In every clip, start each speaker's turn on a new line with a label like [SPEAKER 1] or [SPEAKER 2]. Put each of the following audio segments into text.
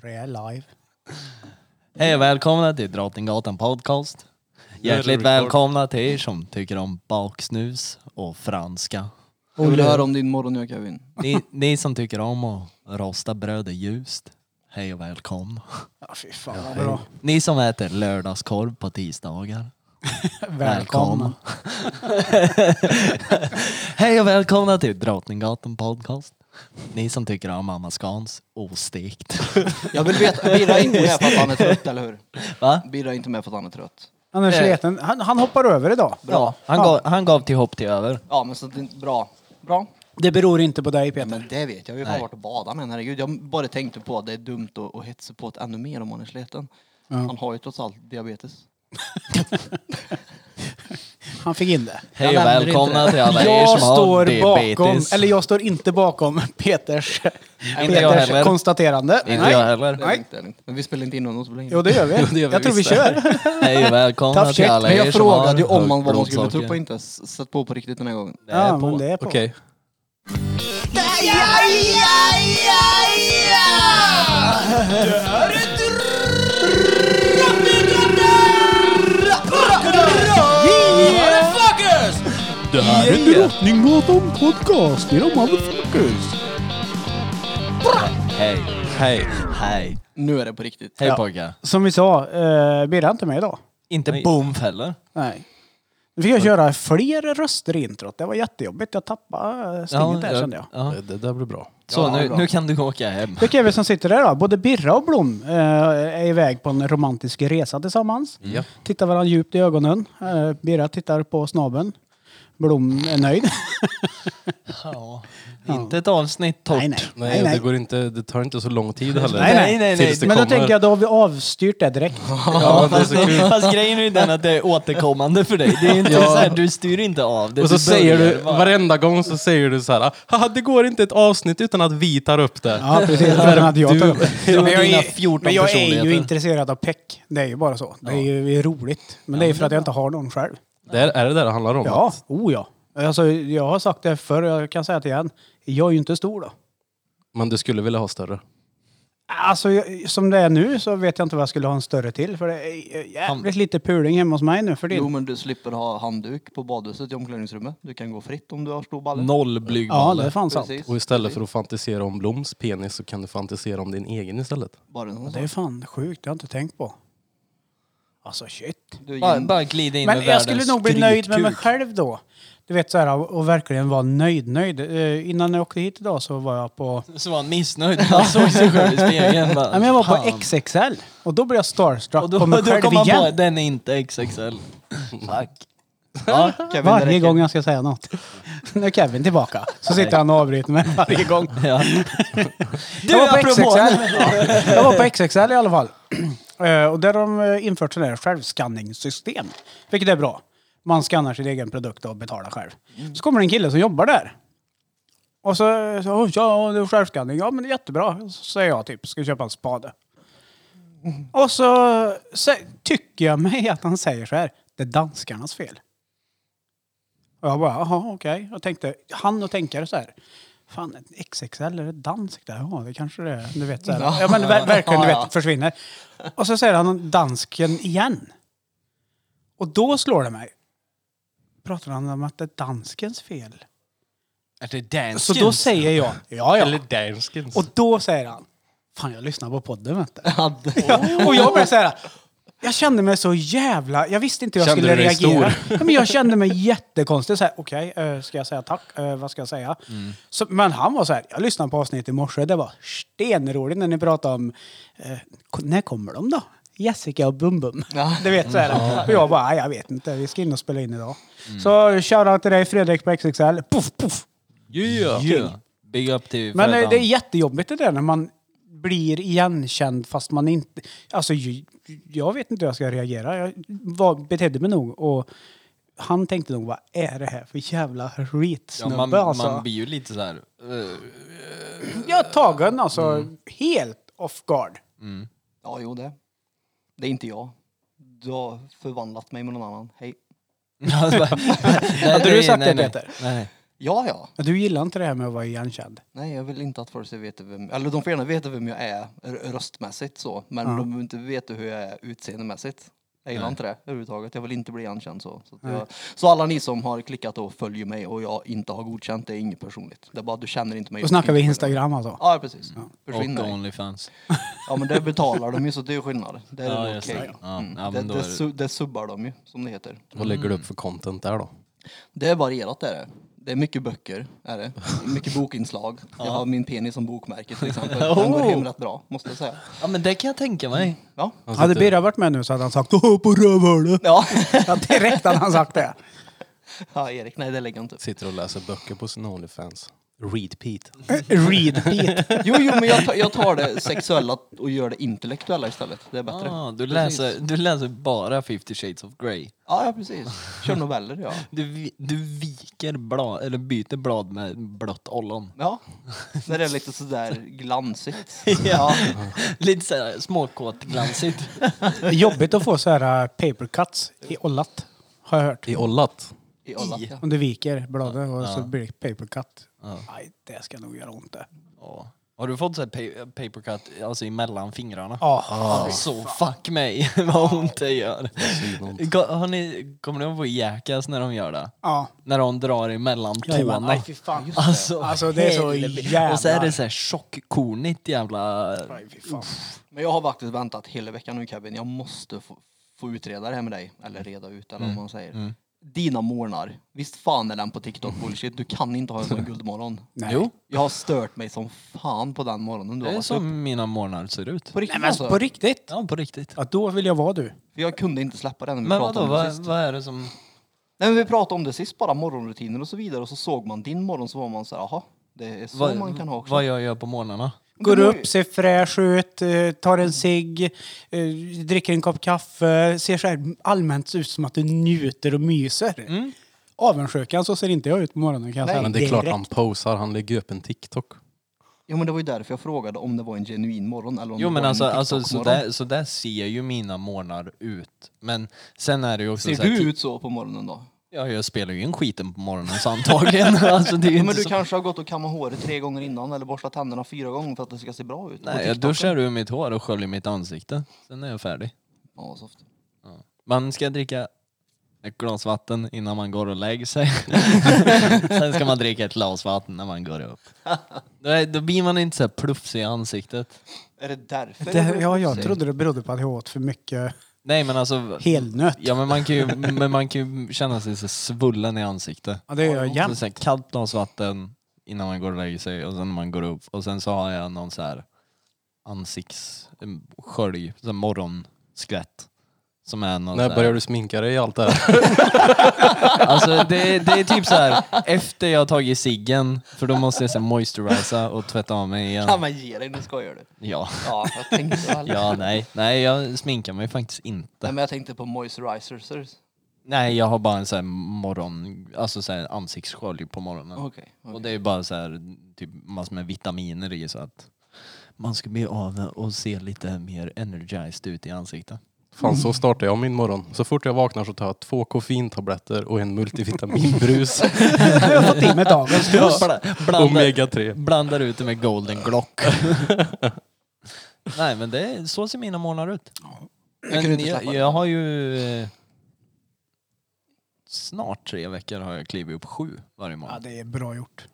[SPEAKER 1] real life.
[SPEAKER 2] Hej och välkomna till Drottninggatan podcast. Hjärtligt
[SPEAKER 3] record.
[SPEAKER 2] välkomna till er som tycker om baksnus och franska.
[SPEAKER 4] Jag vill höra om din morgonjacka Kevin.
[SPEAKER 2] Ni, ni som tycker om att rosta brödet ljust, hej och välkomna.
[SPEAKER 1] Ja, fy fan vad bra.
[SPEAKER 2] Ni som äter lördagskorv på tisdagar,
[SPEAKER 1] Välkomna.
[SPEAKER 2] hej och välkomna till Drottninggatan podcast. Ni som tycker om Mamma Scans ostekt.
[SPEAKER 4] Jag vill veta, Birra är inte med för att han är trött, eller hur?
[SPEAKER 2] Va?
[SPEAKER 4] Birra är inte med för att han är trött.
[SPEAKER 1] Han är sliten. Han, han hoppar över idag.
[SPEAKER 2] Ja, han, gav, han gav till hopp till över.
[SPEAKER 4] Ja men så det är bra. Bra.
[SPEAKER 1] Det beror inte på dig Peter.
[SPEAKER 4] Men det vet jag ju, jag
[SPEAKER 2] Nej.
[SPEAKER 4] har varit och badat med herregud. Jag bara tänkte på att det är dumt att, att hetsa på ett ännu mer om man är sliten. Han har ju trots allt diabetes.
[SPEAKER 1] Han fick in det.
[SPEAKER 2] Hej och
[SPEAKER 4] nämner inte
[SPEAKER 2] välkomna
[SPEAKER 4] det.
[SPEAKER 2] till alla er som
[SPEAKER 1] Jag
[SPEAKER 2] har
[SPEAKER 1] står
[SPEAKER 2] diabetes.
[SPEAKER 1] bakom, eller jag står inte bakom Peters,
[SPEAKER 2] jag
[SPEAKER 1] Peters
[SPEAKER 2] heller.
[SPEAKER 1] konstaterande.
[SPEAKER 2] Inte
[SPEAKER 1] Nej.
[SPEAKER 2] jag heller.
[SPEAKER 4] Det är lugnt, det är lugnt. Men vi spelar inte in honom så länge.
[SPEAKER 1] Jo det gör vi.
[SPEAKER 4] Jo, det gör vi
[SPEAKER 1] jag tror vi
[SPEAKER 4] visst.
[SPEAKER 1] kör.
[SPEAKER 2] Hej och välkomna
[SPEAKER 1] Tough
[SPEAKER 2] till
[SPEAKER 1] check,
[SPEAKER 2] alla
[SPEAKER 4] Men
[SPEAKER 2] er
[SPEAKER 4] jag
[SPEAKER 2] som har
[SPEAKER 4] frågade ju om man,
[SPEAKER 2] högt
[SPEAKER 4] vad man skulle
[SPEAKER 2] blodsocker.
[SPEAKER 4] tuppa inte s- satt på på riktigt den här gången.
[SPEAKER 2] Det är
[SPEAKER 1] Ja,
[SPEAKER 2] på.
[SPEAKER 1] men det är på.
[SPEAKER 3] Okej.
[SPEAKER 1] Drottninggatan podcast. Era motherfuckers.
[SPEAKER 2] Hej. Hej. Hej.
[SPEAKER 4] Nu är det på riktigt.
[SPEAKER 2] Hej
[SPEAKER 1] Ja.
[SPEAKER 2] pojkar.
[SPEAKER 1] Som vi sa, eh, Birra är inte med idag.
[SPEAKER 2] Inte boom heller.
[SPEAKER 1] Nej. Nu fick jag köra fler röster i introt. Det var jättejobbigt. Jag tappade eh, stinget där kände jag.
[SPEAKER 2] Ja.
[SPEAKER 3] Det, det där blir bra.
[SPEAKER 2] Så nu, nu kan du åka hem.
[SPEAKER 1] Det är Kevin som sitter där då. Både Birra och Blom eh, är iväg på en romantisk resa tillsammans.
[SPEAKER 3] Mm. Ja.
[SPEAKER 1] Tittar varandra djupt i ögonen. Eh, Birra tittar på snabeln. Blom är nöjd.
[SPEAKER 2] Ja. Inte ett avsnitt torrt.
[SPEAKER 1] nej, nej.
[SPEAKER 3] Nej,
[SPEAKER 1] nej, nej.
[SPEAKER 3] Det, går inte, det tar inte så lång tid heller.
[SPEAKER 1] Nej, nej,
[SPEAKER 2] nej,
[SPEAKER 3] Tills det
[SPEAKER 1] Men då
[SPEAKER 3] kommer.
[SPEAKER 1] tänker jag, då har vi avstyrt det direkt.
[SPEAKER 2] Ja,
[SPEAKER 3] Ja, det är
[SPEAKER 2] fast,
[SPEAKER 3] så kul.
[SPEAKER 2] fast grejen är ju den att det är återkommande för dig. Det är ju inte
[SPEAKER 3] Ja.
[SPEAKER 2] så här, du styr inte av det.
[SPEAKER 3] Och så säger
[SPEAKER 2] börjar
[SPEAKER 3] du,
[SPEAKER 2] bara.
[SPEAKER 3] varenda gång så säger du så här, "Ah, Haha, det går inte ett avsnitt utan att vi tar upp det.
[SPEAKER 1] Ja, precis. För att jag tar upp det.
[SPEAKER 2] Du och
[SPEAKER 1] Men jag,
[SPEAKER 2] dina
[SPEAKER 1] är,
[SPEAKER 2] 14
[SPEAKER 1] men jag är ju
[SPEAKER 2] personligheter.
[SPEAKER 1] intresserad av peck. Det är ju bara så. Det är ju roligt. Men det är ju för att jag inte har någon själv.
[SPEAKER 3] Det är, är det där det handlar om?
[SPEAKER 1] Ja, oh ja. Alltså, jag har sagt det förr, jag kan säga det igen. Jag är ju inte stor då.
[SPEAKER 3] Men du skulle vilja ha större?
[SPEAKER 1] Alltså, jag, som det är nu så vet jag inte vad jag skulle ha en större till. För det är jävligt lite puling hemma hos mig nu för
[SPEAKER 4] Jo
[SPEAKER 1] din.
[SPEAKER 4] men du slipper ha handduk på badhuset i omklädningsrummet. Du kan gå fritt om du har stor balle.
[SPEAKER 3] Noll
[SPEAKER 1] Ja,
[SPEAKER 3] blygdballe.
[SPEAKER 1] det är fan sant.
[SPEAKER 4] Precis.
[SPEAKER 3] och istället för att fantisera om Bloms penis så kan du fantisera om din egen istället.
[SPEAKER 4] Bara en sån
[SPEAKER 1] Det är fan sjukt, det har jag inte tänkt på. Alltså shit.
[SPEAKER 4] Du,
[SPEAKER 2] Bara,
[SPEAKER 4] gin-
[SPEAKER 2] bara glida in
[SPEAKER 1] Men
[SPEAKER 2] med
[SPEAKER 1] jag skulle
[SPEAKER 2] världens
[SPEAKER 1] nog bli nöjd med mig
[SPEAKER 2] skrytkuk.
[SPEAKER 1] själv då. Du vet så här, och och verkligen vara nöjd, nöjd. Eh, innan jag åkte hit idag så var jag på...
[SPEAKER 2] Så var han missnöjd. Han såg sig själv i spegeln. bara,
[SPEAKER 1] Nej, men jag var på
[SPEAKER 2] "Fan."
[SPEAKER 1] XXL och då blev jag starstruck
[SPEAKER 2] Och då,
[SPEAKER 1] på mig
[SPEAKER 2] då
[SPEAKER 1] själv
[SPEAKER 2] kom man på
[SPEAKER 1] igen.
[SPEAKER 2] att den är inte XXL. Fuck. Ja,
[SPEAKER 4] Kevin, det
[SPEAKER 1] Varje
[SPEAKER 4] räcker.
[SPEAKER 1] gång jag ska säga något. Nu är Kevin tillbaka. Så sitter han och avbryter mig varje gång.
[SPEAKER 2] ja.
[SPEAKER 1] jag, var på
[SPEAKER 2] apropå-
[SPEAKER 1] XXL. jag var på XXL i alla fall. Eh, och där har de eh, infört sådana här självskanningssystem. Vilket är bra. Man skannar sin egen produkt och betalar själv. Så kommer det en kille som jobbar där. Och så, så "Oj, ja, det är självskanning. Ja, men det är jättebra. Så säger jag typ, ska köpa en spade. Och så, så tycker jag mig att han säger så här, det är danskarnas fel. Och jag bara, jaha okej. Jag tänkte, han och tänkare så här. Fan, ett XXL, är det danskt där? Ja, det kanske det är. Du vet, så här. Ja, men ver verkligen, du vet, försvinner. Och så säger han dansken igen. Och då slår det mig. Pratar han om att det är danskens fel?
[SPEAKER 2] Är det danskens?
[SPEAKER 1] Så då säger jag, ja ja.
[SPEAKER 3] danskens.
[SPEAKER 1] Och då säger han, fan jag lyssnar på podden vet du.
[SPEAKER 4] Ja, det-
[SPEAKER 1] Och jag började säga jag kände mig så jävla... Jag visste inte hur jag
[SPEAKER 3] Kände
[SPEAKER 1] skulle
[SPEAKER 3] du dig
[SPEAKER 1] reagera.
[SPEAKER 3] stor?
[SPEAKER 1] Ja, men jag kände mig jättekonstig. Så här, Okej, eh, ska jag säga tack? Eh, vad ska jag säga?
[SPEAKER 4] Mm.
[SPEAKER 1] Så, men han var så här, jag lyssnade på avsnittet i morse. Det var stenroligt när ni pratade om... eh, ko- när kommer de då? Jessica och Bum Bum.
[SPEAKER 4] Ja. Mm.
[SPEAKER 1] Du vet så här. Och jag bara, "Nej, jag vet inte. Vi ska in och spela in idag. Så shoutout till dig Fredrik på XXL. Puff, puff.
[SPEAKER 3] Yeah.
[SPEAKER 2] Yeah. Big up till
[SPEAKER 1] Men eh,
[SPEAKER 2] Freddan.
[SPEAKER 1] det är jättejobbigt det där när man blir igenkänd fast man inte... Alltså ju- jag vet inte hur jag ska reagera. Jag var, betedde mig nog och han tänkte nog vad är det här för jävla
[SPEAKER 2] ja,
[SPEAKER 1] skitsnubbe
[SPEAKER 2] man,
[SPEAKER 1] alltså.
[SPEAKER 2] man blir ju lite så här. eh,
[SPEAKER 1] Jag är tagen alltså
[SPEAKER 2] Mm.
[SPEAKER 1] helt off guard.
[SPEAKER 4] ja, jo det. Det är inte jag. Du har förvandlat mig med någon annan. Hej.
[SPEAKER 2] nej,
[SPEAKER 1] Hade du
[SPEAKER 2] nej,
[SPEAKER 1] sagt
[SPEAKER 2] nej,
[SPEAKER 1] det,
[SPEAKER 2] nej.
[SPEAKER 1] Peter?
[SPEAKER 2] Nej.
[SPEAKER 4] Ja, ja.
[SPEAKER 1] Men Du gillar inte det här med att vara igenkänd?
[SPEAKER 4] Nej, jag vill inte att folk ska veta vem... Eller de får gärna veta vem jag är r- röstmässigt så. Men
[SPEAKER 1] Ja.
[SPEAKER 4] de behöver inte veta hur jag är utseendemässigt. Jag gillar inte det överhuvudtaget. Jag vill inte bli igenkänd så. Så, att jag, så alla ni som har klickat och följer mig och jag inte har godkänt, det är inget personligt. Det är bara att du känner inte mig.
[SPEAKER 1] Då snackar vi
[SPEAKER 4] Inte-
[SPEAKER 1] Instagram alltså.
[SPEAKER 4] Ja, precis. Försvinn
[SPEAKER 2] Och
[SPEAKER 4] dig.
[SPEAKER 2] Onlyfans.
[SPEAKER 4] Ja, men det betalar de ju så det är skillnad. Det är
[SPEAKER 2] Ja,
[SPEAKER 4] väl
[SPEAKER 2] just
[SPEAKER 4] okej.
[SPEAKER 2] det. Ja,
[SPEAKER 4] Mm.
[SPEAKER 2] ja, men då
[SPEAKER 4] det, det,
[SPEAKER 2] är det-
[SPEAKER 4] su- det subbar de ju, som det heter.
[SPEAKER 3] Vad lägger du upp för content där då?
[SPEAKER 4] Det är varierat är det. Det är mycket böcker, är det. Mycket bokinslag. Jag har min penis som bokmärke till exempel. Den går hem rätt bra, måste jag säga.
[SPEAKER 2] Ja men det kan jag tänka mig.
[SPEAKER 4] Ja.
[SPEAKER 1] Hade Birra varit med nu så hade han sagt Åh, på rövhålet!
[SPEAKER 4] Ja.
[SPEAKER 1] Ja, direkt hade han sagt det.
[SPEAKER 4] ja, Erik, nej det lägger jag inte upp.
[SPEAKER 3] Sitter och läser böcker på sin Onlyfans. Read Pete.
[SPEAKER 1] Read Pete.
[SPEAKER 4] Jo, jo, men jag tar, jag tar det sexuella och gör det intellektuella istället. Det är bättre.
[SPEAKER 2] Ah, du, läser, du läser bara 50 shades of grey.
[SPEAKER 4] Ja, ja precis. Kör noveller, ja.
[SPEAKER 2] Du, vi- du viker blad, eller byter blad med blått ollon.
[SPEAKER 4] Ja, när det är lite sådär glansigt. Ja.
[SPEAKER 2] Lite såhär småkåt-glansigt.
[SPEAKER 1] Jobbigt att få så här äh, paper cuts i ollat. Har jag hört.
[SPEAKER 3] I ollat.
[SPEAKER 4] I alla fall.
[SPEAKER 1] Om du viker bladet och så blir det paper cut. Nej, det ska nog göra ont det.
[SPEAKER 2] Ja. Har du fått såhär pa- papercut alltså emellan fingrarna? Ah,
[SPEAKER 1] Ja.
[SPEAKER 2] Så fuck mig vad ont det gör. Ko- Har ni, kommer ni ihåg på Jackass när de gör det?
[SPEAKER 1] Ja.
[SPEAKER 2] När de drar emellan
[SPEAKER 1] Jajamän.
[SPEAKER 2] tårna.
[SPEAKER 1] Nej, fy fan. Just det.
[SPEAKER 2] Alltså,
[SPEAKER 1] Alltså, det är så
[SPEAKER 2] helvete.
[SPEAKER 1] jävla-
[SPEAKER 2] Och så är det såhär tjockkornigt jävla...
[SPEAKER 1] Nej, fy fan.
[SPEAKER 4] Men jag har faktiskt väntat hela veckan nu Kevin. Jag måste få, få utreda det här med dig. Eller reda ut eller
[SPEAKER 2] Mm.
[SPEAKER 4] vad man säger. Dina morgnar. Visst fan är den på TikTok bullshit. Du kan inte ha en sån guldmorgon.
[SPEAKER 1] Nej.
[SPEAKER 2] Jo.
[SPEAKER 4] Jag har stört mig som fan på den morgonen du
[SPEAKER 2] Det
[SPEAKER 4] har
[SPEAKER 2] är
[SPEAKER 4] varit
[SPEAKER 1] typ.
[SPEAKER 4] upp.
[SPEAKER 2] som mina morgnar ser ut.
[SPEAKER 4] På riktigt
[SPEAKER 1] Nej, men
[SPEAKER 4] alltså.
[SPEAKER 1] på riktigt.
[SPEAKER 2] Ja, på riktigt.
[SPEAKER 1] Ja, då vill jag vara du.
[SPEAKER 4] För jag kunde inte släppa den när vi
[SPEAKER 2] Men
[SPEAKER 4] pratade
[SPEAKER 2] vadå,
[SPEAKER 4] om det
[SPEAKER 2] vad,
[SPEAKER 4] sist.
[SPEAKER 2] vad är det som...
[SPEAKER 4] Nej men vi pratade om det sist bara, morgonrutiner och så vidare. Och så såg man din morgon så var man så här, jaha. Det är så
[SPEAKER 2] Vad,
[SPEAKER 4] man kan ha också.
[SPEAKER 2] vad jag gör på morgnarna?
[SPEAKER 1] Går
[SPEAKER 4] Men-
[SPEAKER 1] upp, ser fräsch ut, eh, tar en cigg, eh, dricker en kopp kaffe. Ser så här allmänt ut som att du njuter och myser. Avundsjukan, så ser inte jag ut på morgonen kan jag
[SPEAKER 4] Nej.
[SPEAKER 1] säga.
[SPEAKER 3] Men det är klart
[SPEAKER 1] direkt.
[SPEAKER 3] han posar. Han lägger upp en TikTok.
[SPEAKER 4] Ja men det var ju därför jag frågade om det var en genuin morgon eller om
[SPEAKER 2] Jo
[SPEAKER 4] det
[SPEAKER 2] men
[SPEAKER 4] var
[SPEAKER 2] alltså,
[SPEAKER 4] en
[SPEAKER 2] alltså så,
[SPEAKER 4] TikTok-morgon.
[SPEAKER 2] där, så där ser ju mina morgnar ut. Men sen är det ju också
[SPEAKER 4] Ser
[SPEAKER 2] så typ- här,
[SPEAKER 4] du ut så på morgonen då?
[SPEAKER 2] Ja, jag spelar ju in skiten på morgonen så antagligen. alltså, det är ju
[SPEAKER 4] Ja,
[SPEAKER 2] inte
[SPEAKER 4] men du
[SPEAKER 2] så...
[SPEAKER 4] kanske har gått och kammat håret tre gånger innan eller borstat tänderna fyra gånger för att det ska se bra ut. Och
[SPEAKER 2] Nej, jag
[SPEAKER 4] TikToken.
[SPEAKER 2] duschar ur mitt hår och sköljer mitt ansikte. Sen är jag färdig.
[SPEAKER 4] Ja, soft.
[SPEAKER 2] Man ska dricka ett glas vatten innan man går och lägger sig. Sen ska man dricka ett glas vatten när man går upp. Då, är, då blir man inte så här pluffsig i ansiktet.
[SPEAKER 4] Är det därför?
[SPEAKER 1] Det, ja, jag trodde det berodde på att jag åt för mycket
[SPEAKER 2] Nej men alltså,
[SPEAKER 1] helnöt.
[SPEAKER 2] ja, men man, kan ju, men man kan ju känna sig så svullen i ansiktet.
[SPEAKER 1] Ja, det gör jag
[SPEAKER 2] Så
[SPEAKER 1] jämt.
[SPEAKER 2] så här, kallt glas vatten innan man går och lägger sig och sen när man går upp. Och sen så har jag någon så här ansiktsskölj, så här morgonskvätt. Som är någon så
[SPEAKER 3] När
[SPEAKER 2] här-
[SPEAKER 3] börjar du sminka dig i allt det här?
[SPEAKER 2] Alltså det, det är typ så här efter jag har tagit ciggen, för då måste jag sen moisturisera och tvätta av mig
[SPEAKER 4] Ja,
[SPEAKER 2] igen.
[SPEAKER 4] men ge dig, nu skojar du.
[SPEAKER 2] Ja,
[SPEAKER 4] Ja, jag tänkte väl.
[SPEAKER 2] ja nej, nej jag sminkar mig faktiskt inte.
[SPEAKER 4] Nej, men jag tänkte på moisturizers.
[SPEAKER 2] Nej jag har bara en sån här morgon, alltså så här ansiktsskölj på morgonen.
[SPEAKER 4] Okej. okej.
[SPEAKER 2] Och det är bara så här, typ massor med vitaminer i så att man ska bli av och se lite mer energized ut i ansiktet.
[SPEAKER 3] Fan
[SPEAKER 1] Mm.
[SPEAKER 3] så startar jag min morgon. Så fort jag vaknar så tar jag två koffeintabletter och en multivitaminbrus.
[SPEAKER 1] Jag har fått i mig dagens.
[SPEAKER 2] Bla- blandar,
[SPEAKER 3] Omega 3.
[SPEAKER 2] blandar ut det med golden glock. Nej men det är, så ser mina månader ut.
[SPEAKER 4] Jag kunde
[SPEAKER 2] Men
[SPEAKER 4] inte
[SPEAKER 2] jag,
[SPEAKER 4] släppa det.
[SPEAKER 2] jag har ju eh, snart tre veckor har jag klivit upp sju varje
[SPEAKER 1] Ja,
[SPEAKER 2] månad.
[SPEAKER 1] det är bra gjort.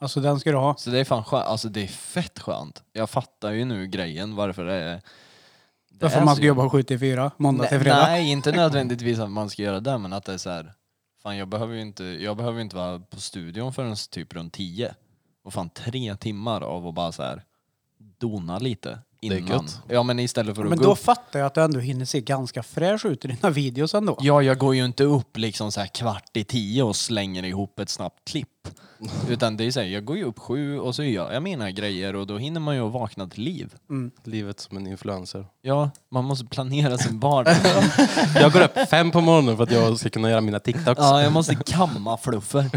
[SPEAKER 1] Alltså den ska du ha.
[SPEAKER 2] Så det är fan skönt, alltså det är fett skönt. Jag fattar ju nu grejen varför det är... Det
[SPEAKER 1] Därför
[SPEAKER 2] är
[SPEAKER 1] man
[SPEAKER 2] så
[SPEAKER 1] ska jobba 7 till 4, måndag till
[SPEAKER 2] Nej,
[SPEAKER 1] fredag.
[SPEAKER 2] Nej, inte nödvändigtvis att man ska göra det, men att det är så här, fan jag behöver ju inte, jag behöver ju inte vara på studion förrän typ runt 10. Och fan tre timmar av att bara så här dona lite
[SPEAKER 3] är
[SPEAKER 2] innan.
[SPEAKER 3] gött.
[SPEAKER 2] Ja men istället för att
[SPEAKER 1] Men
[SPEAKER 2] gå
[SPEAKER 1] då
[SPEAKER 2] upp.
[SPEAKER 1] fattar jag att du ändå hinner se ganska fräsch ut i dina videos ändå.
[SPEAKER 2] Ja, jag går ju inte upp liksom så här kvart i tio och slänger ihop ett snabbt klipp. Utan det är så här, jag går ju upp sju och så gör jag mina grejer och då hinner man ju att vakna till liv.
[SPEAKER 3] Livet som en influencer.
[SPEAKER 2] Ja, man måste planera sin vardag.
[SPEAKER 3] Jag går upp fem på morgonen för att jag ska kunna göra mina TikToks.
[SPEAKER 2] ja, jag måste kamma fluffer.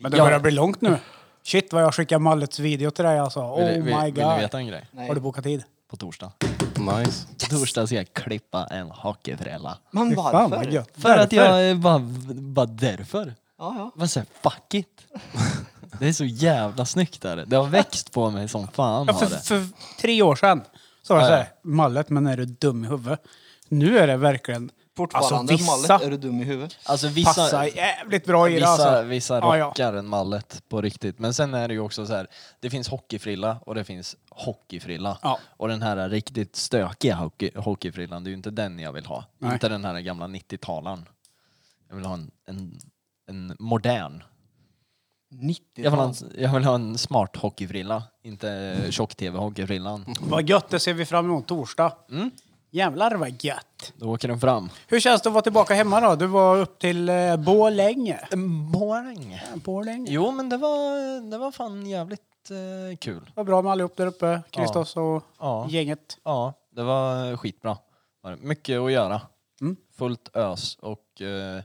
[SPEAKER 1] Men det
[SPEAKER 2] Ja.
[SPEAKER 1] börjar bli långt nu. Shit vad jag skickar Mallets video till dig alltså. Oh
[SPEAKER 2] vill,
[SPEAKER 1] my
[SPEAKER 2] vill, vill du
[SPEAKER 1] god.
[SPEAKER 2] veta en grej?
[SPEAKER 4] Nej.
[SPEAKER 1] Har du bokat tid?
[SPEAKER 2] På torsdag.
[SPEAKER 3] Nice.
[SPEAKER 2] På torsdag ska jag klippa en hockeyfrälla.
[SPEAKER 4] Men
[SPEAKER 1] Fy fan
[SPEAKER 4] varför?
[SPEAKER 1] vad gött.
[SPEAKER 2] För att jag är bara, bara därför.
[SPEAKER 4] Ja, ja.
[SPEAKER 1] Alltså,
[SPEAKER 2] Vad säger fuck it. Det är så jävla snyggt där. Det har växt på mig som fan
[SPEAKER 1] Ja,
[SPEAKER 2] har
[SPEAKER 1] för,
[SPEAKER 2] det.
[SPEAKER 1] för tre år sedan så var jag
[SPEAKER 2] Ja,
[SPEAKER 1] såhär, mallet men är du dum i huvudet? Nu är det verkligen,
[SPEAKER 4] Fortfarande
[SPEAKER 1] alltså vissa
[SPEAKER 4] mallet, är du dum i huvudet?
[SPEAKER 2] Alltså vissa,
[SPEAKER 1] passar jävligt bra i det
[SPEAKER 2] vissa,
[SPEAKER 1] alltså.
[SPEAKER 2] vissa
[SPEAKER 1] Ja, ja.
[SPEAKER 2] rockar en mallet på riktigt. Men sen är det ju också så här. det finns hockeyfrilla och det finns hockeyfrilla.
[SPEAKER 1] Ja.
[SPEAKER 2] Och den här riktigt stökiga hockey, hockeyfrillan, det är ju inte den jag vill ha.
[SPEAKER 1] Nej.
[SPEAKER 2] Inte den här gamla 90-talaren. Jag vill ha en, en, en modern.
[SPEAKER 4] 90
[SPEAKER 2] Jag vill, ha en, jag vill ha en smart hockeyfrilla, inte tjock-tv-hockeyfrillan.
[SPEAKER 1] Vad gött, det ser vi fram emot torsdag. Jävlar vad gött.
[SPEAKER 2] Då åker den fram.
[SPEAKER 1] Hur känns det att vara tillbaka hemma då? Du var upp till eh, Borlänge.
[SPEAKER 2] Boring.
[SPEAKER 1] Borlänge.
[SPEAKER 2] Jo, men det var, det var fan jävligt eh, kul.
[SPEAKER 1] Vad bra med allihop där uppe, Kristoff och
[SPEAKER 2] Ja.
[SPEAKER 1] gänget.
[SPEAKER 2] Ja, det var skitbra. Var det. Mycket att göra.
[SPEAKER 1] Mm.
[SPEAKER 2] Fullt ös och eh,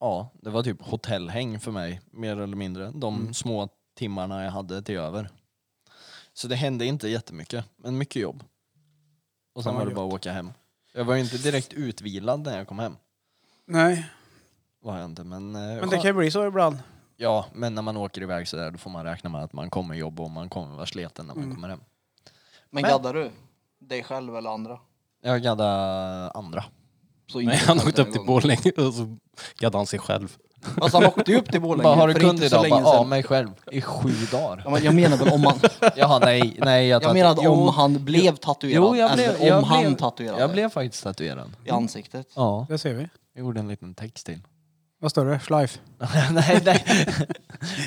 [SPEAKER 2] ja, det var typ hotellhäng för mig mer eller mindre. De
[SPEAKER 1] Mm.
[SPEAKER 2] små timmarna jag hade till över. Så det hände inte jättemycket, men mycket jobb. Och sen
[SPEAKER 1] Ja,
[SPEAKER 2] var det
[SPEAKER 1] gött.
[SPEAKER 2] bara att åka hem. Jag var ju inte direkt utvilad när jag kom hem.
[SPEAKER 1] Nej,
[SPEAKER 2] Var jag inte, men, eh,
[SPEAKER 1] men det kan ju bli så ibland.
[SPEAKER 2] Ja, men när man åker iväg sådär då får man räkna med att man kommer jobba och man kommer vara sliten när man
[SPEAKER 1] Mm.
[SPEAKER 2] kommer hem.
[SPEAKER 4] Men gaddar du? Dig själv eller andra?
[SPEAKER 2] Jag gaddade andra.
[SPEAKER 4] Så
[SPEAKER 3] Nej,
[SPEAKER 4] inte
[SPEAKER 3] han
[SPEAKER 4] den
[SPEAKER 3] åkte upp till
[SPEAKER 4] gången.
[SPEAKER 3] Borlänge och så gaddade han sig själv.
[SPEAKER 4] Alltså han åkte ju upp till Borlänge
[SPEAKER 2] Bara, har du
[SPEAKER 4] för
[SPEAKER 2] kund
[SPEAKER 4] inte så
[SPEAKER 2] idag? Bara,
[SPEAKER 4] länge
[SPEAKER 2] ja,
[SPEAKER 4] sedan.
[SPEAKER 2] mig själv. I sju dagar.
[SPEAKER 4] Ja, men jag menar väl om han...
[SPEAKER 2] Jaha, nej, nej. Jag,
[SPEAKER 4] Jag
[SPEAKER 2] tatu-
[SPEAKER 4] menade om
[SPEAKER 2] Jo,
[SPEAKER 4] han blev tatuerad.
[SPEAKER 2] Jo, jag blev,
[SPEAKER 4] eller om
[SPEAKER 2] jag
[SPEAKER 4] han
[SPEAKER 2] blev,
[SPEAKER 4] tatuerade
[SPEAKER 2] Jag blev faktiskt tatuerad.
[SPEAKER 4] i ansiktet.
[SPEAKER 2] Ja,
[SPEAKER 1] Det ser vi.
[SPEAKER 2] jag gjorde en liten text till.
[SPEAKER 1] Vad står det? Schleif?
[SPEAKER 2] nej, nej.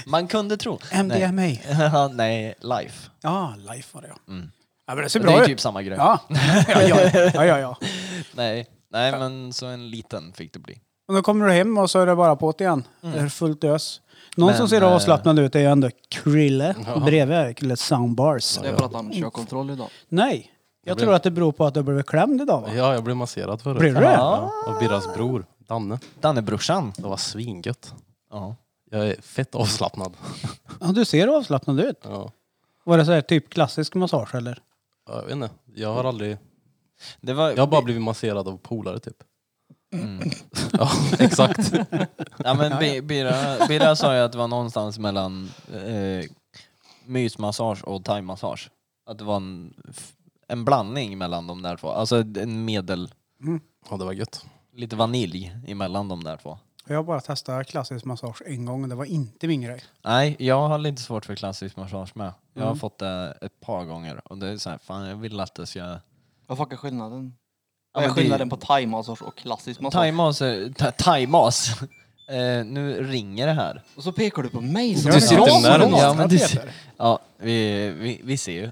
[SPEAKER 2] Man kunde tro. Nej.
[SPEAKER 1] MDMA.
[SPEAKER 2] Ja, nej, life.
[SPEAKER 1] Ja, Life var det ja.
[SPEAKER 2] Mm.
[SPEAKER 1] ja men det ser
[SPEAKER 2] Det är
[SPEAKER 1] bra
[SPEAKER 2] ju
[SPEAKER 1] ut.
[SPEAKER 2] typ samma grej.
[SPEAKER 1] Ja. Ja, ja, ja, ja, ja.
[SPEAKER 2] Nej, nej, men så en liten fick det bli.
[SPEAKER 1] Och då kommer du hem och så är det bara på det igen. Det är fullt ös. Någon
[SPEAKER 2] Mm. Men,
[SPEAKER 1] som ser
[SPEAKER 2] eh,
[SPEAKER 1] avslappnad ut är ju ändå Krille bredvid. Krille Soundbars.
[SPEAKER 4] Så det är för att han kör kontroll idag.
[SPEAKER 1] Nej, jag tror att det beror på att du blev klämd idag va?
[SPEAKER 3] Ja, jag blev masserad förut.
[SPEAKER 1] Blev du det?
[SPEAKER 3] Ja, av Birras bror, Danne.
[SPEAKER 2] Dannebrorsan.
[SPEAKER 3] Det var svingött.
[SPEAKER 2] Ja.
[SPEAKER 3] Jag är fett avslappnad.
[SPEAKER 1] Ja, du ser avslappnad ut.
[SPEAKER 3] Ja.
[SPEAKER 1] Var det så här typ klassisk massage eller?
[SPEAKER 3] Jag vet inte, jag har aldrig...
[SPEAKER 2] Det var,
[SPEAKER 3] Jag har bara blivit masserad av polare typ.
[SPEAKER 1] Mm.
[SPEAKER 3] ja, exakt.
[SPEAKER 2] Ja men Bi- Birra, Birra sa ju att det var någonstans mellan eh, mysmassage och thaimassage. Att det var en, f- en blandning mellan de där två. Alltså en medel,
[SPEAKER 3] Ja, det var gött.
[SPEAKER 2] lite vanilj emellan de där två.
[SPEAKER 1] Jag har bara testat klassisk massage en gång och det var inte min grej.
[SPEAKER 2] Nej, jag har lite svårt för klassisk massage med. Jag har fått det ett par gånger och det är så här, fan jag vill att det ska...
[SPEAKER 4] Vad fuck är skillnaden?
[SPEAKER 2] Ja,
[SPEAKER 4] Vad är
[SPEAKER 2] men det-
[SPEAKER 4] skillnaden på thai-massage och klassisk massage?
[SPEAKER 2] Thaimas, är- tha- thaimas. Eh, nu ringer det här.
[SPEAKER 4] Och så pekar du på mig som
[SPEAKER 1] Ja,
[SPEAKER 4] är
[SPEAKER 1] det
[SPEAKER 3] sitter
[SPEAKER 4] rasande.
[SPEAKER 3] närmast.
[SPEAKER 1] Ja,
[SPEAKER 2] Ja, men du,
[SPEAKER 1] Peter.
[SPEAKER 2] ja vi, vi, vi ser ju.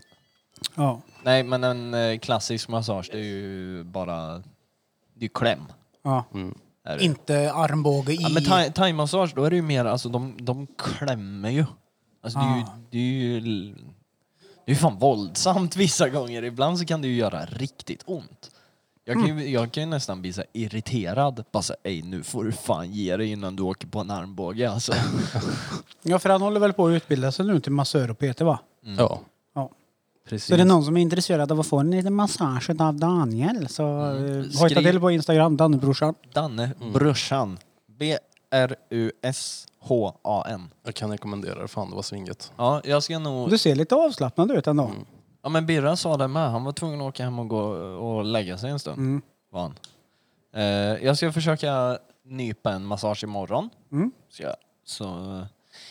[SPEAKER 1] Ja.
[SPEAKER 2] Nej, men en eh, klassisk massage det är ju bara... Det är ju kläm.
[SPEAKER 1] ja.
[SPEAKER 2] Är det.
[SPEAKER 1] Inte armbåge i...
[SPEAKER 2] ja, men thai- thaimassage, då är det ju mer, alltså de, de klämmer ju. Alltså det är ju...
[SPEAKER 1] Ah.
[SPEAKER 2] Det är ju l- det är ju fan våldsamt vissa gånger. Ibland så kan det ju göra riktigt ont. Jag kan ju, jag kan ju nästan bli så här irriterad. Bara så här, "Ey, nu får du fan ge dig innan du åker på en armbåge alltså.
[SPEAKER 1] Ja, för han håller väl på att utbilda sig nu till massör och PT va?
[SPEAKER 3] Ja,
[SPEAKER 1] Ja.
[SPEAKER 3] precis.
[SPEAKER 1] Så är det någon som är intresserad av att få en liten massage av Daniel så mm. hojta
[SPEAKER 2] Skriv-
[SPEAKER 1] till på Instagram, Dannebrorsan.
[SPEAKER 2] Danne, brorsan. B-R-U-S-H-A-N.
[SPEAKER 3] Jag kan rekommendera det, fan det var svingött.
[SPEAKER 2] Ja, jag ska nog...
[SPEAKER 1] Du ser lite avslappnad ut ändå.
[SPEAKER 2] Ja men Birra sa det med, han var tvungen att åka hem och, gå och lägga sig en stund.
[SPEAKER 1] Mm.
[SPEAKER 2] Var han. Eh, jag ska försöka nypa en massage imorgon.
[SPEAKER 1] Mm.
[SPEAKER 2] Ska jag. Så eh,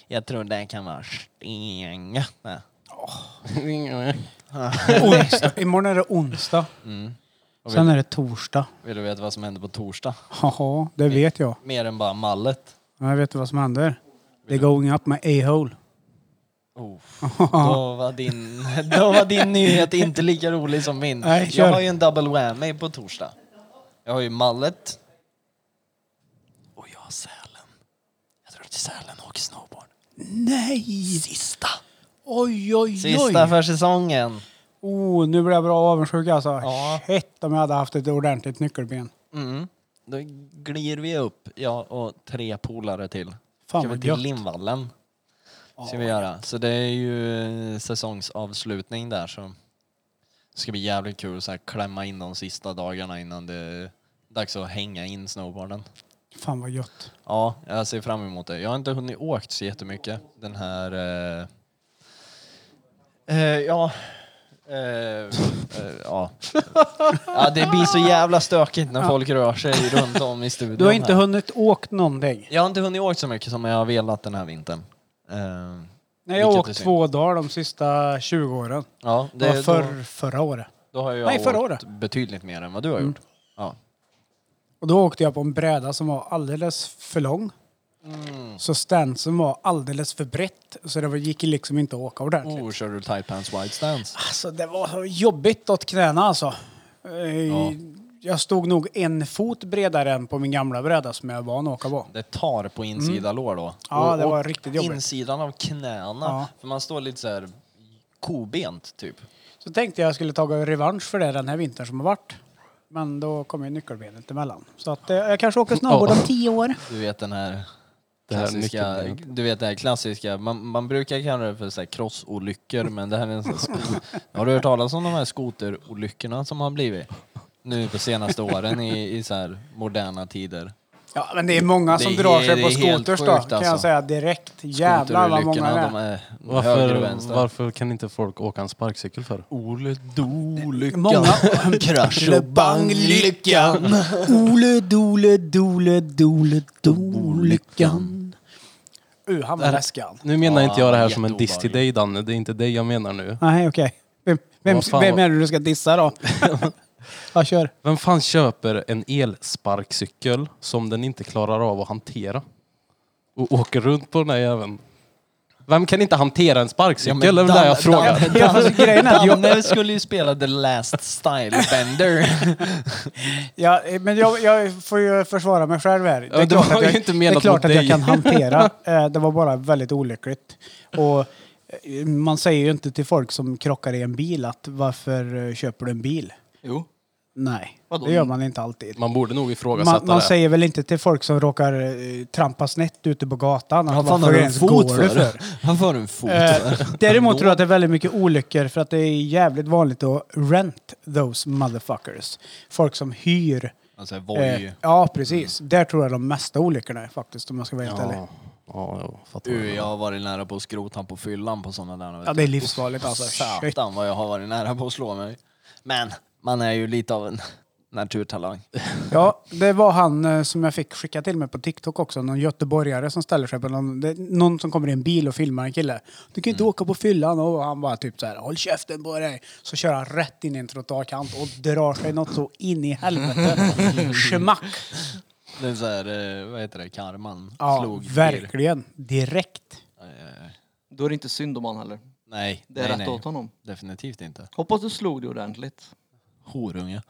[SPEAKER 2] jag tror det kan vara stengött. det.
[SPEAKER 1] Onsdag. Imorgon är det onsdag.
[SPEAKER 2] Och
[SPEAKER 1] Sen är det torsdag.
[SPEAKER 2] Vill du veta vad som händer på torsdag?
[SPEAKER 1] Jaha, det vet jag.
[SPEAKER 2] Mer än bara mallet.
[SPEAKER 1] Ja, Jag vet vad som händer. Det är going up med A-hole.
[SPEAKER 2] Oh, då, var din, då var din nyhet inte lika rolig som min.
[SPEAKER 1] Nej, kör.
[SPEAKER 2] jag har ju en double whammy på torsdag. Jag har ju mallet. Och jag har Sälen. Jag drar till Sälen och åker snowboard.
[SPEAKER 1] Nej!
[SPEAKER 2] Sista.
[SPEAKER 1] Oj, oj,
[SPEAKER 2] Sista
[SPEAKER 1] oj!
[SPEAKER 2] för säsongen.
[SPEAKER 1] Oh, nu blir jag bra avundsjuk alltså.
[SPEAKER 2] Ja.
[SPEAKER 1] Shit om jag hade haft ett ordentligt nyckelben.
[SPEAKER 2] Mm. Då glider vi upp, jag och tre polare till.
[SPEAKER 1] Fan,
[SPEAKER 2] Ska vi
[SPEAKER 1] vad
[SPEAKER 2] till
[SPEAKER 1] gött.
[SPEAKER 2] Lindvallen. Ska vi göra. Så det är ju eh, säsongsavslutning där så det ska bli jävligt kul att så här klämma in de sista dagarna innan det är dags att hänga in snowboarden.
[SPEAKER 1] Fan vad gött.
[SPEAKER 2] Ja, jag ser fram emot det. Jag har inte hunnit åkt så jättemycket den här... Eh, eh, ja... Eh, eh, ja. ja, det blir så jävla stökigt när folk rör sig runt om i studion.
[SPEAKER 1] Du har inte
[SPEAKER 2] här.
[SPEAKER 1] hunnit åkt någonting?
[SPEAKER 2] Jag har inte hunnit åkt så mycket som jag har velat den här vintern. Eh,
[SPEAKER 1] Nej, jag har
[SPEAKER 2] Vilket är
[SPEAKER 1] åkt
[SPEAKER 2] synd.
[SPEAKER 1] två dagar de sista 20 åren.
[SPEAKER 2] ja,
[SPEAKER 1] Det var
[SPEAKER 2] det,
[SPEAKER 1] för,
[SPEAKER 2] då,
[SPEAKER 1] förra året.
[SPEAKER 2] då har jag
[SPEAKER 1] Nej, förra
[SPEAKER 2] åkt
[SPEAKER 1] året. Mm.
[SPEAKER 2] betydligt mer än vad du har gjort. Ja.
[SPEAKER 1] Och då åkte jag på en bräda som var alldeles för lång. Så stansen var alldeles för brett. Så det var- gick liksom inte att åka ordentligt.
[SPEAKER 2] Oh, kör du tight pants wide stance?
[SPEAKER 1] Alltså det var så jobbigt åt knäna alltså. Eh,
[SPEAKER 2] Ja.
[SPEAKER 1] Jag stod nog en fot bredare än på min gamla bräda som jag är van att åka på.
[SPEAKER 2] Det tar på insida lår då.
[SPEAKER 1] Mm. Ja, det var riktigt jobbigt.
[SPEAKER 2] Insidan av knäna.
[SPEAKER 1] Ja.
[SPEAKER 2] För man står lite så här kobent typ.
[SPEAKER 1] Så tänkte jag skulle ta revansch för det den här vintern som har varit. Men då kom ju nyckelbenet emellan. Så att, eh, jag kanske åker snowboard om tio år.
[SPEAKER 2] Du vet den här
[SPEAKER 3] Det här
[SPEAKER 2] klassiska,
[SPEAKER 3] nyckelbenet.
[SPEAKER 2] du vet det här klassiska, man, man brukar kalla det för så här crossolyckor men det här är en sån här sko- Har du hört talas om de här skoterolyckorna som har blivit? Nu på senaste åren i, i så här moderna tider.
[SPEAKER 1] Ja, men det är många som
[SPEAKER 2] Det är-
[SPEAKER 1] drar sig
[SPEAKER 2] det
[SPEAKER 1] på
[SPEAKER 2] är helt
[SPEAKER 1] skoters då,
[SPEAKER 2] sjukt,
[SPEAKER 1] kan jag
[SPEAKER 2] alltså.
[SPEAKER 1] säga direkt. Jävlar vad många det
[SPEAKER 2] Skoterolyckorna,
[SPEAKER 1] är.
[SPEAKER 2] de är höger
[SPEAKER 3] Varför,
[SPEAKER 2] och vänster.
[SPEAKER 3] varför kan inte folk åka en sparkcykel för?
[SPEAKER 1] Oh,
[SPEAKER 2] Ole Dolyckan.
[SPEAKER 1] Många-
[SPEAKER 2] Krasch
[SPEAKER 1] Ole bang lyckan. Ole dole dole dole dolyckan. Uh, han var läskig han.
[SPEAKER 3] Nu menar
[SPEAKER 2] Ja,
[SPEAKER 3] inte jag det här som en
[SPEAKER 2] jätteobehagligt.
[SPEAKER 3] diss till dig Danne, det är inte dig jag menar nu.
[SPEAKER 1] Nej, okej. Vem, vem,
[SPEAKER 3] Vad fan
[SPEAKER 1] vem
[SPEAKER 3] var-
[SPEAKER 1] är det du ska dissa då? ja, kör.
[SPEAKER 3] Vem fan köper en elsparkcykel som den inte klarar av att hantera? Och åker runt på den här jäveln. Vem kan inte hantera en sparkcykel? det är väl det jag frågar.
[SPEAKER 1] Ja, fast grejen är att jag-
[SPEAKER 2] Danne skulle ju spela The Last Style Bender.
[SPEAKER 1] Ja, eh, men jag, jag får ju försvara mig själv här. Det
[SPEAKER 3] det var ju
[SPEAKER 1] jag,
[SPEAKER 3] inte
[SPEAKER 1] det är
[SPEAKER 3] menat
[SPEAKER 1] klart
[SPEAKER 3] mot
[SPEAKER 1] att jag
[SPEAKER 3] dig.
[SPEAKER 1] kan hantera. Eh, Det var bara väldigt olyckligt. Och eh, man säger ju inte till folk som krockar i en bil att varför eh, köper du en bil?
[SPEAKER 4] Jo.
[SPEAKER 1] Nej,
[SPEAKER 4] Vadå?
[SPEAKER 1] det gör man inte alltid.
[SPEAKER 3] Man borde nog ifrågasätta
[SPEAKER 1] Man, man
[SPEAKER 3] det.
[SPEAKER 1] säger väl inte till folk som råkar eh, trampa snett ute på gatan att
[SPEAKER 2] Vad fan
[SPEAKER 1] varför
[SPEAKER 2] har du en
[SPEAKER 1] ens går
[SPEAKER 2] fot
[SPEAKER 1] du
[SPEAKER 2] för? Vad fan har du en fot
[SPEAKER 1] Eh,
[SPEAKER 2] för?
[SPEAKER 1] däremot tror jag att det är väldigt mycket olyckor för att det är jävligt vanligt att rent those motherfuckers. Folk som hyr.
[SPEAKER 2] Alltså
[SPEAKER 1] Eh,
[SPEAKER 2] voj.
[SPEAKER 1] ja, precis. Där tror jag de mesta olyckorna är faktiskt om jag ska vara helt ärlig.
[SPEAKER 3] Ja, ja, jag fattar.
[SPEAKER 1] Uh,
[SPEAKER 3] vad du
[SPEAKER 2] Du,
[SPEAKER 3] menar.
[SPEAKER 2] jag har varit nära på att skrota han på fyllan på sådana där. vet
[SPEAKER 1] Ja, det är livsfarligt alltså.
[SPEAKER 2] du.
[SPEAKER 1] Shit.
[SPEAKER 2] Satan vad jag har varit nära på att slå mig. Men man är ju lite av en naturtalang.
[SPEAKER 1] Ja, det var han eh, som jag fick skicka till mig på TikTok också. Någon göteborgare som ställer sig på någon, det, är någon som kommer i en bil och filmar en kille. Du kan ju inte åka på fyllan och han bara typ så här håll käften på dig. Så kör han rätt in i en trottoarkant och drar sig något så in i helvete. Schmack!
[SPEAKER 2] Det är så här, eh, vad heter det, karman
[SPEAKER 1] Ja,
[SPEAKER 2] slog till.
[SPEAKER 1] verkligen. Direkt.
[SPEAKER 2] Eh,
[SPEAKER 4] Då är det inte synd om han heller.
[SPEAKER 2] Nej,
[SPEAKER 4] Det är
[SPEAKER 2] nej,
[SPEAKER 4] rätt
[SPEAKER 2] nej.
[SPEAKER 4] åt honom.
[SPEAKER 2] Definitivt inte.
[SPEAKER 4] Hoppas du slog det ordentligt.
[SPEAKER 2] Horunge.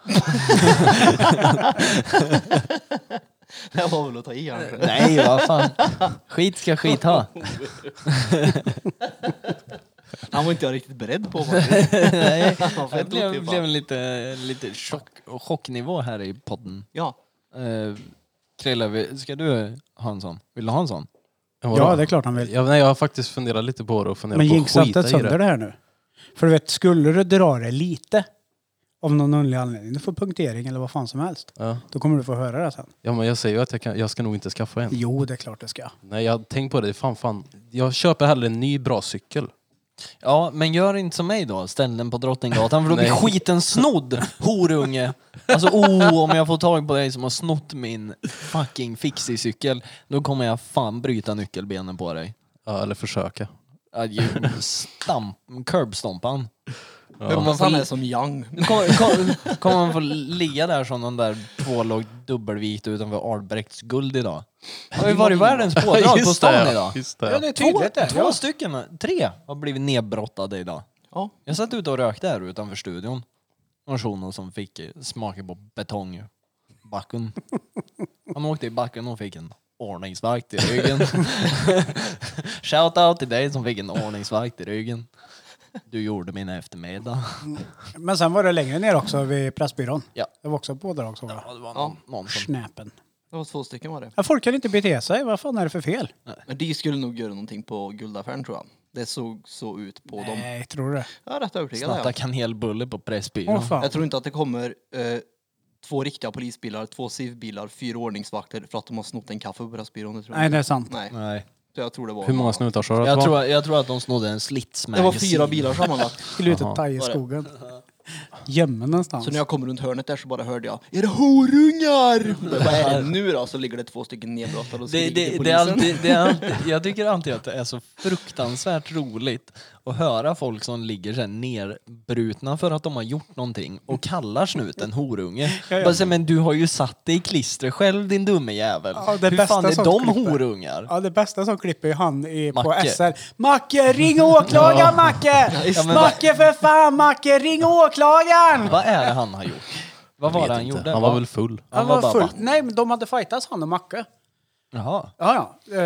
[SPEAKER 4] Det var väl att ta i kanske.
[SPEAKER 2] Nej, vad fan. Skit ska skit ha.
[SPEAKER 4] Han var inte jag riktigt beredd på faktiskt.
[SPEAKER 2] Nej,
[SPEAKER 4] Han var
[SPEAKER 2] det
[SPEAKER 4] fett
[SPEAKER 2] blev,
[SPEAKER 4] otippad.
[SPEAKER 2] blev en lite, lite chock, chocknivå här i podden.
[SPEAKER 4] Ja.
[SPEAKER 2] Eh, Krille, vi- ska du ha en sån? Vill du ha en sån?
[SPEAKER 3] vadå?
[SPEAKER 1] Ja, det är klart han vill.
[SPEAKER 3] Ja, nej, jag har faktiskt funderat lite på det och funderat
[SPEAKER 1] Men
[SPEAKER 3] på att
[SPEAKER 1] jinxa inte
[SPEAKER 3] skita i
[SPEAKER 1] sönder det
[SPEAKER 3] det.
[SPEAKER 1] här nu. För du vet, skulle du dra det lite av någon underlig anledning, du får punktering eller vad fan som helst,
[SPEAKER 3] Ja.
[SPEAKER 1] då kommer du få höra det sen.
[SPEAKER 3] ja, men jag säger ju att jag, kan, jag ska nog inte skaffa en.
[SPEAKER 1] Jo, det är klart det ska.
[SPEAKER 3] Nej, jag tänk på det. Fan, fan. Jag köper hellre en ny bra cykel.
[SPEAKER 2] Ja, men gör inte som mig då. Ställ den på Drottninggatan för då blir
[SPEAKER 3] Nej.
[SPEAKER 2] skiten snodd, horunge. Alltså, oh, om jag får tag på dig som har snott min fucking fixie-cykel, då kommer jag fan bryta nyckelbenen på dig.
[SPEAKER 3] Ja, eller försöka.
[SPEAKER 2] Att ge- Stamp, curbstompan.
[SPEAKER 4] Hoppas han är som Young.
[SPEAKER 2] Kommer kom, kommer man få ligga där som någon där tvålåg dubbelvikt utanför Albrekts guld idag? Har ju varit världens pådrag på
[SPEAKER 3] Just det,
[SPEAKER 2] stan
[SPEAKER 3] ja.
[SPEAKER 2] idag.
[SPEAKER 3] Just det. ja.
[SPEAKER 1] är
[SPEAKER 2] Två, två stycken, tre har blivit nedbrottade idag.
[SPEAKER 4] Ja.
[SPEAKER 2] Jag satt ute och rökte här utanför studion. Någon shuno som fick eh, smaka på betong. Backen. Han åkte i backen och fick en ordningsvakt i ryggen. Shout out till dig som fick en ordningsvakt i ryggen. Du gjorde min eftermiddag.
[SPEAKER 1] Men sen var det längre ner också vid Pressbyrån.
[SPEAKER 2] Ja.
[SPEAKER 1] Det var också pådrag såg jag.
[SPEAKER 2] Ja, det var någon, någon som...
[SPEAKER 1] Snäpen.
[SPEAKER 4] Det var två stycken var det.
[SPEAKER 1] Ja, folk kan inte bete sig. Vad fan är det för fel?
[SPEAKER 4] Men de skulle nog göra någonting på guldaffären tror jag. Det såg så ut på dem.
[SPEAKER 1] Nej, tror du det?
[SPEAKER 4] Jag är rätt övertygad.
[SPEAKER 2] Snatta
[SPEAKER 4] Ja.
[SPEAKER 2] kanelbulle på
[SPEAKER 1] Åh
[SPEAKER 2] Pressbyrån.
[SPEAKER 1] fan.
[SPEAKER 4] Jag tror inte att det kommer eh, två riktiga polisbilar, två civbilar, fyra ordningsvakter för att de har snott en kaffe på Pressbyrån. Det tror jag.
[SPEAKER 1] Nej, det är sant.
[SPEAKER 4] Nej.
[SPEAKER 2] Nej.
[SPEAKER 4] Så jag tror det var...
[SPEAKER 3] Hur många snutar sa du att
[SPEAKER 2] Jag
[SPEAKER 3] det var?
[SPEAKER 2] tror, jag tror att de snodde en slitsmagasin.
[SPEAKER 4] Det var fyra bilar sammanlagt.
[SPEAKER 1] Skulle ut och
[SPEAKER 3] Jaha.
[SPEAKER 1] ta i
[SPEAKER 4] Var det?
[SPEAKER 1] skogen. Gömma någonstans.
[SPEAKER 4] Så när jag kom runt hörnet där så bara hörde jag Är det horungar? Vad är det nu då? Så ligger det två stycken nedbrottade och
[SPEAKER 2] Det,
[SPEAKER 4] skriker
[SPEAKER 2] det, det, är
[SPEAKER 4] polisen.
[SPEAKER 2] alltid, det är alltid, jag tycker alltid att det är så fruktansvärt roligt att höra folk som ligger så här nerbrutna för att de har gjort någonting och kallar snuten horunge.
[SPEAKER 1] Ja, ja.
[SPEAKER 2] Bara så här, men du har ju satt dig i klister själv din dumme jävel.
[SPEAKER 1] Ja, det
[SPEAKER 2] Hur
[SPEAKER 1] bästa
[SPEAKER 2] fan är
[SPEAKER 1] som
[SPEAKER 2] de
[SPEAKER 1] klipper.
[SPEAKER 2] horungar?
[SPEAKER 1] Ja, det bästa som klipper är han i, på
[SPEAKER 2] Macke.
[SPEAKER 1] SR. Macke, ring åklagaren Macke!
[SPEAKER 2] Ja, men
[SPEAKER 1] Macke för fan Macke, ring åklagaren!
[SPEAKER 2] Vad är det han har gjort? Vad var
[SPEAKER 3] Jag
[SPEAKER 2] det
[SPEAKER 3] vet
[SPEAKER 2] han
[SPEAKER 3] inte.
[SPEAKER 2] gjorde?
[SPEAKER 3] Han var väl full.
[SPEAKER 2] han
[SPEAKER 1] Han
[SPEAKER 2] var
[SPEAKER 1] var
[SPEAKER 2] bara
[SPEAKER 1] full.
[SPEAKER 2] vatten.
[SPEAKER 1] Nej, men de hade fightats han och Macke.
[SPEAKER 2] Jaha.
[SPEAKER 1] Ja, ja. Eh, De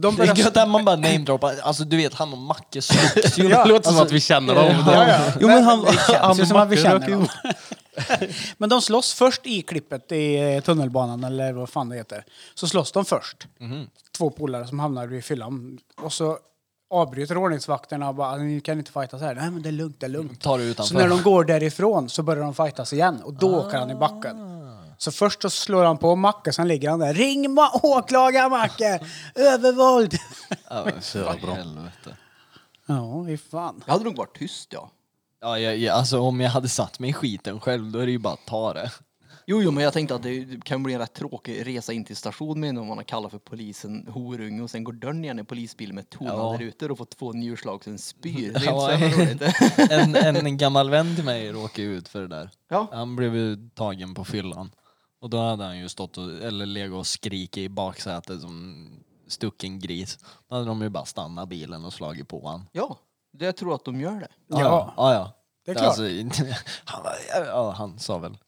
[SPEAKER 2] Det är
[SPEAKER 1] började...
[SPEAKER 2] gött att man bara namedroppar, alltså du vet han och Macke slogs ju.
[SPEAKER 1] Ja,
[SPEAKER 3] det låter som
[SPEAKER 1] alltså-
[SPEAKER 3] att vi känner dem.
[SPEAKER 1] Ja, ja.
[SPEAKER 3] Jo, men han,
[SPEAKER 1] känns ju som att vi
[SPEAKER 3] Macke
[SPEAKER 1] känner
[SPEAKER 3] röker ju
[SPEAKER 1] dem. Men de slåss först i klippet i eh, tunnelbanan eller vad fan det heter. Så slåss de först. Två polare som hamnar i fyllan. Och så avbryter ordningsvakterna och bara ni kan inte fightas här. Nej men det är lugnt, det är lugnt.
[SPEAKER 2] Tar det utanför.
[SPEAKER 1] Så när de går därifrån så börjar de fightas igen och då åker han i backen. Så först så slår han på Macke, sen ligger han där. Ring ma- åklagaren Macke! Övervåld!
[SPEAKER 2] Ja,
[SPEAKER 3] Så jävla bra.
[SPEAKER 2] helvete.
[SPEAKER 1] Ja, fy fan.
[SPEAKER 4] Jag hade nog varit tyst ja.
[SPEAKER 2] Ja, jag, jag, alltså om jag hade satt mig i skiten själv då är det ju bara att ta det.
[SPEAKER 4] Jo, jo, men jag tänkte att det kan bli en rätt tråkig resa in till stationen med om man har kallat för polisen horunge och sen går dörren igen i polisbilen med tonade
[SPEAKER 2] Ja.
[SPEAKER 4] rutor och får två njurslag sen spyr. Det är
[SPEAKER 2] Ja,
[SPEAKER 4] inte så jävla roligt.
[SPEAKER 2] En, en gammal vän till mig råkade ju ut för det där.
[SPEAKER 4] Ja,
[SPEAKER 2] Han blev ju tagen på fyllan. Och då hade han ju stått och, eller legat och skrikit i baksätet som stucken gris. Då hade de ju bara stannat bilen och slagit på han.
[SPEAKER 4] ja. Det jag tror att de gör det.
[SPEAKER 1] Ja,
[SPEAKER 2] ja. ja.
[SPEAKER 1] det är klart.
[SPEAKER 2] inte- han, var- ja, han sa väl.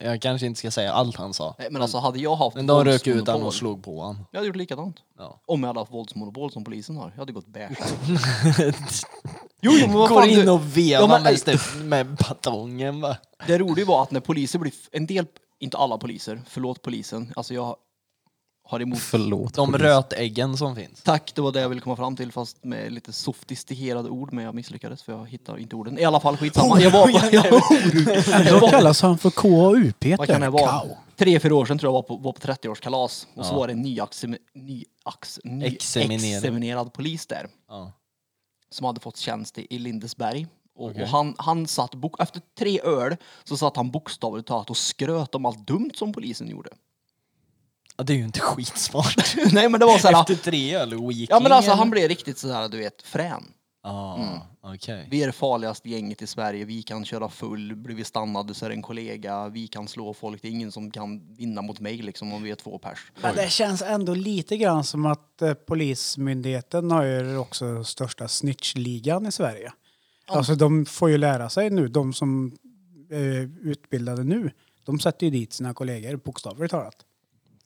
[SPEAKER 2] Jag kanske inte ska säga allt han sa.
[SPEAKER 4] Nej, men alltså hade jag haft
[SPEAKER 2] Mm. Men de rök ut
[SPEAKER 4] våldsmonopol-
[SPEAKER 2] han och slog på han.
[SPEAKER 4] Jag hade gjort likadant.
[SPEAKER 2] Ja.
[SPEAKER 4] Om jag hade haft våldsmonopol som polisen har. Jag hade gått bärs. Jo, jo, men vad
[SPEAKER 2] Går
[SPEAKER 4] fan
[SPEAKER 2] in
[SPEAKER 4] du-
[SPEAKER 2] och vevar
[SPEAKER 4] Ja, men-
[SPEAKER 2] med, st- med batongen va.
[SPEAKER 4] Det roliga var att när poliser blir, en del, inte alla poliser, förlåt polisen, alltså jag har emot.
[SPEAKER 3] Förlåt.
[SPEAKER 2] De rötäggen som finns.
[SPEAKER 4] Tack, det var det jag ville komma fram till fast med lite sofistikerade ord men jag misslyckades för jag hittar inte orden. I alla fall
[SPEAKER 2] Oh
[SPEAKER 4] skitsamma. Jag var på, jag,
[SPEAKER 1] Då
[SPEAKER 4] var,
[SPEAKER 1] kallas han för KAU, Peter.
[SPEAKER 4] vad kan jag vara?
[SPEAKER 1] Kau.
[SPEAKER 4] Tre, fyra år sedan tror jag var på, var på 30-årskalas och så var det en nyaxem, nyax, ny,
[SPEAKER 2] Examinerad.
[SPEAKER 4] examinerad polis där
[SPEAKER 2] Ja.
[SPEAKER 4] som hade fått tjänst i, i Lindesberg. Och, och han, han satt, bok, efter tre öl så satt han bokstavligt talat och skröt om allt dumt som polisen gjorde.
[SPEAKER 2] Ja, det är ju inte skitsmart.
[SPEAKER 4] Nej men det var så här,
[SPEAKER 2] Efter tre öl och weekend.
[SPEAKER 4] ja men alltså han blev riktigt sådär du vet frän.
[SPEAKER 2] Ah, okej.
[SPEAKER 4] Vi är det farligaste gänget i Sverige, vi kan köra full, blir vi stannade så är det en kollega, vi kan slå folk, det är ingen som kan vinna mot mig liksom om vi är två pers.
[SPEAKER 1] Men det känns ändå lite grann som att eh, Polismyndigheten har ju också största snitchligan i Sverige. Alltså de får ju lära sig nu, de som är utbildade nu, de sätter ju dit sina kollegor bokstavligt talat.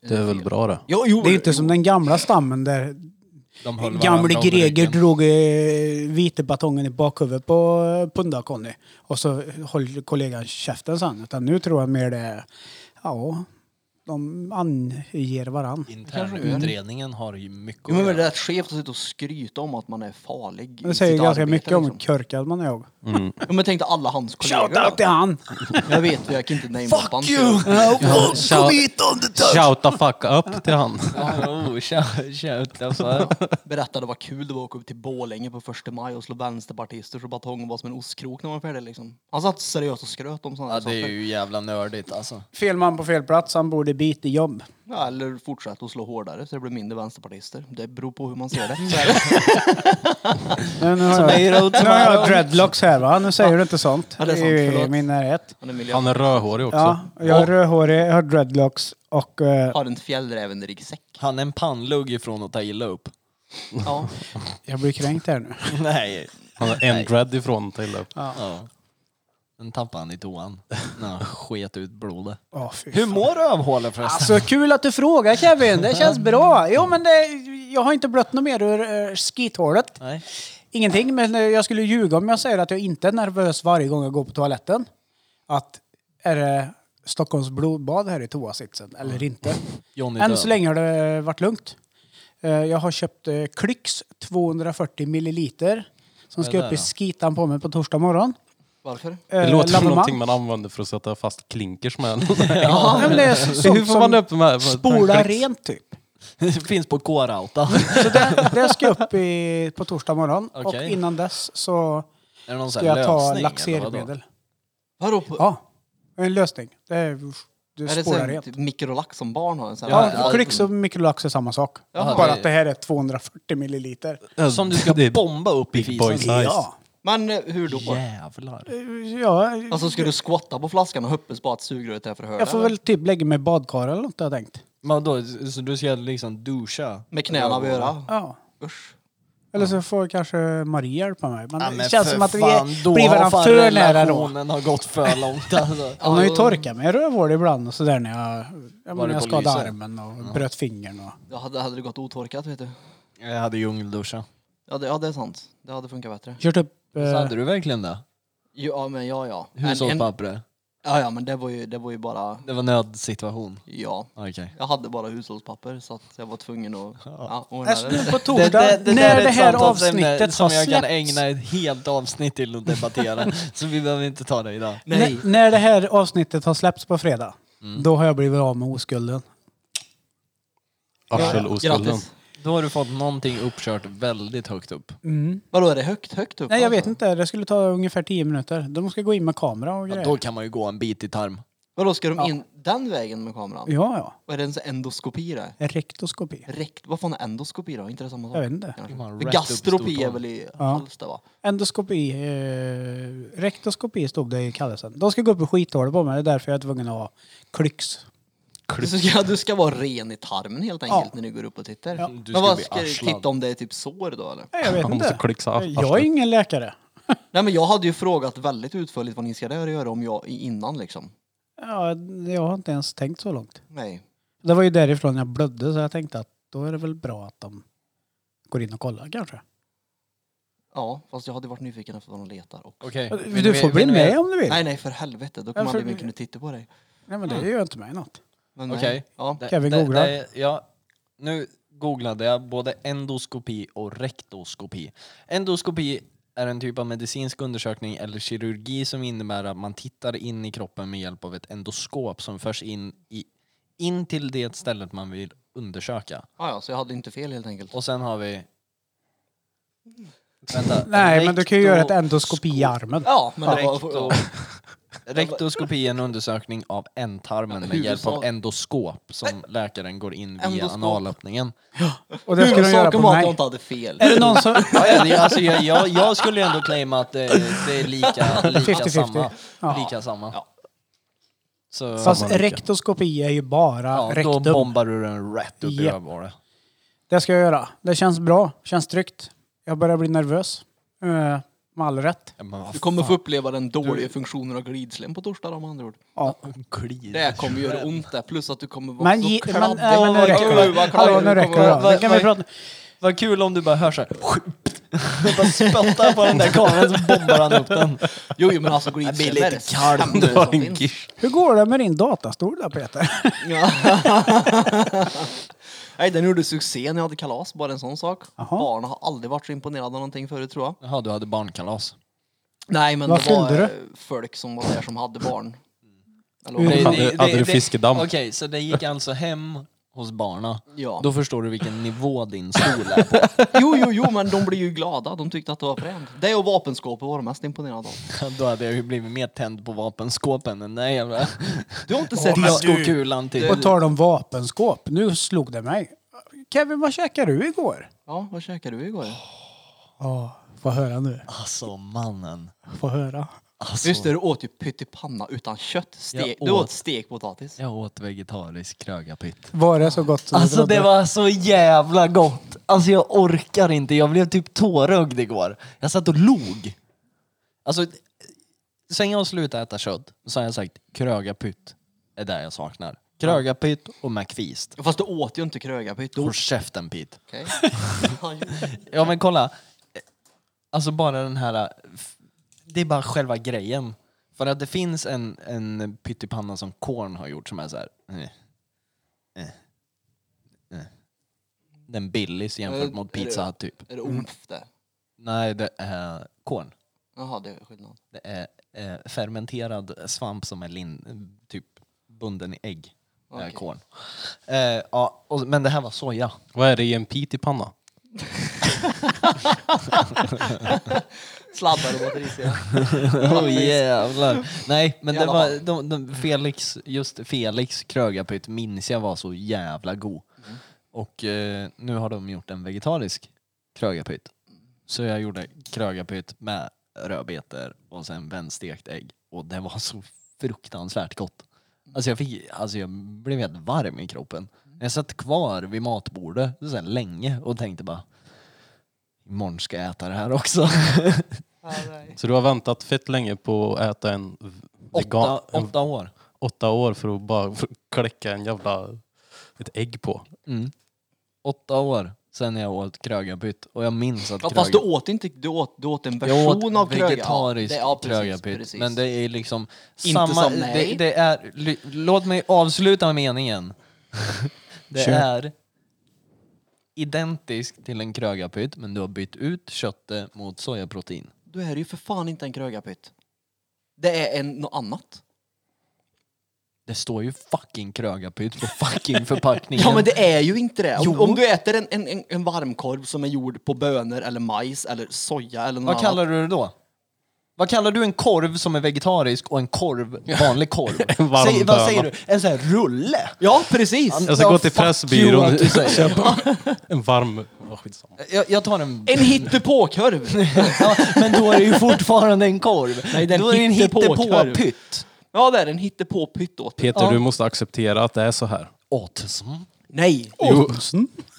[SPEAKER 3] Det är väl bra det.
[SPEAKER 4] Jo, jo,
[SPEAKER 1] Det är inte som den gamla stammen där
[SPEAKER 2] De höll varandra
[SPEAKER 1] gamle
[SPEAKER 2] om
[SPEAKER 1] Greger
[SPEAKER 2] ryggen.
[SPEAKER 1] drog eh, vitebatongen i bakhuvudet på eh, Punda-Conny och så höll kollegan käften sen. Utan nu tror jag mer det är, ja, de anger varann.
[SPEAKER 2] Internutredningen har ju mycket
[SPEAKER 4] jo, men det är
[SPEAKER 2] att göra.
[SPEAKER 4] rätt skevt att sitta och skryta om att man är farlig. i
[SPEAKER 1] Det säger
[SPEAKER 4] sitt
[SPEAKER 1] ganska
[SPEAKER 4] arbete,
[SPEAKER 1] mycket om hur
[SPEAKER 4] liksom.
[SPEAKER 1] körkad man är. jag.
[SPEAKER 4] Jo, men tänk dig alla hans kollegor.
[SPEAKER 1] Shoutout till
[SPEAKER 4] då.
[SPEAKER 1] han!
[SPEAKER 4] Jag vet, jag kan inte name
[SPEAKER 2] Fuck you!
[SPEAKER 3] Shout, shout the fuck up till han.
[SPEAKER 2] Oh, shout, shout alltså.
[SPEAKER 4] Berättade vad kul det var att åka upp till Borlänge på första maj och slå vänsterpartister så batongen var som en ostkrok när man var färdig liksom. Han satt seriöst och skröt om sådana
[SPEAKER 2] Ja,
[SPEAKER 4] saker.
[SPEAKER 2] det är ju jävla nördigt alltså.
[SPEAKER 1] Fel man på fel plats, han borde bit i jobb.
[SPEAKER 4] Ja, eller fortsätta att slå hårdare så det blir mindre vänsterpartister. Det beror på hur man ser
[SPEAKER 2] Mm.
[SPEAKER 4] det.
[SPEAKER 1] Men nu har jag, nu har jag dreadlocks här va, nu säger du inte sånt.
[SPEAKER 4] Ja, det är sant,
[SPEAKER 1] I- I
[SPEAKER 4] förlåt.
[SPEAKER 1] min närhet.
[SPEAKER 4] Han är miljö.
[SPEAKER 3] Han är rödhårig också.
[SPEAKER 1] Ja, jag är rödhårig, jag har dreadlocks och... eh,
[SPEAKER 4] Har en fjällräven i ryggsäck.
[SPEAKER 2] Han är en pannlugg ifrån att ta illa upp.
[SPEAKER 4] Ja.
[SPEAKER 1] jag blir kränkt här nu.
[SPEAKER 2] Nej.
[SPEAKER 3] Han är en dread ifrån till upp.
[SPEAKER 1] Eh,
[SPEAKER 2] Ja. Den tappade han i toan när han sket ut blodet.
[SPEAKER 1] Åh, fy
[SPEAKER 2] Hur
[SPEAKER 1] fan.
[SPEAKER 2] mår rövhålet förresten?
[SPEAKER 1] Alltså kul att du frågar Kevin, det känns bra. Jo men det, jag har inte blött något mer ur uh, skithålet.
[SPEAKER 2] Nej.
[SPEAKER 1] Ingenting, men eh, jag skulle ljuga om jag säger att jag inte är nervös varje gång jag går på toaletten. Att är det Stockholms blodbad här i toasitsen eller inte?
[SPEAKER 2] Johnny
[SPEAKER 1] Än
[SPEAKER 2] död.
[SPEAKER 1] så länge har det varit lugnt. Eh, Jag har köpt eh, Klyx 240 milliliter som
[SPEAKER 2] Vad
[SPEAKER 1] ska
[SPEAKER 2] är det
[SPEAKER 1] upp i
[SPEAKER 2] då?
[SPEAKER 1] skitan på mig på torsdag morgon.
[SPEAKER 4] Varför?
[SPEAKER 3] Det
[SPEAKER 1] Eh,
[SPEAKER 3] låter som
[SPEAKER 1] Lavemang.
[SPEAKER 3] någonting man använder för att sätta fast klinkers med.
[SPEAKER 1] Ja, men det är så-
[SPEAKER 3] Så Hur
[SPEAKER 1] sånt
[SPEAKER 3] får man
[SPEAKER 1] som
[SPEAKER 3] upp med?
[SPEAKER 1] spolar rent typ.
[SPEAKER 2] Det finns på K-Rauta.
[SPEAKER 1] Så det, det ska jag upp i, på torsdag morgon. Och
[SPEAKER 2] Okej.
[SPEAKER 1] innan dess så
[SPEAKER 2] Är det någon
[SPEAKER 1] ska
[SPEAKER 2] sån här
[SPEAKER 1] jag ta
[SPEAKER 2] lösning, eller vadå?
[SPEAKER 1] laxeringsmedel.
[SPEAKER 4] Vadå? På,
[SPEAKER 1] Ja, en lösning. Det är, du
[SPEAKER 4] är det
[SPEAKER 1] spolar
[SPEAKER 4] sen
[SPEAKER 1] rent.
[SPEAKER 4] typ mikrolax som barn har? En sån
[SPEAKER 1] Ja,
[SPEAKER 4] här-
[SPEAKER 1] Kryx och mikrolax är samma sak.
[SPEAKER 4] Jaha.
[SPEAKER 1] Bara att det här är 240 milliliter.
[SPEAKER 2] Som du ska bomba upp i
[SPEAKER 3] Big boys
[SPEAKER 2] fisen.
[SPEAKER 3] nice.
[SPEAKER 1] Ja.
[SPEAKER 4] Men eh, hur då?
[SPEAKER 2] Jävlar.
[SPEAKER 1] ja,
[SPEAKER 4] Alltså ska du squatta på flaskan och hoppas på att sugröret är förhörda?
[SPEAKER 1] jag får väl typ lägga mig i badkar eller något har jag tänkt.
[SPEAKER 2] Men då, så du ska liksom duscha?
[SPEAKER 4] Med knäna vid örat?
[SPEAKER 1] Ja.
[SPEAKER 4] Usch.
[SPEAKER 1] Eller så får kanske Maria hjälpa mig. Men
[SPEAKER 2] Ja,
[SPEAKER 1] det
[SPEAKER 2] men
[SPEAKER 1] känns
[SPEAKER 2] för
[SPEAKER 1] som att vi
[SPEAKER 2] fan, då
[SPEAKER 1] blir
[SPEAKER 2] har
[SPEAKER 1] varandra
[SPEAKER 2] fan
[SPEAKER 1] för nära då.
[SPEAKER 2] Relationen har gått för långt alltså.
[SPEAKER 1] Hon har ju torkat mig i rövhål ibland och sådär när jag, jag,
[SPEAKER 2] Var
[SPEAKER 1] men,
[SPEAKER 2] det
[SPEAKER 1] jag
[SPEAKER 2] på
[SPEAKER 1] skadade
[SPEAKER 2] lyset?
[SPEAKER 1] armen och bröt fingern. Och,
[SPEAKER 4] Ja, hade, hade det gått otorkat vet du.
[SPEAKER 2] Jag hade djungelduscha.
[SPEAKER 1] Eh.
[SPEAKER 4] Ja det, ja, det är sant. Det hade funkat bättre.
[SPEAKER 1] kört upp...
[SPEAKER 2] Så
[SPEAKER 1] Eh,
[SPEAKER 2] hade du verkligen det?
[SPEAKER 4] Ja, men ja, ja. Men en, ja,
[SPEAKER 2] Hushållspappret?
[SPEAKER 4] ja, men det var ju, det var ju bara...
[SPEAKER 2] Det var nödsituation?
[SPEAKER 4] Ja.
[SPEAKER 2] Okej.
[SPEAKER 4] Jag hade bara hushållspapper så att jag var tvungen att ja, ordna
[SPEAKER 1] alltså nu
[SPEAKER 4] det.
[SPEAKER 1] på torsdag, när det här avsnittet
[SPEAKER 2] som
[SPEAKER 1] har
[SPEAKER 2] jag kan
[SPEAKER 1] släppts.
[SPEAKER 2] ägna ett helt avsnitt till att debattera. så vi behöver inte ta det idag.
[SPEAKER 4] Nej.
[SPEAKER 1] När, när det här avsnittet har släppts på fredag, då har jag blivit av med oskulden.
[SPEAKER 3] Arsel-oskulden.
[SPEAKER 4] Grattis.
[SPEAKER 2] Då har du fått någonting uppkört väldigt högt upp.
[SPEAKER 4] Vadå, är det högt, högt upp?
[SPEAKER 1] Nej, jag vet
[SPEAKER 4] alltså?
[SPEAKER 1] inte. Det skulle ta ungefär 10 minuter. De ska gå in med kamera och
[SPEAKER 2] Ja,
[SPEAKER 1] grejer.
[SPEAKER 2] då kan man ju gå en bit i tarm.
[SPEAKER 4] Vadå, ska de in den vägen med kameran?
[SPEAKER 1] Ja,
[SPEAKER 4] Vad är det ens endoskopi det?
[SPEAKER 1] ja. Rektoskopi.
[SPEAKER 4] Rekt, vad fan är endoskopi då? Inte det samma sak?
[SPEAKER 1] Jag vet inte.
[SPEAKER 4] Kanske.
[SPEAKER 2] Man
[SPEAKER 4] För
[SPEAKER 2] rätt upp
[SPEAKER 4] gastropi
[SPEAKER 2] stortån.
[SPEAKER 4] är väl i
[SPEAKER 1] Ja.
[SPEAKER 4] hals det va?
[SPEAKER 1] Endoskopi. Eh, rektoskopi stod det i kallelsen. De ska gå upp i skithålet på mig. Det är därför jag är tvungen att ha klyx.
[SPEAKER 4] Du ska, du ska vara ren i tarmen helt enkelt när du går upp och tittar.
[SPEAKER 1] Ja.
[SPEAKER 2] Du
[SPEAKER 4] Men
[SPEAKER 2] ska
[SPEAKER 4] vad
[SPEAKER 2] bli
[SPEAKER 4] ska du
[SPEAKER 2] arslad.
[SPEAKER 4] titta om det är typ sår då eller?
[SPEAKER 1] Nej, jag vet
[SPEAKER 3] Han
[SPEAKER 1] inte.
[SPEAKER 3] måste klyxa ar-
[SPEAKER 1] jag är
[SPEAKER 3] arslet.
[SPEAKER 1] ingen läkare.
[SPEAKER 4] Nej men jag hade ju frågat väldigt utförligt vad ni ska där göra om jag innan liksom.
[SPEAKER 1] Ja, jag har inte ens tänkt så långt.
[SPEAKER 4] Nej.
[SPEAKER 1] Det var ju därifrån jag blödde så jag tänkte att då är det väl bra att de går in och kollar kanske.
[SPEAKER 4] Ja, fast jag hade varit nyfiken efter vad de letar också.
[SPEAKER 2] Okej. Vill
[SPEAKER 1] Du får
[SPEAKER 2] vill
[SPEAKER 1] bli
[SPEAKER 2] ni-
[SPEAKER 1] med om du vill. Nej,
[SPEAKER 4] Nej nej för helvete, då
[SPEAKER 1] Ja,
[SPEAKER 4] kommer
[SPEAKER 1] för-
[SPEAKER 4] aldrig mer kunna titta på dig.
[SPEAKER 1] men det gör inte mig något.
[SPEAKER 4] Men nej.
[SPEAKER 2] Okej.
[SPEAKER 4] Ja.
[SPEAKER 2] Det-
[SPEAKER 1] Kevin
[SPEAKER 2] det-
[SPEAKER 1] googlar.
[SPEAKER 2] det- Ja, nu googlade jag både endoskopi och rektoskopi. Endoskopi är en typ av medicinsk undersökning eller kirurgi som innebär att man tittar in i kroppen med hjälp av ett endoskop som förs in, i, in till det stället man vill undersöka.
[SPEAKER 4] Ah, ja, så jag hade inte fel helt enkelt.
[SPEAKER 2] Och sen har vi... Vänta,
[SPEAKER 1] Nej, men du kan ju göra ett
[SPEAKER 2] rekto-
[SPEAKER 1] endoskopi i armen.
[SPEAKER 4] Ja, men det
[SPEAKER 2] Rekto,
[SPEAKER 4] var...
[SPEAKER 2] rektoskopi är en undersökning av ändtarmen med hjälp av endoskop som läkaren går in via
[SPEAKER 4] Endoskop.
[SPEAKER 2] analöppningen.
[SPEAKER 1] Och det ska de göra på
[SPEAKER 4] Huvudsaken var att jag
[SPEAKER 1] mig.
[SPEAKER 4] inte hade fel.
[SPEAKER 1] Är det någon som...
[SPEAKER 2] Ja, ja, det, alltså, jag, jag, jag skulle ju ändå claima att det, det är lika, lika
[SPEAKER 1] 50-50.
[SPEAKER 2] samma.
[SPEAKER 1] Ja.
[SPEAKER 2] Lika samma.
[SPEAKER 4] Ja.
[SPEAKER 2] Så
[SPEAKER 1] Fast rektoskopi är ju bara
[SPEAKER 2] ja, då
[SPEAKER 1] rektum.
[SPEAKER 2] bombar du den rätt upp i
[SPEAKER 1] Japp.
[SPEAKER 2] rövhålet.
[SPEAKER 1] Det ska jag göra. Det känns bra. Känns tryggt. Jag börjar bli nervös. Eh, med all rätt.
[SPEAKER 2] Ja, men vad
[SPEAKER 4] Du kommer få uppleva den dåliga funktionen av glidslem på torsdag om andra ord.
[SPEAKER 1] Ja.
[SPEAKER 2] fan, kliar
[SPEAKER 4] Det här kommer göra ont där, plus att du kommer vara
[SPEAKER 1] Men,
[SPEAKER 4] så
[SPEAKER 1] ge, men,
[SPEAKER 4] kladdig.
[SPEAKER 1] nej, men nu räcker
[SPEAKER 4] Oj,
[SPEAKER 1] det.
[SPEAKER 4] vad
[SPEAKER 1] Hallå,
[SPEAKER 4] kladdig
[SPEAKER 1] nu
[SPEAKER 4] du
[SPEAKER 1] räcker
[SPEAKER 4] kommer
[SPEAKER 1] det.
[SPEAKER 4] vara.
[SPEAKER 1] Nu kan vi
[SPEAKER 2] Vad-
[SPEAKER 1] prata.
[SPEAKER 2] Vad kul om du bara hör såhär... Bara spottar på den där kameran så bombar han upp den.
[SPEAKER 4] Jo, jo, men alltså
[SPEAKER 2] Jag blir
[SPEAKER 4] glidslem
[SPEAKER 2] lite
[SPEAKER 4] är det
[SPEAKER 2] kall.
[SPEAKER 4] sämsta
[SPEAKER 3] Dra
[SPEAKER 4] som
[SPEAKER 3] en
[SPEAKER 4] finns.
[SPEAKER 3] gish.
[SPEAKER 1] Hur går det med din datastol där Peter?
[SPEAKER 4] Ja. Nej, den gjorde succé när jag hade kalas, bara en sån sak.
[SPEAKER 1] Jaha.
[SPEAKER 4] Barnen har aldrig varit så imponerade av någonting förut tror jag.
[SPEAKER 2] Jaha, du hade barnkalas.
[SPEAKER 4] Nej, men
[SPEAKER 1] Vad
[SPEAKER 4] det var
[SPEAKER 1] fyllde
[SPEAKER 4] eh, folk som var där som hade barn. Eller,
[SPEAKER 1] Hur-
[SPEAKER 4] vad-
[SPEAKER 3] Hade- hade du fiskedamm?
[SPEAKER 2] Okej, så det gick alltså hem hos barna.
[SPEAKER 4] ja.
[SPEAKER 2] Då förstår du vilken nivå din stol är på.
[SPEAKER 4] Jo, jo, jo, men de blev ju glada. De tyckte att det var fränt. Det och vapenskåpet var de mest imponerade av.
[SPEAKER 2] Då hade jag ju blivit mer tänd på vapenskåpen än den där jävla typ.
[SPEAKER 4] Du har inte sett
[SPEAKER 2] diskokulan till.
[SPEAKER 1] På tal om vapenskåp, nu slog det mig. Kevin, vad käkade du igår?
[SPEAKER 4] Ja, vad käkade du igår?
[SPEAKER 1] Ja, få höra nu.
[SPEAKER 2] Alltså mannen.
[SPEAKER 1] Få höra.
[SPEAKER 2] Alltså,
[SPEAKER 4] Just det, du åt ju pyttipanna utan kött. Ste-
[SPEAKER 2] Jag
[SPEAKER 4] Du
[SPEAKER 2] åt-
[SPEAKER 4] åt stekpotatis.
[SPEAKER 2] Jag åt vegetarisk krögarpytt.
[SPEAKER 1] Var det så gott som du
[SPEAKER 2] Alltså
[SPEAKER 1] trodde?
[SPEAKER 2] det var så jävla gott. Alltså jag orkar inte. Jag blev typ tårögd igår. Jag satt och log. Alltså, sen jag slutade äta kött så har jag sagt krögarpytt är det jag saknar. Krögarpytt och McFeast.
[SPEAKER 4] Fast du åt ju inte krögarpytt.
[SPEAKER 2] Håll käften Pete.
[SPEAKER 4] Okej. Ja, ju-
[SPEAKER 2] Ja men kolla. Alltså bara den här... Det är bara själva grejen. För att det finns en, en pyttipanna som Korn har gjort som är så här. eh, eh, eh. Den Billys jämfört
[SPEAKER 4] Eh,
[SPEAKER 2] mot
[SPEAKER 4] är
[SPEAKER 2] Pizza
[SPEAKER 4] det-
[SPEAKER 2] Hut typ.
[SPEAKER 4] Är det omf det?
[SPEAKER 2] Nej, det är Korn.
[SPEAKER 4] Jaha, det är skillnad.
[SPEAKER 2] Det är eh, fermenterad svamp som är lin, typ bunden i ägg. Okay.
[SPEAKER 4] Okej.
[SPEAKER 2] Korn. Eh, ja, och, men det här var soja.
[SPEAKER 3] Vad är det i en pit i panna?
[SPEAKER 4] Sladdar och batteriselar.
[SPEAKER 2] Oh jävlar. Nej, men
[SPEAKER 4] I
[SPEAKER 2] det
[SPEAKER 4] alla
[SPEAKER 2] var,
[SPEAKER 4] fall.
[SPEAKER 2] de, de, Felix, just Felix krögarpytt minns jag var så jävla god.
[SPEAKER 4] Mm.
[SPEAKER 2] Och eh, nu har de gjort en vegetarisk krögarpytt. Så jag gjorde krögarpytt med rödbetor och sen vändstekt ägg. Och det var så fruktansvärt gott. Alltså jag, fick, alltså jag blev helt varm i kroppen.
[SPEAKER 4] Mm.
[SPEAKER 2] Jag satt kvar vid matbordet så här länge och tänkte bara Imorgon ska jag äta det här också.
[SPEAKER 3] Så du har väntat fett länge på att äta en vegan...
[SPEAKER 2] Åtta,
[SPEAKER 3] en-
[SPEAKER 2] åtta år.
[SPEAKER 3] åtta år för att bara för att kläcka en jävla... Ett ägg på.
[SPEAKER 2] Mm. Åtta år sen jag åt krögarpytt och jag minns att
[SPEAKER 4] Ja, fast du
[SPEAKER 2] krögar-
[SPEAKER 4] åt inte, du åt, du åt en
[SPEAKER 2] jag
[SPEAKER 4] version av kröga.
[SPEAKER 2] vegetarisk
[SPEAKER 4] Det- ja, precis,
[SPEAKER 2] krögarpytt.
[SPEAKER 4] precis.
[SPEAKER 2] Men det är liksom
[SPEAKER 4] Inte
[SPEAKER 2] samma...
[SPEAKER 4] som
[SPEAKER 2] det,
[SPEAKER 4] nej.
[SPEAKER 2] det är, ly- låt mig avsluta meningen. det
[SPEAKER 1] Kör.
[SPEAKER 2] är identiskt till en krögarpytt men du har bytt ut köttet mot sojaprotein.
[SPEAKER 4] Då är det ju för fan inte en krögarpytt. Det är en, något annat.
[SPEAKER 2] Det står ju fucking krögarpytt på fucking förpackningen.
[SPEAKER 4] Ja men det är ju inte det. Om,
[SPEAKER 2] Jo.
[SPEAKER 4] om du äter en, en, en, en varmkorv som är gjord på bönor eller majs eller soja eller något
[SPEAKER 2] Vad kallar
[SPEAKER 4] annat.
[SPEAKER 2] du det då? Vad kallar du en korv som är vegetarisk och en korv, vanlig korv?
[SPEAKER 3] En varm
[SPEAKER 2] Säg, vad
[SPEAKER 3] böna.
[SPEAKER 2] säger du? En sån här rulle?
[SPEAKER 4] Ja precis!
[SPEAKER 2] An-
[SPEAKER 3] Jag ska
[SPEAKER 2] Ja,
[SPEAKER 3] Alltså, gå till
[SPEAKER 2] fuck you,
[SPEAKER 3] Pressbyrån
[SPEAKER 2] att du
[SPEAKER 3] och
[SPEAKER 2] säger.
[SPEAKER 3] köpa en varm... Oh, skitsamma.
[SPEAKER 2] Jag, jag tar en...
[SPEAKER 4] En hittepåkorv!
[SPEAKER 2] ja, men då är det ju fortfarande en korv.
[SPEAKER 4] Nej, det är en
[SPEAKER 2] då är det en
[SPEAKER 4] hittepåkorv.
[SPEAKER 2] hittepåpytt.
[SPEAKER 4] Ja det är en hittepåpytt åt dig.
[SPEAKER 3] Peter,
[SPEAKER 2] Ja.
[SPEAKER 3] du måste acceptera att det är så här.
[SPEAKER 2] Autism.
[SPEAKER 4] Nej!
[SPEAKER 3] Jo,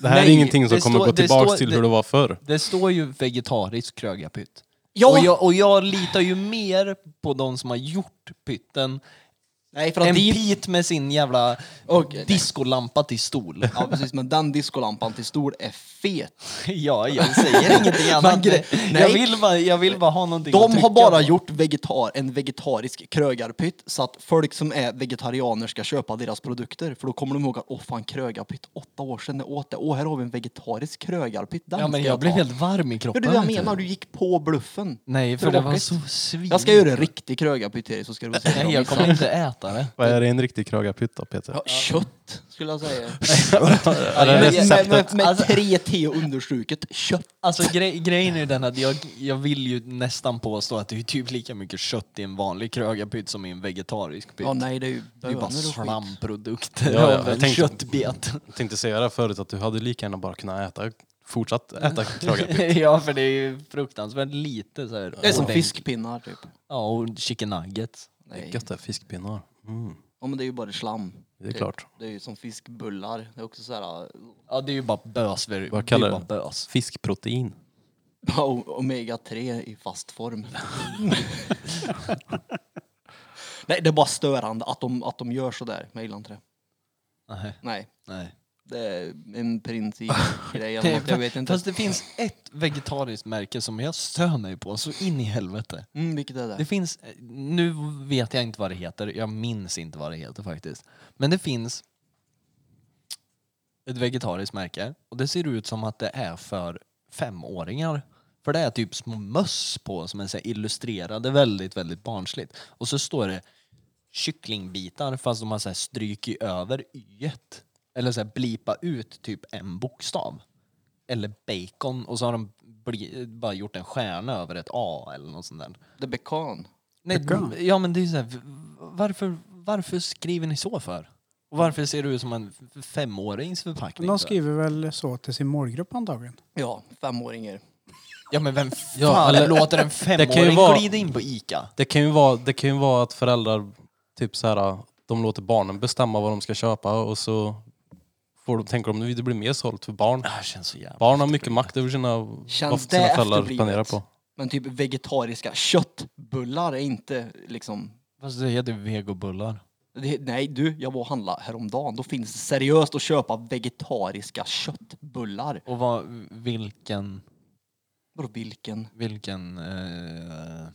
[SPEAKER 3] det här
[SPEAKER 2] Nej,
[SPEAKER 3] är ingenting som
[SPEAKER 2] det
[SPEAKER 3] kommer
[SPEAKER 2] står-
[SPEAKER 3] gå
[SPEAKER 2] det
[SPEAKER 3] tillbaka
[SPEAKER 2] står-
[SPEAKER 3] till
[SPEAKER 2] det-
[SPEAKER 3] hur det var förr.
[SPEAKER 2] Det står ju vegetarisk krögarpytt.
[SPEAKER 4] Ja.
[SPEAKER 2] Och, jag, och jag litar ju mer på de som har gjort pytten
[SPEAKER 4] Nej för att
[SPEAKER 2] än
[SPEAKER 4] din...
[SPEAKER 2] Pete med sin jävla
[SPEAKER 4] Okej, nej.
[SPEAKER 2] diskolampa till stol.
[SPEAKER 4] Ja precis men den diskolampan till stor är fet.
[SPEAKER 2] Ja, jag säger ingenting
[SPEAKER 4] Men
[SPEAKER 2] annat.
[SPEAKER 4] gre-
[SPEAKER 2] Jag,
[SPEAKER 4] nej.
[SPEAKER 2] vill bara, jag vill bara ha någonting att
[SPEAKER 4] De
[SPEAKER 2] trycka
[SPEAKER 4] har bara
[SPEAKER 2] på.
[SPEAKER 4] gjort vegetar, en vegetarisk krögarpytt så att folk som är vegetarianer ska köpa deras produkter för då kommer de ihåg att åh fan krögarpytt, åtta år sedan jag åt det, åh här har vi en vegetarisk krögarpytt, den
[SPEAKER 2] Ja, men
[SPEAKER 4] ska
[SPEAKER 2] jag blev
[SPEAKER 4] ta.
[SPEAKER 2] helt varm i kroppen.
[SPEAKER 4] Det är det jag
[SPEAKER 2] vet du.
[SPEAKER 4] menar, du gick på bluffen.
[SPEAKER 2] Nej, för det var
[SPEAKER 4] Tråkigt.
[SPEAKER 2] så svin.
[SPEAKER 4] liksom. Jag ska göra en riktig krögarpytt till dig så ska du se.
[SPEAKER 2] Nej, jag kommer inte äta det.
[SPEAKER 3] Vad är det en riktig krögarpytt då, Peter?
[SPEAKER 4] Ja, kött skulle jag säga.
[SPEAKER 3] Är det
[SPEAKER 2] jag-
[SPEAKER 4] med,
[SPEAKER 3] receptet?
[SPEAKER 4] med, med
[SPEAKER 2] Alltså-
[SPEAKER 4] tre T understruket kött.
[SPEAKER 2] Alltså gre- grejen är ju den att jag, jag vill ju nästan påstå att det är typ lika mycket kött i en vanlig krögarpytt som i en vegetarisk pytt.
[SPEAKER 4] Ja nej det är ju
[SPEAKER 2] det är ju
[SPEAKER 4] bönor
[SPEAKER 2] bara
[SPEAKER 4] och skit.
[SPEAKER 2] slamprodukter
[SPEAKER 3] Ja, ja,
[SPEAKER 2] av
[SPEAKER 3] jag
[SPEAKER 2] en
[SPEAKER 3] tänkte-
[SPEAKER 2] köttbet.
[SPEAKER 3] Jag tänkte säga det här förut, att du hade lika gärna bara kunnat äta, fortsatt äta krögarpytt.
[SPEAKER 2] ja, för det är ju fruktansvärt lite så här.
[SPEAKER 4] Det är som
[SPEAKER 2] ordentligt.
[SPEAKER 4] fiskpinnar typ.
[SPEAKER 2] Ja, och chicken nuggets.
[SPEAKER 3] Det är
[SPEAKER 4] Nej.
[SPEAKER 3] gött det, fiskpinnar. Mm,
[SPEAKER 4] Ja men det är ju bara slam.
[SPEAKER 3] det är klart.
[SPEAKER 4] Det är ju som fiskbullar. Det är också så här äh,
[SPEAKER 2] Ja, det är ju bara bös. För,
[SPEAKER 3] Vad kallar
[SPEAKER 2] det? Är
[SPEAKER 3] du
[SPEAKER 2] ju bara bös.
[SPEAKER 3] Fiskprotein.
[SPEAKER 4] Ja, o- Omega 3 i fast form. Nej, det är bara störande att de, att de gör sådär. Men jag gillar inte det.
[SPEAKER 2] Nej,
[SPEAKER 4] Nej,
[SPEAKER 2] nej.
[SPEAKER 4] det är en principgrej. eller något, Jag vet inte.
[SPEAKER 2] Fast det finns ett vegetariskt märke som jag stör mig på så in i helvete.
[SPEAKER 4] Mm, vilket är
[SPEAKER 2] Det
[SPEAKER 4] det?
[SPEAKER 2] finns, nu vet jag inte vad det heter, jag minns inte vad det heter faktiskt. Men det finns ett vegetariskt märke och det ser ut som att det är för femåringar. För det är typ små möss på som är så här illustrerade väldigt, väldigt barnsligt. Och så står det kycklingbitar fast de har så här strykit över y-et. Eller så här blipa ut typ en bokstav. Eller bacon och så har de bli, bara gjort en stjärna över ett a eller något sånt där.
[SPEAKER 4] The Becan.
[SPEAKER 2] Nej,
[SPEAKER 1] Tycker
[SPEAKER 2] d- ja men det är så här, v- varför, varför skriver ni så för? Och varför ser du ut som en f- femårings förpackning?
[SPEAKER 1] De
[SPEAKER 2] för?
[SPEAKER 1] skriver väl så till sin målgrupp antagligen.
[SPEAKER 4] Ja, femåringar.
[SPEAKER 2] Ja men vem fan
[SPEAKER 3] Ja, eller-
[SPEAKER 2] låter en
[SPEAKER 3] ju
[SPEAKER 2] femåring
[SPEAKER 3] vara-
[SPEAKER 2] glida in på Ica?
[SPEAKER 3] Det kan ju vara, det kan ju vara att föräldrar typ så här, de låter barnen bestämma vad de ska köpa och så får de, tänker de att det blir mer sålt för barn.
[SPEAKER 2] Det här känns så jävla...
[SPEAKER 3] Barn har mycket makt över sina, vad
[SPEAKER 4] Känns
[SPEAKER 3] sina
[SPEAKER 4] det
[SPEAKER 3] föräldrar
[SPEAKER 4] efterblivet?
[SPEAKER 3] planerar på.
[SPEAKER 4] Men typ vegetariska köttbullar är inte liksom...
[SPEAKER 2] Fast det heter vegobullar.
[SPEAKER 4] Det, nej du, jag var och handlade häromdagen. Då finns det seriöst att köpa vegetariska köttbullar.
[SPEAKER 2] Och vad, vilken,
[SPEAKER 4] Vadå vilken?
[SPEAKER 2] vilken, eh,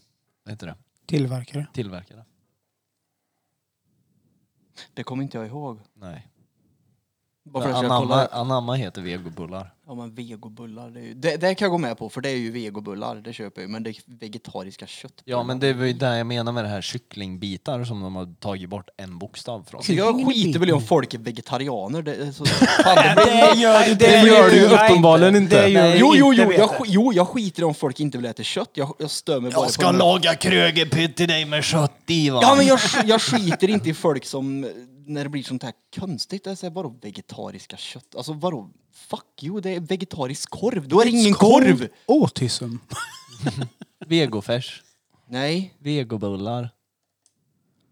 [SPEAKER 2] vad heter det,
[SPEAKER 1] Tillverkare.
[SPEAKER 2] tillverkare?
[SPEAKER 4] Det kommer inte jag ihåg.
[SPEAKER 2] Nej.
[SPEAKER 4] Bara för att jag
[SPEAKER 2] Anamma,
[SPEAKER 4] kollar.
[SPEAKER 2] Anamma heter vegobullar.
[SPEAKER 4] Ja men vegobullar, det, är ju, det, det kan jag gå med på för det är ju vegobullar, det köper jag ju. Men det är vegetariska kött.
[SPEAKER 2] Ja men det var ju det jag menar med det här kycklingbitar som de har tagit bort en bokstav från.
[SPEAKER 4] Så Alltså, jag skiter väl i om folk är vegetarianer. Det, är så, fan, det blir-
[SPEAKER 1] gör du,
[SPEAKER 3] Det gör du ju uppenbarligen inte.
[SPEAKER 1] gör
[SPEAKER 4] jo, jo,
[SPEAKER 1] inte
[SPEAKER 4] jo, jag,
[SPEAKER 1] vet
[SPEAKER 4] sk- jo, jag skiter i om folk inte vill äta kött. Jag, jag stör mig bara
[SPEAKER 2] Jag ska
[SPEAKER 4] på...
[SPEAKER 2] laga krögerpytt till dig med kött i va?
[SPEAKER 4] Ja, men jag, sk- jag skiter inte i folk som, eh, när det blir sånt här konstigt, alltså vadå vegetariska kött? Alltså vadå, fuck you, det är vegetarisk korv, då är det ingen korv!
[SPEAKER 1] Autism.
[SPEAKER 2] Vegofärs,
[SPEAKER 4] Nej,
[SPEAKER 2] vegobullar,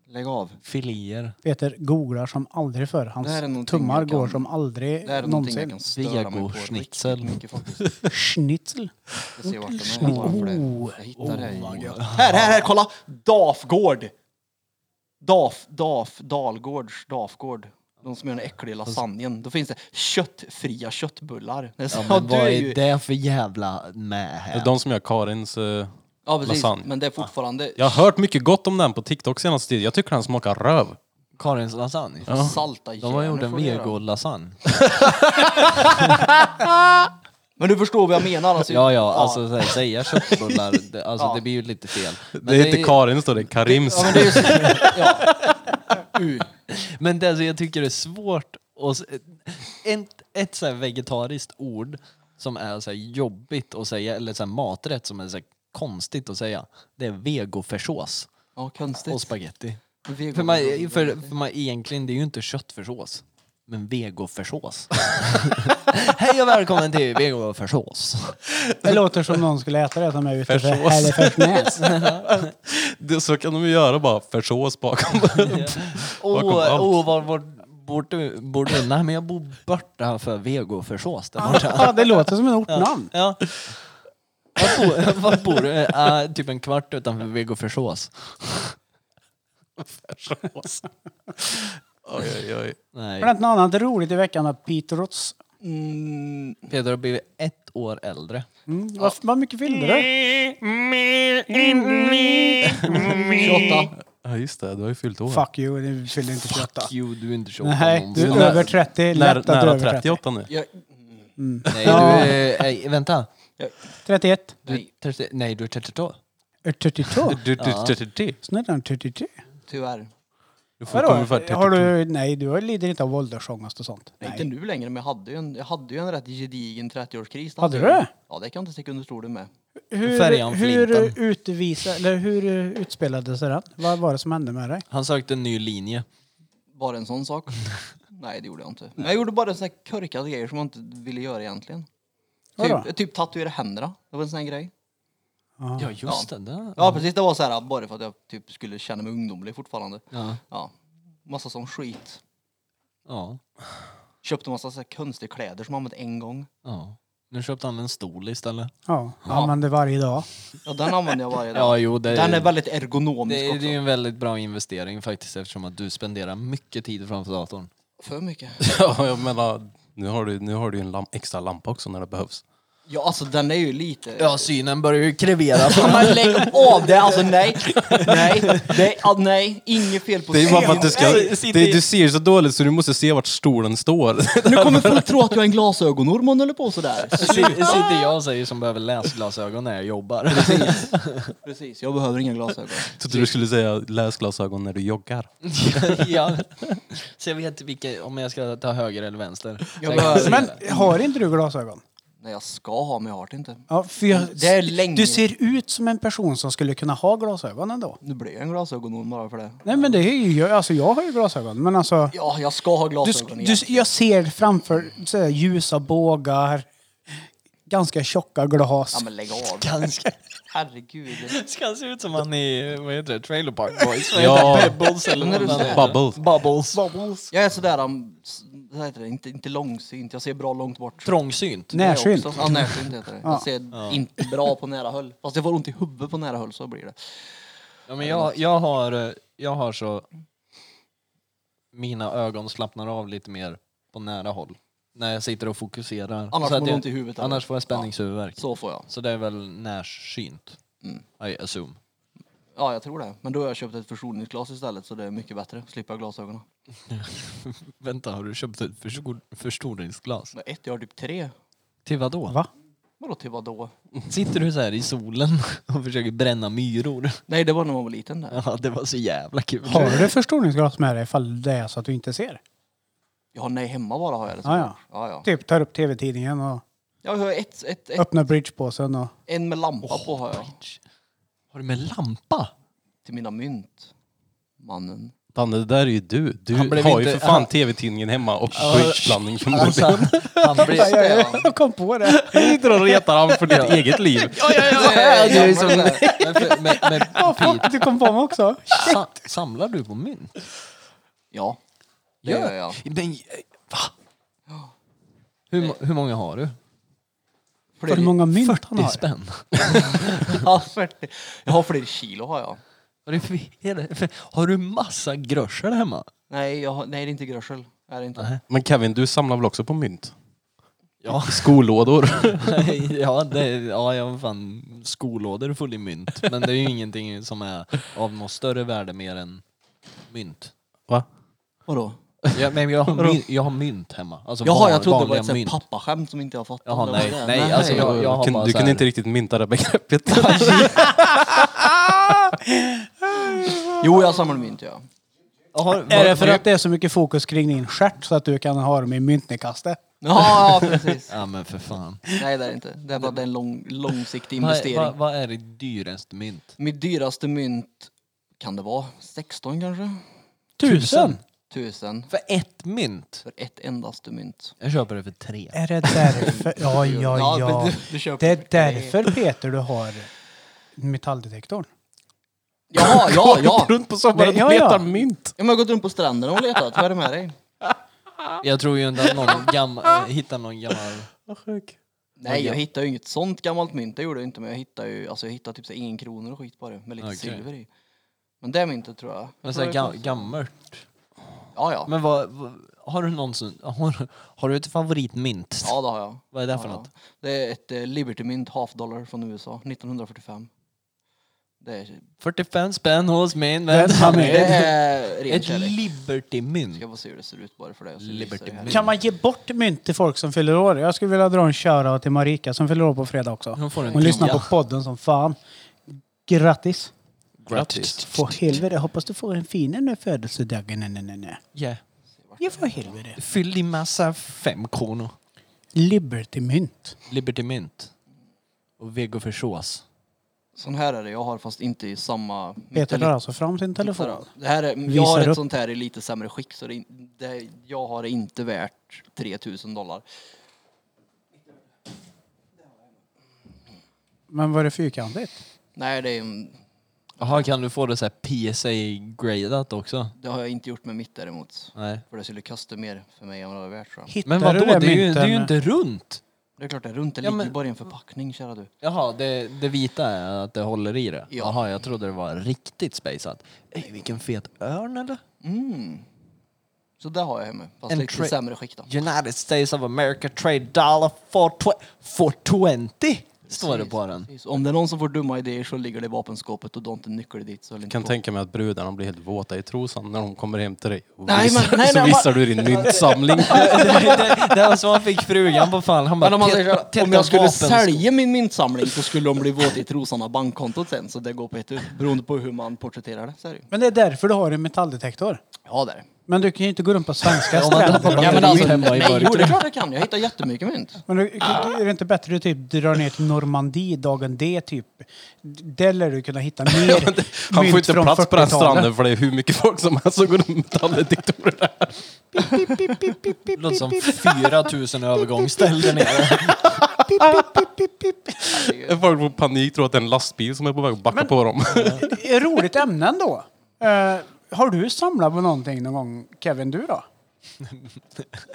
[SPEAKER 4] lägg av.
[SPEAKER 2] filéer,
[SPEAKER 1] Peter googlar som aldrig förr. Hans
[SPEAKER 4] Det här är någonting
[SPEAKER 1] tummar
[SPEAKER 4] jag kan-
[SPEAKER 1] går som aldrig
[SPEAKER 4] Det här är någonting jag
[SPEAKER 1] någonsin.
[SPEAKER 4] kan störa mig på
[SPEAKER 2] Vegoschnitzel.
[SPEAKER 4] riktigt mycket faktiskt.
[SPEAKER 1] Schnitzel.
[SPEAKER 4] Jag ser vart den är bara för det.
[SPEAKER 1] Oh.
[SPEAKER 4] Jag hittar det här i- Här, här, här, kolla! Dafgård! Daf, Daf, Dalgårds, Dafgård. De som gör den äckliga lasagnen. Då finns det köttfria köttbullar.
[SPEAKER 2] Ja,
[SPEAKER 4] Ja,
[SPEAKER 2] men
[SPEAKER 4] du
[SPEAKER 2] vad är
[SPEAKER 4] ju-
[SPEAKER 2] det för jävla med
[SPEAKER 3] Det är
[SPEAKER 2] här?
[SPEAKER 3] de som gör Karins... eh,
[SPEAKER 4] Ja, precis.
[SPEAKER 3] lasagne.
[SPEAKER 4] Men det är fortfarande
[SPEAKER 3] Jag har hört mycket gott om den på TikTok senaste tiden. Jag tycker den smakar röv.
[SPEAKER 2] Karins lasagne?
[SPEAKER 4] salta
[SPEAKER 2] De har gjort
[SPEAKER 4] hjärnor
[SPEAKER 2] en
[SPEAKER 4] får du göra.
[SPEAKER 2] vegolasagne.
[SPEAKER 4] Men du förstår vad jag menar? Alltså,
[SPEAKER 2] Ja, ja, alltså så här, säga köttbullar, det, alltså, det blir ju lite fel. Men
[SPEAKER 3] Det är inte
[SPEAKER 2] är-
[SPEAKER 3] Karins då, det är Karims.
[SPEAKER 4] Ja, men det är ju så, ja. Uh,
[SPEAKER 2] Men det som jag tycker är svårt, och, s- en, ett så här vegetariskt ord som är så här jobbigt att säga, eller så här maträtt som är så här konstigt att säga, det är vegofärssås
[SPEAKER 4] ja,
[SPEAKER 2] och
[SPEAKER 4] konstigt.
[SPEAKER 2] spagetti.
[SPEAKER 4] Vego-
[SPEAKER 2] För man, för, för man egentligen, det är ju inte köttfärssås, men vegofärssås. Hej och välkommen till vegofärssås.
[SPEAKER 1] Det låter som någon skulle äta det som är ute för
[SPEAKER 3] Färssås.
[SPEAKER 1] Hälleforsnäs.
[SPEAKER 3] Det, så kan de ju göra bara, försås bakom.
[SPEAKER 2] Åh,
[SPEAKER 3] Bakom allt.
[SPEAKER 2] åh, var, var, borde, borde, nej men jag bor borta för vegofärssås där borta.
[SPEAKER 1] Ja, det låter som en ortnamn.
[SPEAKER 2] Ja. Var bor, var bor du? Eh, typ en kvart utanför Vegofärssås.
[SPEAKER 3] försås. Oj, oj, oj.
[SPEAKER 1] Har det
[SPEAKER 2] Nej.
[SPEAKER 1] inte något annat roligt i veckan att Pete Rots...
[SPEAKER 4] Mm,
[SPEAKER 2] Peter har blivit ett år äldre.
[SPEAKER 1] Mm, vad, vad mycket fyllde
[SPEAKER 4] Mm.
[SPEAKER 1] du?
[SPEAKER 4] 28.
[SPEAKER 3] Ja, just det. Du har ju fyllt år.
[SPEAKER 1] Fuck you, du fyllde inte 28.
[SPEAKER 2] Jo, du är inte 28
[SPEAKER 1] Nej, du
[SPEAKER 2] någonsin.
[SPEAKER 1] är över 30. Lätt
[SPEAKER 3] När,
[SPEAKER 1] att du är
[SPEAKER 3] nära
[SPEAKER 1] över 30.
[SPEAKER 3] 38 nu.
[SPEAKER 4] Jag,
[SPEAKER 2] Nej, du är... Nej, vänta.
[SPEAKER 1] 31.
[SPEAKER 4] nej,
[SPEAKER 2] 30, nej, du är 32.
[SPEAKER 1] Är 32?
[SPEAKER 3] Du, du, du, du, du.
[SPEAKER 1] Snälla, är 33.
[SPEAKER 4] tyvärr.
[SPEAKER 3] du får
[SPEAKER 1] Vadå?
[SPEAKER 3] komma ungefär 32.
[SPEAKER 1] Har du... Nej, du har- lider inte av åldersångest och sånt.
[SPEAKER 4] Nej, inte nu längre, men jag hade ju en, jag hade ju en rätt gedigen 30-årskris.
[SPEAKER 1] Hade
[SPEAKER 4] jag.
[SPEAKER 1] du det?
[SPEAKER 4] Ja, det kan jag inte sticka under stolen med.
[SPEAKER 1] Hur,
[SPEAKER 2] Färjan
[SPEAKER 1] hur,
[SPEAKER 2] Flinten.
[SPEAKER 1] utvisa, eller hur eh, utspelade sig den? Vad var det som hände med dig?
[SPEAKER 2] Han sökte en ny linje.
[SPEAKER 4] Bara en sån sak. nej, det gjorde jag inte. Men jag gjorde bara såna här korkade grejer som jag inte ville göra egentligen.
[SPEAKER 1] Vadå?
[SPEAKER 4] Typ, typ tatuera händerna. Det var en sån här grej.
[SPEAKER 2] Ja, just det. där.
[SPEAKER 4] Ja precis, det var så här bara för att jag typ skulle känna mig ungdomlig fortfarande.
[SPEAKER 2] Ja.
[SPEAKER 4] Ja. Massa sån skit.
[SPEAKER 2] ja.
[SPEAKER 4] Köpte massa så här konstiga kläder som man använt en gång.
[SPEAKER 2] ja. Nu köpte han en stol istället.
[SPEAKER 1] Ja, använder varje dag.
[SPEAKER 4] Ja den använder jag varje dag.
[SPEAKER 2] Ja, jo, det,
[SPEAKER 4] Den är väldigt ergonomisk
[SPEAKER 2] det,
[SPEAKER 4] också.
[SPEAKER 2] det är ju en väldigt bra investering faktiskt eftersom att du spenderar mycket tid framför datorn.
[SPEAKER 4] För mycket.
[SPEAKER 3] Ja, jag menar, nu har du, nu har du ju en lam, extra lampa också när det behövs.
[SPEAKER 4] Ja alltså den är ju lite...
[SPEAKER 2] Ja, synen börjar ju krevera.
[SPEAKER 4] Ja, Men lägg av det, alltså nej. Nej, nej, ah, nej. Inget fel på
[SPEAKER 3] Det är ju bara för att du
[SPEAKER 4] synen.
[SPEAKER 3] ska... Det, du ser så dåligt så du måste se vart stolen står.
[SPEAKER 4] Nu kommer folk tro att jag är en glasögonorm om jag håller på sådär.
[SPEAKER 2] Sitter sitter jag och säger som behöver läsglasögon när jag jobbar.
[SPEAKER 4] Precis. Precis, jag behöver inga glasögon.
[SPEAKER 3] Trodde du skulle säga läsglasögon när du joggar.
[SPEAKER 2] ja. Så jag vet vilka, om jag ska ta höger eller vänster.
[SPEAKER 4] Jag
[SPEAKER 2] Jag
[SPEAKER 4] behöver-
[SPEAKER 2] kan-
[SPEAKER 1] Men har inte du glasögon?
[SPEAKER 4] Nej jag ska ha men jag har det inte.
[SPEAKER 1] Ja, för jag,
[SPEAKER 4] Det är länge.
[SPEAKER 1] Du ser ut som en person som skulle kunna ha glasögon ändå.
[SPEAKER 4] Nu blir jag en glasögonorm bara för det.
[SPEAKER 1] Nej men det är ju, jag- alltså jag har ju glasögon men alltså.
[SPEAKER 4] Ja, jag ska ha
[SPEAKER 1] Du,
[SPEAKER 4] glasögon
[SPEAKER 1] du,
[SPEAKER 4] igen.
[SPEAKER 1] jag ser framför så här, ljusa bågar, ganska tjocka glas.
[SPEAKER 4] Ja men lägg av.
[SPEAKER 2] Ganska.
[SPEAKER 4] Herregud.
[SPEAKER 2] Ska han se ut som han i, vad heter det, Trailer Park Boys? Vad
[SPEAKER 3] Ja.
[SPEAKER 2] heter det? Pebbles eller
[SPEAKER 4] När du
[SPEAKER 2] vad
[SPEAKER 4] säger
[SPEAKER 2] heter det?
[SPEAKER 3] Bubbles.
[SPEAKER 2] Bubbles.
[SPEAKER 4] Jag är sådär, um, s- vad heter det, inte, inte långsynt, jag ser bra långt bort.
[SPEAKER 2] Trångsynt.
[SPEAKER 4] Det är jag
[SPEAKER 1] Närsynt.
[SPEAKER 4] också. Ja, närsynt heter det. Jag ser inte bra på nära håll. Fast jag får ont i huvudet på nära håll, så blir det.
[SPEAKER 2] Ja, men jag, jag, har, eh, jag har så... Mina ögon slappnar av lite mer på nära håll. När jag sitter och fokuserar.
[SPEAKER 4] Annars
[SPEAKER 2] Så att
[SPEAKER 4] får du
[SPEAKER 2] jag-
[SPEAKER 4] ont i huvudet, eller?
[SPEAKER 2] Annars får jag spänningshuvudvärk.
[SPEAKER 4] Så får jag. Mm.
[SPEAKER 2] Så det är väl närsynt. I assume.
[SPEAKER 4] Ja, jag tror det. Men då har jag köpt ett förstoringsglas istället så det är mycket bättre. Slipper jag glasögonen.
[SPEAKER 2] Vänta, har du köpt ett förstor- förstoringsglas?
[SPEAKER 4] Men ett, jag har typ tre.
[SPEAKER 2] Till vad då?
[SPEAKER 1] Va?
[SPEAKER 4] Vadå till vadå?
[SPEAKER 2] Sitter du så här i solen och försöker bränna myror?
[SPEAKER 4] Nej, det var när man var liten där.
[SPEAKER 2] Ja, det var så jävla kul.
[SPEAKER 1] Har du förstoringsglas med dig ifall det är så att du inte ser?
[SPEAKER 4] Ja, nej, hemma bara har jag det.
[SPEAKER 2] Ah,
[SPEAKER 1] Ja,
[SPEAKER 4] såklart. ja. ja.
[SPEAKER 1] Typ tar upp tv-tidningen och
[SPEAKER 4] Jag har ett, ett, ett,
[SPEAKER 1] öppnar bridgepåsen och...
[SPEAKER 4] en med lampa på har jag.
[SPEAKER 2] Har du med lampa?
[SPEAKER 4] Till mina mynt. Mannen.
[SPEAKER 3] Danne, det där är ju du. Du
[SPEAKER 2] Han blev
[SPEAKER 3] har ju
[SPEAKER 2] inte-
[SPEAKER 3] för fan
[SPEAKER 2] han-
[SPEAKER 3] tv-tidningen hemma och bridgeblandning förmodligen.
[SPEAKER 2] Alltså, han blir...
[SPEAKER 4] Ja, ja, ja.
[SPEAKER 1] Jag kom på det.
[SPEAKER 3] Sitter och retar han för ditt eget liv.
[SPEAKER 4] ja,
[SPEAKER 2] Du är
[SPEAKER 4] ja,
[SPEAKER 2] som...
[SPEAKER 4] men-
[SPEAKER 2] Men, för- men, men
[SPEAKER 1] Ja, fuck, du kom på mig också.
[SPEAKER 2] sa, samlar du på mynt?
[SPEAKER 4] Ja. Det
[SPEAKER 2] Gör-
[SPEAKER 4] gör jag.
[SPEAKER 2] Men, eh, va? Hur, mo- hur många har du?
[SPEAKER 4] Fler,
[SPEAKER 1] Hur många mynt han
[SPEAKER 2] 40
[SPEAKER 1] har.
[SPEAKER 2] spänn.
[SPEAKER 4] ja, 40. Jag har fler kilo har jag.
[SPEAKER 2] Vad är det för- är det för- Har du massa gröscher hemma?
[SPEAKER 4] Nej, jag har, nej det är inte grösel. Är det inte.
[SPEAKER 2] Nej.
[SPEAKER 3] Men Kevin, du samlar väl också på mynt?
[SPEAKER 2] Ja.
[SPEAKER 3] Skolådor.
[SPEAKER 2] ja, det, ja, jag har fan skolådor full i mynt. Men det är ju ingenting som är av något större värde mer än mynt.
[SPEAKER 3] Va?
[SPEAKER 4] Vadå?
[SPEAKER 2] Ja, men jag, har mynt jag har mynt hemma. Alltså
[SPEAKER 4] Jaha, jag
[SPEAKER 2] van-
[SPEAKER 4] trodde det var
[SPEAKER 2] vanliga
[SPEAKER 4] ett sånt
[SPEAKER 2] mynt.
[SPEAKER 4] pappaskämt som inte jag fattade.
[SPEAKER 2] Jaha,
[SPEAKER 4] Det var
[SPEAKER 2] nej,
[SPEAKER 4] det.
[SPEAKER 2] nej, alltså, jag- jag har
[SPEAKER 3] Kun-
[SPEAKER 2] bara
[SPEAKER 3] du
[SPEAKER 2] så
[SPEAKER 3] kunde
[SPEAKER 2] här-
[SPEAKER 3] inte riktigt mynta det begreppet.
[SPEAKER 4] Jo, jag samlar mynt jag.
[SPEAKER 2] Jaha,
[SPEAKER 1] Är det
[SPEAKER 2] vad-
[SPEAKER 1] för att det är så mycket fokus kring din stjärt så att du kan ha dem i myntnedkastet?
[SPEAKER 4] Ja, ja precis.
[SPEAKER 2] Ja men för fan.
[SPEAKER 4] Nej, det är det inte. Det är bara att det är en lång, långsiktig
[SPEAKER 2] Vad
[SPEAKER 4] investering.
[SPEAKER 2] vad- vad är det dyraste mynt?
[SPEAKER 4] Mitt dyraste mynt kan det vara 16 kanske?
[SPEAKER 1] Tusen?
[SPEAKER 4] Tusen
[SPEAKER 2] För ett mynt?
[SPEAKER 4] för ett endaste mynt.
[SPEAKER 2] Jag köper det för tre.
[SPEAKER 1] Är det därför? Ja, ja,
[SPEAKER 4] men
[SPEAKER 1] ja.
[SPEAKER 4] Du, du köper
[SPEAKER 1] Det är därför Peter du har metalldetektorn.
[SPEAKER 4] Jaha, ja, ja.
[SPEAKER 3] Runt på sommaren
[SPEAKER 1] Ja,
[SPEAKER 3] och
[SPEAKER 1] ja.
[SPEAKER 3] letar mynt.
[SPEAKER 4] Jag har gått runt på stränderna och letat. Vad är det med dig?
[SPEAKER 2] Jag tror ju inte att någon gammal, hittar någon gammal...
[SPEAKER 3] Vad sjuk.
[SPEAKER 4] Nej, jag hittade ju inget sånt gammalt mynt. Det gjorde jag inte. Men jag hittade ju, alltså jag hittade typ så här en kronor och skit på det. Med lite
[SPEAKER 2] Okej.
[SPEAKER 4] silver i. Men det myntet tror jag. jag
[SPEAKER 2] Men så här,
[SPEAKER 4] tror det är
[SPEAKER 2] ga, gammalt.
[SPEAKER 4] Ja, ja.
[SPEAKER 2] Men vad, vad har du någonsin, har, har du ett favoritmynt?
[SPEAKER 4] Ja, det har jag.
[SPEAKER 2] Vad är det för
[SPEAKER 4] Ja,
[SPEAKER 2] något?
[SPEAKER 4] ja. Det är ett eh, Liberty-mynt, half dollar från USA, 1945. Det är,
[SPEAKER 2] 45 spänn hos min vän.
[SPEAKER 1] Den har
[SPEAKER 4] det
[SPEAKER 1] med.
[SPEAKER 4] är ren
[SPEAKER 2] Ett
[SPEAKER 4] kärlek.
[SPEAKER 2] Liberty-mynt.
[SPEAKER 4] Ska bara se hur det ser ut bara för dig. och så visar
[SPEAKER 2] Liberty
[SPEAKER 4] det här.
[SPEAKER 2] mynt.
[SPEAKER 1] Kan man ge bort mynt till folk som fyller år? Jag skulle vilja dra en shoutout till Marika som fyller år på fredag också.
[SPEAKER 2] Hon får en
[SPEAKER 1] Hon lyssnar
[SPEAKER 2] tia.
[SPEAKER 1] på podden som fan. Grattis!
[SPEAKER 2] Grattis.
[SPEAKER 1] Få helvete, hoppas du får en fin en nu födelsedagen. Nej, nej, nej, nej.
[SPEAKER 2] Yeah.
[SPEAKER 1] Ja, för helvete.
[SPEAKER 2] Fyll din massa fem kronor.
[SPEAKER 1] Liberty-mynt.
[SPEAKER 2] Liberty-mynt. Och vegoförsås.
[SPEAKER 4] Sån här är det jag har fast inte i samma... mitt
[SPEAKER 1] Peter
[SPEAKER 4] är
[SPEAKER 1] tar
[SPEAKER 4] lite-
[SPEAKER 1] alltså fram sin telefon.
[SPEAKER 4] Det här är,
[SPEAKER 1] Visar
[SPEAKER 4] jag har ett
[SPEAKER 1] upp.
[SPEAKER 4] sånt här i lite sämre skick så det, är in- det, jag har det inte värt 3000 dollar.
[SPEAKER 1] Men var det fyrkantigt?
[SPEAKER 4] Nej, det, är, en-
[SPEAKER 2] Jaha, kan du få det så här PSA-gradat också?
[SPEAKER 4] det har jag inte gjort med mitt däremot.
[SPEAKER 2] Nej.
[SPEAKER 4] För det skulle kosta mer för mig än vad det är värt tror jag.
[SPEAKER 1] Hittar
[SPEAKER 2] Men vadå,
[SPEAKER 1] du
[SPEAKER 2] det,
[SPEAKER 1] det,
[SPEAKER 2] är ju, det är ju
[SPEAKER 1] mynten?
[SPEAKER 2] inte runt!
[SPEAKER 4] Det är klart det är runt, det
[SPEAKER 2] Ja,
[SPEAKER 4] ligger
[SPEAKER 2] men-
[SPEAKER 4] bara i en förpackning kära du.
[SPEAKER 2] Jaha, det, det vita är att det håller i det?
[SPEAKER 4] Ja.
[SPEAKER 2] Jaha, jag trodde det var riktigt spejsat. Ey, vilken fet örn eller?
[SPEAKER 4] Mm. Så det har jag hemma, fast
[SPEAKER 2] En
[SPEAKER 4] lite
[SPEAKER 2] tra-
[SPEAKER 4] sämre skick då.
[SPEAKER 2] United States of America trade dollar for, tw- for 20! Står det på den.
[SPEAKER 4] Precis. Om det är någon som får dumma idéer så ligger det i vapenskåpet och du har inte nyckel dit så håll inte
[SPEAKER 3] Kan
[SPEAKER 4] på.
[SPEAKER 3] tänka mig att brudarna blir helt våta i trosan när de kommer hem till dig. Och
[SPEAKER 4] Nej,
[SPEAKER 3] visar,
[SPEAKER 4] men- nej,
[SPEAKER 3] så
[SPEAKER 4] nej,
[SPEAKER 3] visar du din myntsamling.
[SPEAKER 2] det, det, det var så han fick frugan på fan. Han bara,
[SPEAKER 4] Men om, man säger, så här,
[SPEAKER 2] "Titta,
[SPEAKER 4] om jag skulle
[SPEAKER 2] vapenskåp."
[SPEAKER 4] sälja min myntsamling så skulle de bli våta i trosan av bankkontot sen så det går på ett ut beroende på hur man porträtterar det. Så är det ju.
[SPEAKER 1] Men det är därför du har en metalldetektor.
[SPEAKER 4] Ja det är det.
[SPEAKER 1] Men du kan ju inte gå runt på svenska
[SPEAKER 2] Om man
[SPEAKER 1] stränder på
[SPEAKER 2] tar-
[SPEAKER 4] Ja,
[SPEAKER 1] backen.
[SPEAKER 4] men alltså,
[SPEAKER 2] hemma i
[SPEAKER 4] nej, jo, det
[SPEAKER 2] burken.
[SPEAKER 4] är klart jag kan. Jag hittar jättemycket mynt.
[SPEAKER 1] Men du, är det inte bättre att typ dra ner till Normandie dagen D typ? Där lär du kunna hitta mer
[SPEAKER 3] Han får
[SPEAKER 1] mynt
[SPEAKER 3] inte
[SPEAKER 1] från
[SPEAKER 3] plats på den
[SPEAKER 1] 40-talet.
[SPEAKER 3] stranden för det är hur mycket folk som helst som går runt med metalldetektorer där.
[SPEAKER 2] Låter som 4000 övergångsställen nere.
[SPEAKER 3] Folk får panik tror att det är en lastbil som är på väg att backa på dem.
[SPEAKER 1] Det är Eh, Roligt ämne ändå. Eh, har du samlat på någonting någon gång, Kevin? Du då?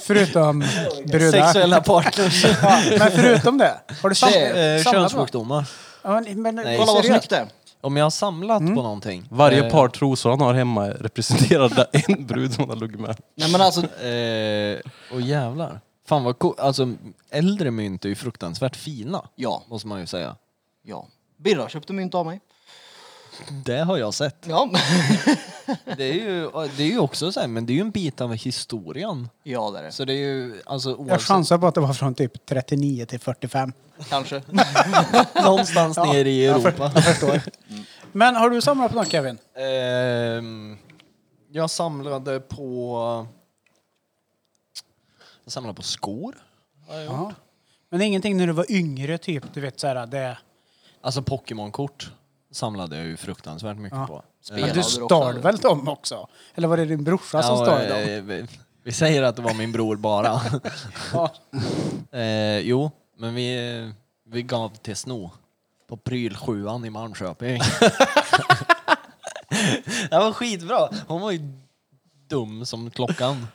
[SPEAKER 1] förutom brudar.
[SPEAKER 2] Sexuella partners.
[SPEAKER 1] Ja, men förutom det, har du sam-
[SPEAKER 2] Eh,
[SPEAKER 1] samlat på något?
[SPEAKER 2] Könssjukdomar.
[SPEAKER 1] Ja, men, men,
[SPEAKER 2] Nej.
[SPEAKER 4] Kolla vad
[SPEAKER 1] seriöst.
[SPEAKER 4] snyggt det är.
[SPEAKER 2] Om jag har samlat på någonting.
[SPEAKER 3] Varje
[SPEAKER 2] eh,
[SPEAKER 3] par trosor han har hemma representerar där en brud som han har luggit med.
[SPEAKER 4] Nej men alltså,
[SPEAKER 2] Eh, och jävlar. Fan vad coolt. Alltså äldre mynt är ju fruktansvärt fina.
[SPEAKER 4] ja,
[SPEAKER 2] Måste man ju säga.
[SPEAKER 4] ja. Birra köpte mynt av mig.
[SPEAKER 2] Det har jag sett.
[SPEAKER 4] Ja,
[SPEAKER 2] Det är ju, det är ju också så här, men det är ju en bit av historien.
[SPEAKER 4] ja det är det.
[SPEAKER 2] Så det är ju, alltså
[SPEAKER 1] Jag
[SPEAKER 2] oavsett,
[SPEAKER 1] chansar på att det var från typ 39 till 45.
[SPEAKER 4] Kanske.
[SPEAKER 2] någonstans nere i
[SPEAKER 1] jag för-
[SPEAKER 2] Europa. Mm.
[SPEAKER 1] Jag förstår. Men har du samlat på något Kevin?
[SPEAKER 2] Ehm, jag samlade på... Jag samlade på skor. har jag gjort.
[SPEAKER 1] Ja. Men ingenting när du var yngre, typ, du vet såhär, det...
[SPEAKER 2] Alltså Pokémon-kort samlade jag ju fruktansvärt mycket
[SPEAKER 1] Ja.
[SPEAKER 2] på.
[SPEAKER 4] Spelade
[SPEAKER 1] Men du
[SPEAKER 4] du också,
[SPEAKER 1] stal
[SPEAKER 4] eller?
[SPEAKER 1] väl dem också? Eller var det din brorsa som
[SPEAKER 2] Ja,
[SPEAKER 1] stal
[SPEAKER 2] eh,
[SPEAKER 1] dem?
[SPEAKER 2] vi- Vi säger att det var min bror bara.
[SPEAKER 1] Ja.
[SPEAKER 2] eh, jo, men vi, vi gav till Sno på prylsjuan i Malmköping. det var skitbra. Hon var ju dum som klockan.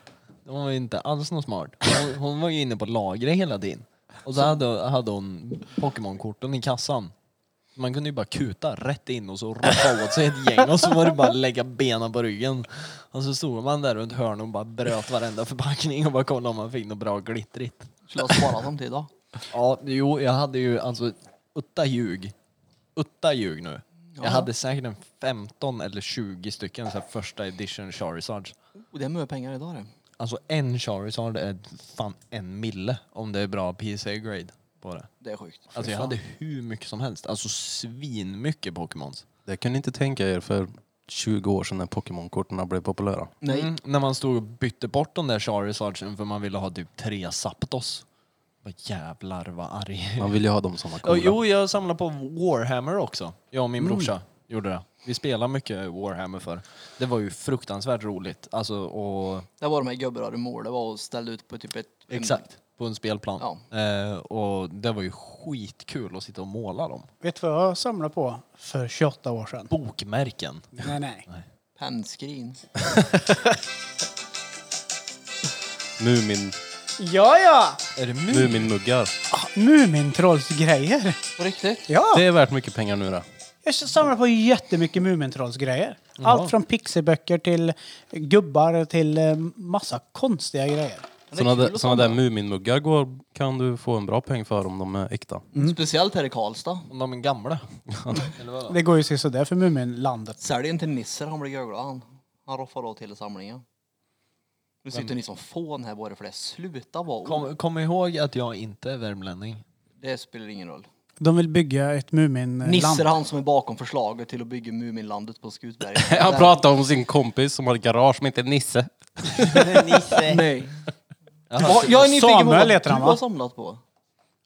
[SPEAKER 2] Hon var ju inte alls någon smart. Hon, hon var ju inne på lagret hela tiden. Och så hade, hade hon Pokémon-korten i kassan. Man kunde ju bara kuta rätt in och så roffa åt sig ett gäng och så var det bara att lägga benen på ryggen. Och så stod man där runt hörnet och bara bröt varenda förpackning och bara kollade om man fick något bra glittrigt.
[SPEAKER 4] Skulle ha sparat dem till idag.
[SPEAKER 2] Ja, jo, jag hade ju alltså, utta ljug. Utta ljug nu. Jag hade säkert en 15 eller 20 stycken så här första edition Charizards.
[SPEAKER 4] Och det är mycket pengar idag det.
[SPEAKER 2] Alltså en Charizard är fan en mille om det är bra PC-grade på det.
[SPEAKER 4] Det är sjukt.
[SPEAKER 2] Alltså jag hade hur mycket som helst, alltså svinmycket Pokémons.
[SPEAKER 3] Det kan ni inte tänka er för 20 år sedan när Pokémon-korten blev populära.
[SPEAKER 4] Nej.
[SPEAKER 2] Mm, när man stod och bytte bort de där Charizardsen för man ville ha typ tre Zapdos. Vad jävlar vad arg.
[SPEAKER 3] Man vill ju ha dem som var
[SPEAKER 2] Och,
[SPEAKER 3] coola. Mm.
[SPEAKER 2] jo, jag samlade på Warhammer också. Jag och min brorsa gjorde det. Vi spelade mycket Warhammer för. Det var ju fruktansvärt roligt. Alltså,
[SPEAKER 3] Mm.
[SPEAKER 2] och...
[SPEAKER 4] Det var de här gubbarna du målade var och ställde ut på typ ett... en-
[SPEAKER 2] Exakt. På en spelplan. Eh, och det var ju skitkul att sitta och måla dem.
[SPEAKER 1] Vet du vad jag samlade på för 28 år sedan?
[SPEAKER 2] Bokmärken.
[SPEAKER 1] Nej, nej.
[SPEAKER 4] Pennskrin.
[SPEAKER 3] Mumin,
[SPEAKER 1] Ja, ja! Ah,
[SPEAKER 2] Är det mu?
[SPEAKER 3] Muminmuggar.
[SPEAKER 1] Mumintrollsgrejer!
[SPEAKER 4] På riktigt?
[SPEAKER 1] Ja!
[SPEAKER 3] Det är värt mycket pengar nu det.
[SPEAKER 1] Jag samlar på jättemycket Mumintrollsgrejer. Allt från pixelböcker till gubbar till eh, massa konstiga grejer.
[SPEAKER 3] Sådana såna där Muminmuggar går, kan du få en bra peng för om de är äkta.
[SPEAKER 4] Speciellt här i Karlstad.
[SPEAKER 2] Om de är gamla. Eller vadå?
[SPEAKER 1] Det går ju sådär för Muminlandet.
[SPEAKER 4] Sälj en till Nisser, han blir görglad han. Han roffar åt hela samlingen. Nu sitter ni som fån här bara för det. Sluta bara.
[SPEAKER 2] Kom, kom ihåg att jag inte är värmlänning.
[SPEAKER 4] Det spelar ingen roll.
[SPEAKER 1] De vill bygga ett Muminland.
[SPEAKER 4] Nisser han som är bakom förslaget till att bygga Muminlandet på Skutberg.
[SPEAKER 3] Han pratade om sin kompis som har ett garage som heter Nisse.
[SPEAKER 4] Nej. Ja, jag är nyfiken på
[SPEAKER 1] Samuel
[SPEAKER 4] vad
[SPEAKER 1] heter
[SPEAKER 4] du
[SPEAKER 1] han, va?
[SPEAKER 4] har samlat på.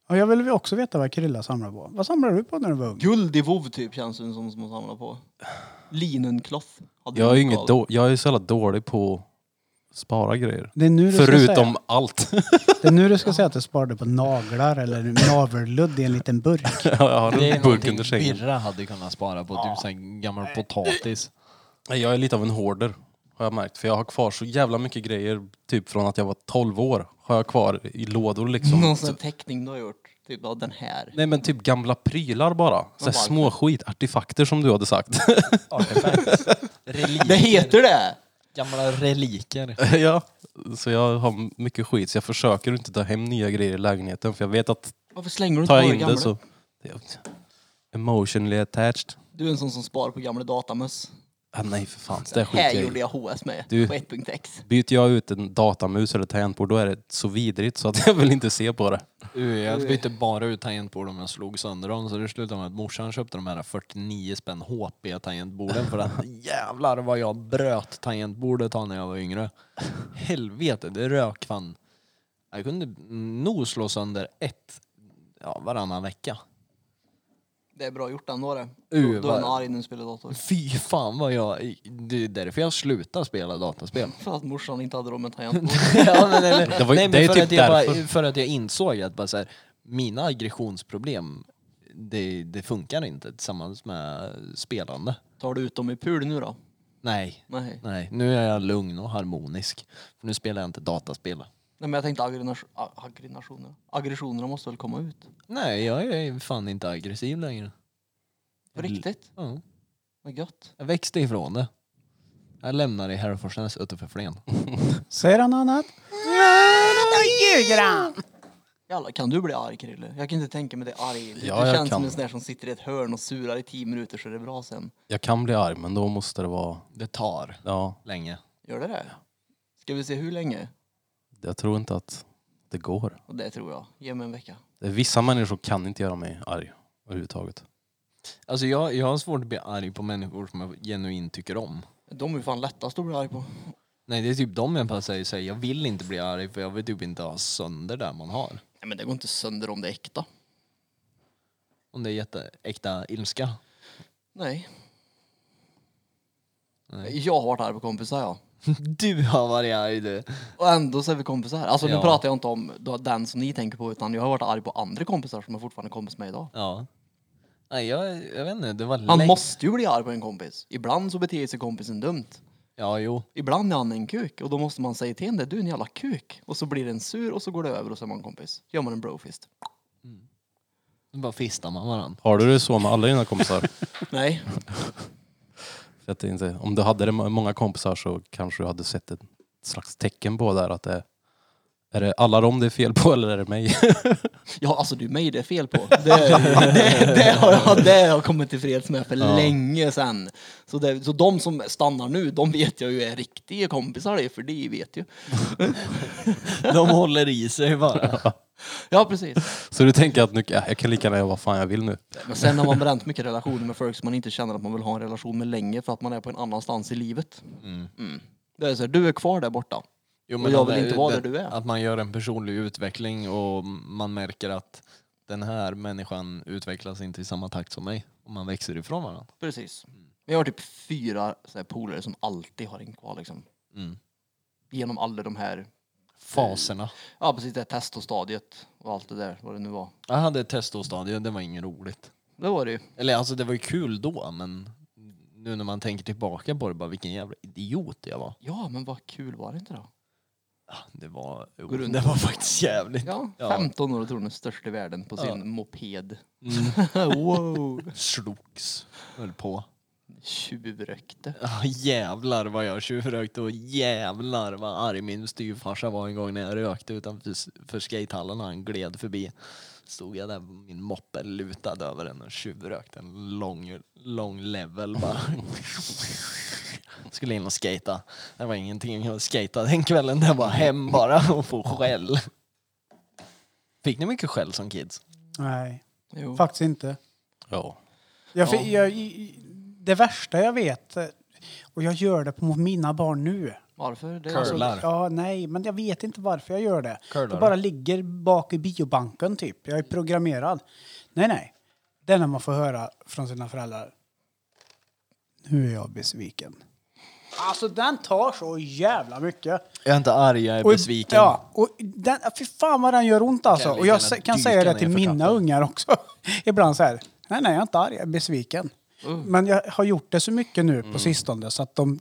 [SPEAKER 1] Och jag vill också veta vad Krilla samlar på. Vad samlade du på när du var ung?
[SPEAKER 4] Guld i vov typ känns det som som man samlar på. Linenkloth. hade
[SPEAKER 3] Jag är,
[SPEAKER 4] du
[SPEAKER 3] ju inget
[SPEAKER 4] av.
[SPEAKER 3] då, jag är så jävla dålig på att spara grejer.
[SPEAKER 1] Det är nu du ska säga,
[SPEAKER 3] Förutom allt.
[SPEAKER 1] det är nu du ska säga att du sparade på naglar eller navelludd i en liten burk.
[SPEAKER 3] jag har
[SPEAKER 2] Det
[SPEAKER 3] en
[SPEAKER 2] är
[SPEAKER 3] burk under
[SPEAKER 2] någonting
[SPEAKER 3] sängen.
[SPEAKER 2] Birra hade kunnat spara på. Typ sån gammal potatis.
[SPEAKER 3] Nej, Jag är lite av en hoarder har jag märkt. För jag har kvar så jävla mycket grejer typ från att jag var 12 år. Har jag kvar i lådor liksom.
[SPEAKER 4] Någon sån här teckning du har gjort. Typ ja, den här.
[SPEAKER 3] Nej men typ gamla prylar bara. Så här
[SPEAKER 4] varför?
[SPEAKER 3] små skit, artefakter som du hade sagt.
[SPEAKER 2] Artefakt.
[SPEAKER 4] Det
[SPEAKER 2] Reliker.
[SPEAKER 4] heter det!
[SPEAKER 2] Gamla reliker.
[SPEAKER 3] ja. Så jag har mycket skit så jag försöker inte ta hem nya grejer i lägenheten för jag vet att
[SPEAKER 4] Varför slänger du inte
[SPEAKER 3] tar
[SPEAKER 4] bara
[SPEAKER 3] jag
[SPEAKER 4] det
[SPEAKER 3] in det
[SPEAKER 4] gamla?
[SPEAKER 3] så... Det- Emotionally attached.
[SPEAKER 4] Du är en sån som sparar på gamla datamöss.
[SPEAKER 3] Ah, nej för fan, det skiter
[SPEAKER 4] Här
[SPEAKER 3] jag i.
[SPEAKER 4] gjorde jag HS med.
[SPEAKER 3] Du-
[SPEAKER 4] På 1.x.
[SPEAKER 3] Byter jag ut en datamus eller tangentbord då är det så vidrigt så att jag vill inte se på det.
[SPEAKER 2] Uh, jag bytte bara ut tangentbord om jag slog sönder dem så det slutade med att morsan köpte de här 49 spänn HP-tangentborden för att jävlar vad jag bröt tangentbordet här när jag var yngre. Helvete, det rök fan. Jag kunde nog slå sönder ett ja, varannan vecka.
[SPEAKER 4] Det är bra gjort ändå det.
[SPEAKER 2] Uh,
[SPEAKER 4] Du, du är en
[SPEAKER 2] vad-
[SPEAKER 4] arg när du spelar dator.
[SPEAKER 2] Fy fan vad jag... Det är därför jag slutade spela dataspel.
[SPEAKER 4] För att morsan inte hade råd med tangentbord.
[SPEAKER 2] ja, men, eller,
[SPEAKER 3] Det var ju-
[SPEAKER 2] nej,
[SPEAKER 3] det är
[SPEAKER 2] men
[SPEAKER 3] ju
[SPEAKER 2] för,
[SPEAKER 3] typ
[SPEAKER 2] att jag
[SPEAKER 3] därför.
[SPEAKER 2] bara, för att jag insåg att bara så här, mina aggressionsproblem, det, det funkar inte tillsammans med spelande.
[SPEAKER 4] Tar du ut dem i pul nu då?
[SPEAKER 2] Nej.
[SPEAKER 4] Nej.
[SPEAKER 2] Nej, nu är jag lugn och harmonisk. För nu spelar jag inte dataspel.
[SPEAKER 4] Nej men jag tänkte aggrenas- a- aggregationer. Aggressionerna måste väl komma ut?
[SPEAKER 2] Nej, jag är fan inte aggressiv längre.
[SPEAKER 4] På riktigt?
[SPEAKER 2] Ja,
[SPEAKER 4] Vad gött.
[SPEAKER 2] jag växte ifrån det. Jag lämnar i Herreforsnäs utanför Flen.
[SPEAKER 1] Säger han annat? Nej, då ljuger han!
[SPEAKER 4] Jävlar, kan du bli arg Krille? Jag kan inte tänka mig dig arg. Du,
[SPEAKER 3] Ja,
[SPEAKER 4] du
[SPEAKER 3] jag
[SPEAKER 4] känns som
[SPEAKER 3] kan.
[SPEAKER 4] en sån där som sitter i ett hörn och surar i tio minuter så är det bra sen.
[SPEAKER 3] Jag kan bli arg, men då måste det vara...
[SPEAKER 2] Det tar
[SPEAKER 3] Ja,
[SPEAKER 2] länge.
[SPEAKER 4] Gör det det? Ska vi se hur länge?
[SPEAKER 3] jag tror inte att det går.
[SPEAKER 4] Och det tror jag. Ge mig en vecka.
[SPEAKER 3] Det är- Vissa människor kan inte göra mig arg överhuvudtaget.
[SPEAKER 2] Alltså jag, jag har svårt att bli arg på människor som jag genuint tycker om.
[SPEAKER 4] De är ju fan lättast att bli arg på.
[SPEAKER 2] Nej det är typ de jag bara säger, säger jag vill inte bli arg för jag vill typ inte ha sönder det man har.
[SPEAKER 4] Nej men det går inte sönder om det är äkta.
[SPEAKER 2] Om det är jätteäkta ilska.
[SPEAKER 4] Nej.
[SPEAKER 2] Nej.
[SPEAKER 4] Jag har varit arg på kompisar ja.
[SPEAKER 2] Du har varit arg du.
[SPEAKER 4] Och ändå så är vi kompisar. Alltså nu
[SPEAKER 2] Ja.
[SPEAKER 4] pratar jag inte om då- den som ni tänker på utan jag har varit arg på andra kompisar som jag fortfarande är kompis med idag.
[SPEAKER 2] Ja. Nej jag, jag vet inte, det var
[SPEAKER 4] Han
[SPEAKER 2] länge-
[SPEAKER 4] måste ju bli arg på en kompis. Ibland så beter sig kompisen dumt.
[SPEAKER 2] Ja jo.
[SPEAKER 4] Ibland är han en kuk och då måste man säga till henne, du är en jävla kuk. Och så blir den sur och så går det över och så är man kompis. Gör man en brofist.
[SPEAKER 2] Då bara fistar man varandra.
[SPEAKER 3] Har du det så med alla dina kompisar?
[SPEAKER 4] Nej,
[SPEAKER 3] För att det inte, om du hade det med många kompisar så kanske du hade sett ett slags tecken på där att det är det alla dem det är fel på eller är det mig?
[SPEAKER 4] ja alltså du mig det är fel på. Det, det, det, har, jag, det har jag kommit tillfreds med för länge sedan. Så, det, så de som stannar nu, de vet jag ju är riktiga kompisar det, för de vet ju.
[SPEAKER 2] De håller i sig bara.
[SPEAKER 4] Ja precis.
[SPEAKER 3] Så du tänker att nu, ja, jag kan lika gärna göra vad fan jag vill nu.
[SPEAKER 4] Men sen har man bränt mycket relationer med folk som man inte känner att man vill ha en relation med länge för att man är på en annanstans i livet. Mm. Det är så här, du är kvar där borta.
[SPEAKER 2] Jo,
[SPEAKER 4] Och jag
[SPEAKER 2] att
[SPEAKER 4] vill
[SPEAKER 2] det-
[SPEAKER 4] inte vara
[SPEAKER 2] det-
[SPEAKER 4] där du är.
[SPEAKER 2] Att man gör en personlig utveckling och man märker att den här människan utvecklas inte i samma takt som mig. Och man växer ifrån varandra.
[SPEAKER 4] Precis. Men jag har typ fyra så här, polare som alltid har en kvar liksom.
[SPEAKER 2] Mm.
[SPEAKER 4] Genom alla de här,
[SPEAKER 2] Faserna.
[SPEAKER 4] ja precis det här testostadiet och allt det där, vad det nu var.
[SPEAKER 2] Jag hade ett testostadium, det var inget roligt.
[SPEAKER 4] Det var det ju.
[SPEAKER 2] Eller alltså det var ju kul då men nu när man tänker tillbaka på det bara vilken jävla idiot jag var.
[SPEAKER 4] Ja, men vad kul var det inte då?
[SPEAKER 2] Ah, Det var, jo,
[SPEAKER 4] Går runt
[SPEAKER 2] det var faktiskt jävligt.
[SPEAKER 4] Ja,
[SPEAKER 2] Ja.
[SPEAKER 4] 15 år och tror den är störst i världen på sin
[SPEAKER 2] Ja.
[SPEAKER 4] moped.
[SPEAKER 2] Mm.
[SPEAKER 4] wow!
[SPEAKER 2] Slogs. Höll på.
[SPEAKER 4] Tjuvrökte.
[SPEAKER 2] Ah, jävlar vad jag tjuvrökte och jävlar vad arg min styvfarsa var en gång när jag rökte utanför för skatehallen och han gled förbi. Stod jag där med min moppe lutad över den och tjuvrökte en lång, lång level bara. Skulle in och skata. Det var ingenting att skata den kvällen, det var hem bara och få skäll. Fick ni mycket skäll som kids?
[SPEAKER 1] Nej,
[SPEAKER 4] Jo.
[SPEAKER 1] faktiskt inte.
[SPEAKER 3] Ja.
[SPEAKER 1] Jag, fi-
[SPEAKER 4] Ja.
[SPEAKER 1] jag, i- det värsta jag vet, eh, och jag gör det på mina barn nu.
[SPEAKER 4] Varför? Det är
[SPEAKER 2] Curl.
[SPEAKER 4] alltså,
[SPEAKER 2] Curlar.
[SPEAKER 1] ja, nej, men jag vet inte varför jag gör det.
[SPEAKER 2] Curlar
[SPEAKER 1] Det
[SPEAKER 2] du?
[SPEAKER 1] bara ligger bak i biobanken typ. Jag är programmerad. Nej, nej. Det är när man får höra från sina föräldrar. Nu är jag besviken. Alltså den tar så jävla mycket.
[SPEAKER 2] Jag är inte arg, jag är
[SPEAKER 1] Och-
[SPEAKER 2] besviken.
[SPEAKER 1] Ja, och den, fy fan vad den gör ont alltså.
[SPEAKER 2] Jag kan
[SPEAKER 1] Och jag
[SPEAKER 2] lika gärna
[SPEAKER 1] sä- kan
[SPEAKER 2] dyka
[SPEAKER 1] säga det
[SPEAKER 2] ner
[SPEAKER 1] till
[SPEAKER 2] för
[SPEAKER 1] mina
[SPEAKER 2] trappan.
[SPEAKER 1] ungar också. Ibland så här, nej nej jag är inte arg, jag är besviken.
[SPEAKER 2] Uh.
[SPEAKER 1] Men jag har gjort det så mycket nu
[SPEAKER 2] Mm.
[SPEAKER 1] på sistone så att de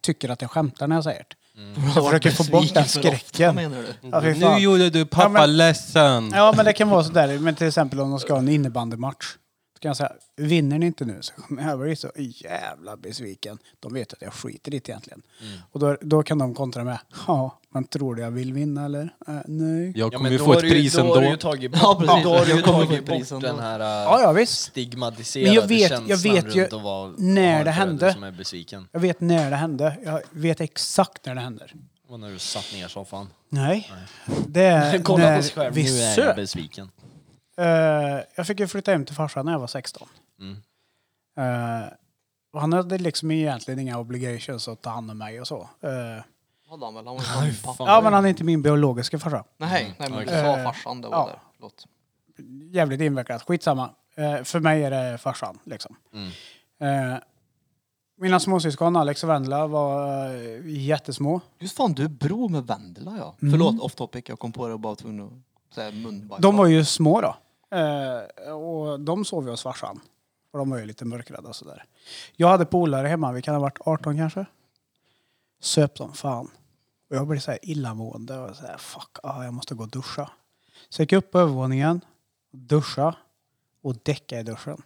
[SPEAKER 1] tycker att jag skämtar när jag säger det.
[SPEAKER 2] Mm.
[SPEAKER 1] Jag försöker få bort den
[SPEAKER 4] Besviken för ofta,
[SPEAKER 1] skräcken.
[SPEAKER 4] menar du?
[SPEAKER 1] Ja, fy fan.
[SPEAKER 3] gjorde du
[SPEAKER 1] pappa Ja, men-
[SPEAKER 3] ledsen.
[SPEAKER 1] ja men det kan vara sådär, men till exempel om de ska ha en innebandymatch. Så kan jag säga, vinner ni inte nu så kommer jag bli så jävla besviken. De vet att jag skiter i det egentligen.
[SPEAKER 2] Mm.
[SPEAKER 1] Och då, då kan de kontra med, ja men tror du jag vill vinna eller? Äh, nej.
[SPEAKER 3] Jag
[SPEAKER 2] Ja,
[SPEAKER 3] kommer
[SPEAKER 2] men
[SPEAKER 3] ju
[SPEAKER 2] då
[SPEAKER 3] få
[SPEAKER 2] har
[SPEAKER 3] ett
[SPEAKER 2] du ju-
[SPEAKER 3] pris
[SPEAKER 2] då har du ju
[SPEAKER 3] ändå.
[SPEAKER 2] tagit
[SPEAKER 4] Ja,
[SPEAKER 2] bort,
[SPEAKER 4] precis.
[SPEAKER 2] då har du ju
[SPEAKER 4] Jag kommer
[SPEAKER 2] tagit
[SPEAKER 4] få ett
[SPEAKER 2] bort
[SPEAKER 4] pris ändå.
[SPEAKER 2] den här äh,
[SPEAKER 1] Ja, ja visst.
[SPEAKER 2] stigmatiserade
[SPEAKER 1] Men jag vet- jag
[SPEAKER 2] känslan
[SPEAKER 1] vet ju
[SPEAKER 2] runt att vara,
[SPEAKER 1] när
[SPEAKER 2] ha en
[SPEAKER 1] det
[SPEAKER 2] förälder
[SPEAKER 1] hände.
[SPEAKER 2] som är besviken.
[SPEAKER 1] Jag vet när det hände. Jag vet exakt när det händer.
[SPEAKER 2] Och när du satt ner i soffan.
[SPEAKER 1] Nej. Det är Eh, när vi
[SPEAKER 2] nu är jag
[SPEAKER 1] söp.
[SPEAKER 2] besviken.
[SPEAKER 1] Eh, jag fick ju flytta hem till farsan när jag var 16.
[SPEAKER 2] Mm.
[SPEAKER 1] Eh, och han hade liksom egentligen inga obligations att ta hand om mig och så. Eh,
[SPEAKER 4] Hade han väl? Han var ju fan pappa.
[SPEAKER 1] ja, men han är inte min biologiska farsa.
[SPEAKER 4] Nej, nej men du
[SPEAKER 2] Okej.
[SPEAKER 4] sa farsan det var
[SPEAKER 1] Ja.
[SPEAKER 4] där. Förlåt.
[SPEAKER 1] jävligt invecklat. Skitsamma. Eh, för mig är det farsan. Liksom.
[SPEAKER 2] Mm.
[SPEAKER 1] Eh, mina småsyskon Alex och Vendela var eh, jättesmå.
[SPEAKER 4] Just fan, du är bro med Vendela ja.
[SPEAKER 1] Mm.
[SPEAKER 4] Förlåt, off topic. Jag kom på det och bara var tvungen att säga munbajs.
[SPEAKER 1] De var ju små då. Eh, och de sov ju hos farsan. Och de var ju lite mörkrädda och sådär. Jag hade polare hemma, vi kan ha varit 18 kanske. Söp som fan. Och jag blev så här illamående och så här, fuck, ah, jag måste gå och duscha. Så jag gick upp på övervåningen, duscha och däcka i duschen.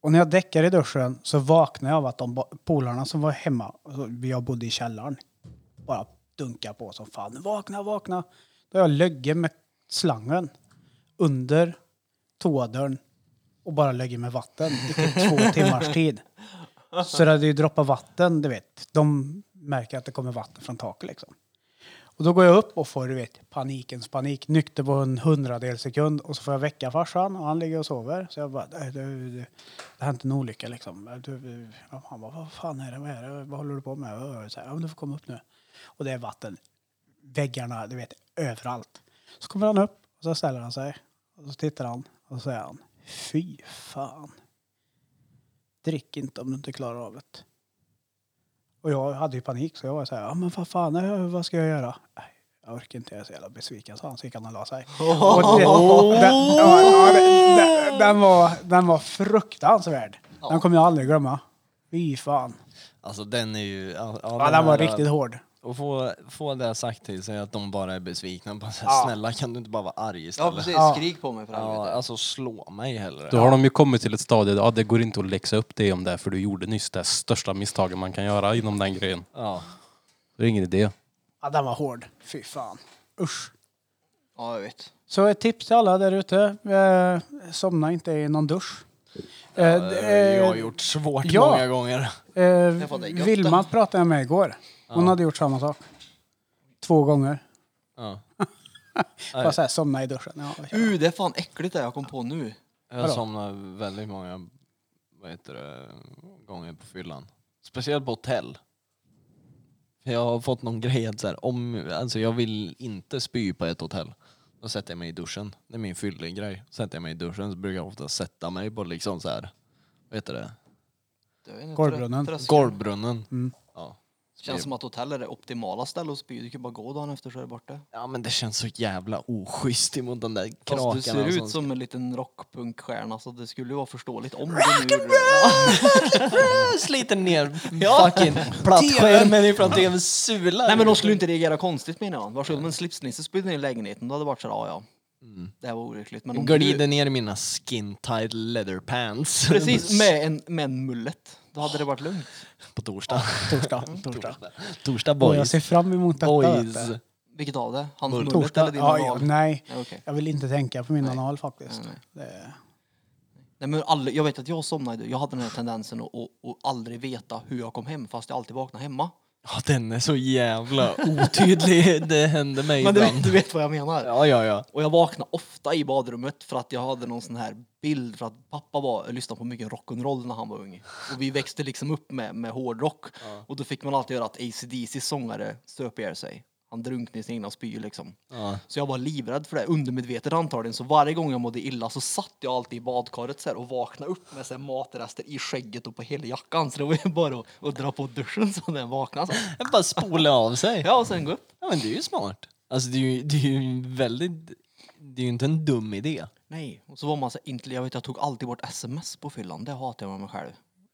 [SPEAKER 1] Och när jag däckar i duschen så vaknar jag av att de ba- polarna som var hemma, alltså, jag bodde i källaren, bara dunkar på som fan. Vakna, vakna! Då har jag lögge med slangen under toadörren och bara lögge med vatten i typ två timmars tid. Så det hade ju droppat vatten, du vet. De märker att det kommer vatten från taket liksom. Och då går jag upp och får, du vet, panikens panik. Nykter på en hundradel sekund. Och så får jag väcka farsan och han ligger och sover. Så jag bara, "Nej, det, det, det har hänt en olycka liksom. Du- du- ja, Han bara, vad fan är det? Vad, är det? vad håller du på med? Och Så här, "Ja, men du får komma upp nu. Och det är vatten. Väggarna, du vet, överallt. Så kommer han upp och så ställer han sig. Och så tittar han och så säger han, fy fan. Drick inte om du inte klarar av det. Och jag hade ju panik så jag var så här, ja men vad fan, eh, vad ska jag göra? Nej, jag orkar inte, jag är så jävla besviken, sa han. Så gick han och la sig. Och det, den, ja, ja, det- den, den, var, den var fruktansvärd. Den kommer jag aldrig glömma. Fy fan.
[SPEAKER 2] Alltså den är ju... Ja,
[SPEAKER 1] Ja, den var riktigt hård.
[SPEAKER 2] Och få, få det sagt till sig att de bara är besvikna. Bara, så här,
[SPEAKER 1] Ja.
[SPEAKER 2] Snälla kan du inte bara vara arg
[SPEAKER 4] Ja
[SPEAKER 2] istället?
[SPEAKER 4] precis,
[SPEAKER 1] Ja.
[SPEAKER 4] skrik på mig för
[SPEAKER 2] Ja,
[SPEAKER 4] helvete.
[SPEAKER 2] alltså slå mig hellre.
[SPEAKER 3] Då har de ju kommit till ett stadie där ja, det går inte att läxa upp det om det här, för du gjorde nyss det största misstaget man kan göra inom den grejen.
[SPEAKER 2] Ja.
[SPEAKER 3] Det är ingen idé.
[SPEAKER 1] Ja, den var hård. Fy fan. Usch.
[SPEAKER 4] Ja, jag vet.
[SPEAKER 1] Så ett tips till alla där ute. Eh, somna inte i någon dusch. Eh, d-
[SPEAKER 2] Jag har
[SPEAKER 1] eh,
[SPEAKER 2] gjort svårt
[SPEAKER 1] ja.
[SPEAKER 2] många gånger.
[SPEAKER 1] Eh,
[SPEAKER 4] fan, det är gött
[SPEAKER 1] Vilma pratade jag med igår. Hon hade gjort samma sak. Två gånger.
[SPEAKER 2] Ja.
[SPEAKER 1] Bara såhär, somna i duschen. Ja, vad kör jag.
[SPEAKER 4] Uh, det är fan äckligt det jag kom på nu.
[SPEAKER 2] Jag
[SPEAKER 1] Vadå?
[SPEAKER 2] somnar Eh, väldigt många vad heter det, gånger på fyllan. Speciellt på hotell. För Jag har fått någon grej att så här, om, alltså jag vill inte spy på ett hotell. Då sätter jag mig i duschen. Det är min fyllegrej. Sätter jag mig i duschen så brukar jag ofta sätta mig på liksom så här, vad heter det?
[SPEAKER 4] Alltså- Det är en
[SPEAKER 1] Golvbrunnen.
[SPEAKER 4] tröskel.
[SPEAKER 2] Golvbrunnen. Ja.
[SPEAKER 4] Mm. Känns som att hotell är det optimala stället att spy. Du kan bara gå dagen efter så är det borta.
[SPEAKER 2] ja men det känns så jävla oschysst emot den där krakarna.
[SPEAKER 4] Fast du ser ut
[SPEAKER 2] som-
[SPEAKER 4] som en liten rockpunkstjärna så det skulle ju vara förståeligt om du nu gjorde det.
[SPEAKER 2] sliter ner
[SPEAKER 4] Ja.
[SPEAKER 2] fucking plattskärmen ifrån tvns sula.
[SPEAKER 4] Nej men de skulle inte reagera konstigt menar jag. Varsågod om en slipsnisse spydde ner i lägenheten då hade det varit såhär, ja ja. Det här var olyckligt. Men om
[SPEAKER 2] Glider ner i mina skin tight leather pants.
[SPEAKER 4] Precis, med en, med en mullet. Då hade det varit lugnt.
[SPEAKER 2] På torsdag.
[SPEAKER 1] Torsdag. Torsdag.
[SPEAKER 2] Torsdag
[SPEAKER 1] Och jag
[SPEAKER 2] boys.
[SPEAKER 1] ser fram emot detta. vet
[SPEAKER 2] Boys.
[SPEAKER 1] du.
[SPEAKER 4] Vilket av det? Hans mullet
[SPEAKER 1] Torsdag.
[SPEAKER 4] eller din
[SPEAKER 1] Ja, ja,
[SPEAKER 4] anal?
[SPEAKER 1] nej,
[SPEAKER 4] Ja, okej.
[SPEAKER 1] jag vill inte tänka på min anal faktiskt.
[SPEAKER 4] Nej,
[SPEAKER 1] Det-
[SPEAKER 4] Nej, men alla, jag vet att jag somnade, jag hade den här tendensen att, att, att aldrig veta hur jag kom hem fast jag alltid vaknade hemma.
[SPEAKER 2] Ja, den är så jävla otydlig. Det hände mig
[SPEAKER 4] Men du,
[SPEAKER 2] ibland.
[SPEAKER 4] du vet vad jag menar.
[SPEAKER 2] Ja, ja, ja.
[SPEAKER 4] Och jag vaknade ofta i badrummet för att jag hade någon sån här bild för att pappa var, lyssnade på mycket rock'n'roll när han var ung. Och vi växte liksom upp med, med hårdrock. Och då fick man alltid höra att ACDCs sångare söp ihjäl sig. Han drunknade i sin egna spy liksom.
[SPEAKER 2] ja.
[SPEAKER 4] Så jag var livrädd för det, undermedvetet antagligen. Så varje gång jag mådde illa så satt jag alltid i badkaret så här och vaknade upp med så här matrester i skägget och på hela jackan. Så det var ju bara att, att dra på duschen så när jag vaknade. Så.
[SPEAKER 2] Jag bara spola av sig.
[SPEAKER 4] Ja, och sen gå upp.
[SPEAKER 2] Ja, men det är ju smart. Alltså det är ju, det är ju en väldigt... Det är ju inte en dum idé.
[SPEAKER 4] Nej, och så var man så inte, jag vet jag tog alltid bort sms på fyllan, det hatar jag med mig själv.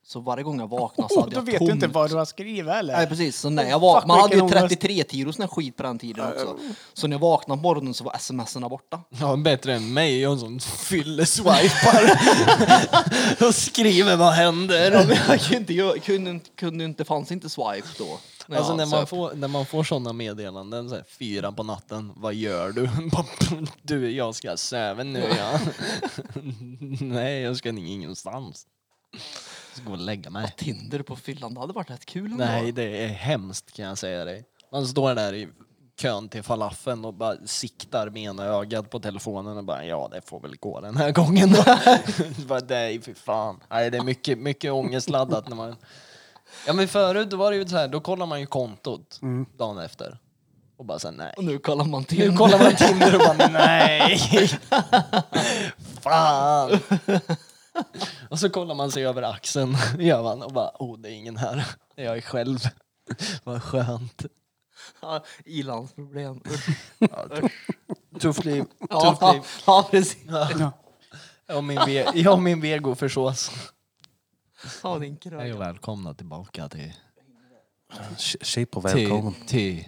[SPEAKER 4] Så varje gång jag vaknade så
[SPEAKER 1] Oh,
[SPEAKER 4] hade
[SPEAKER 1] då
[SPEAKER 4] jag
[SPEAKER 1] vet du inte vad du har skrivit eller?
[SPEAKER 4] Nej precis, så när jag
[SPEAKER 1] Fuck,
[SPEAKER 4] vaknade, man hade ju
[SPEAKER 1] vilken ångest.
[SPEAKER 4] 33 tiros när skit på den tiden också. Så när jag vaknade på morgonen så var smserna borta.
[SPEAKER 2] Ja, bättre än mig. Jag är en sån fylleswipar. och skriver vad händer.
[SPEAKER 4] Ja, men jag kunde inte, göra- kunde, inte- kunde inte, fanns inte swipe då. När
[SPEAKER 2] alltså
[SPEAKER 4] jag
[SPEAKER 2] när man,
[SPEAKER 4] söp.
[SPEAKER 2] får, när man får sådana meddelanden, så här, fyra på natten, vad gör du? Bara, du, jag ska söva nu ja. Nej, jag ska ingenstans. Jag ska gå och lägga mig.
[SPEAKER 4] Tinder på fyllan, det hade varit rätt kul ändå.
[SPEAKER 2] Nej, det är hemskt kan jag säga dig. Man står där i kön till falafeln och bara siktar med ena ögat på telefonen och bara ja, det får väl gå den här gången då. bara, nej, fy fan. Nej, det är mycket, mycket ångestladdat när man... Ja, men förut då var det ju så här, då kollar man ju kontot dagen efter och bara såhär, nej.
[SPEAKER 4] Och nu kollar man till.
[SPEAKER 2] Nu kollar man Tinder och bara nej. Fan. Och så kollar man sig över axeln gör man, och bara oh det är ingen här. Jag är själv. Vad skönt.
[SPEAKER 4] Ilandsproblem.
[SPEAKER 2] Tufft liv. Tufft
[SPEAKER 4] Ja,
[SPEAKER 2] liv.
[SPEAKER 4] ja, precis.
[SPEAKER 1] Ja.
[SPEAKER 2] Jag och min, ve- jag och min vego försås.
[SPEAKER 4] Ja, din kröka.
[SPEAKER 2] Hej och välkomna tillbaka till,
[SPEAKER 3] Shape och
[SPEAKER 2] till,
[SPEAKER 3] välkommen.
[SPEAKER 2] till,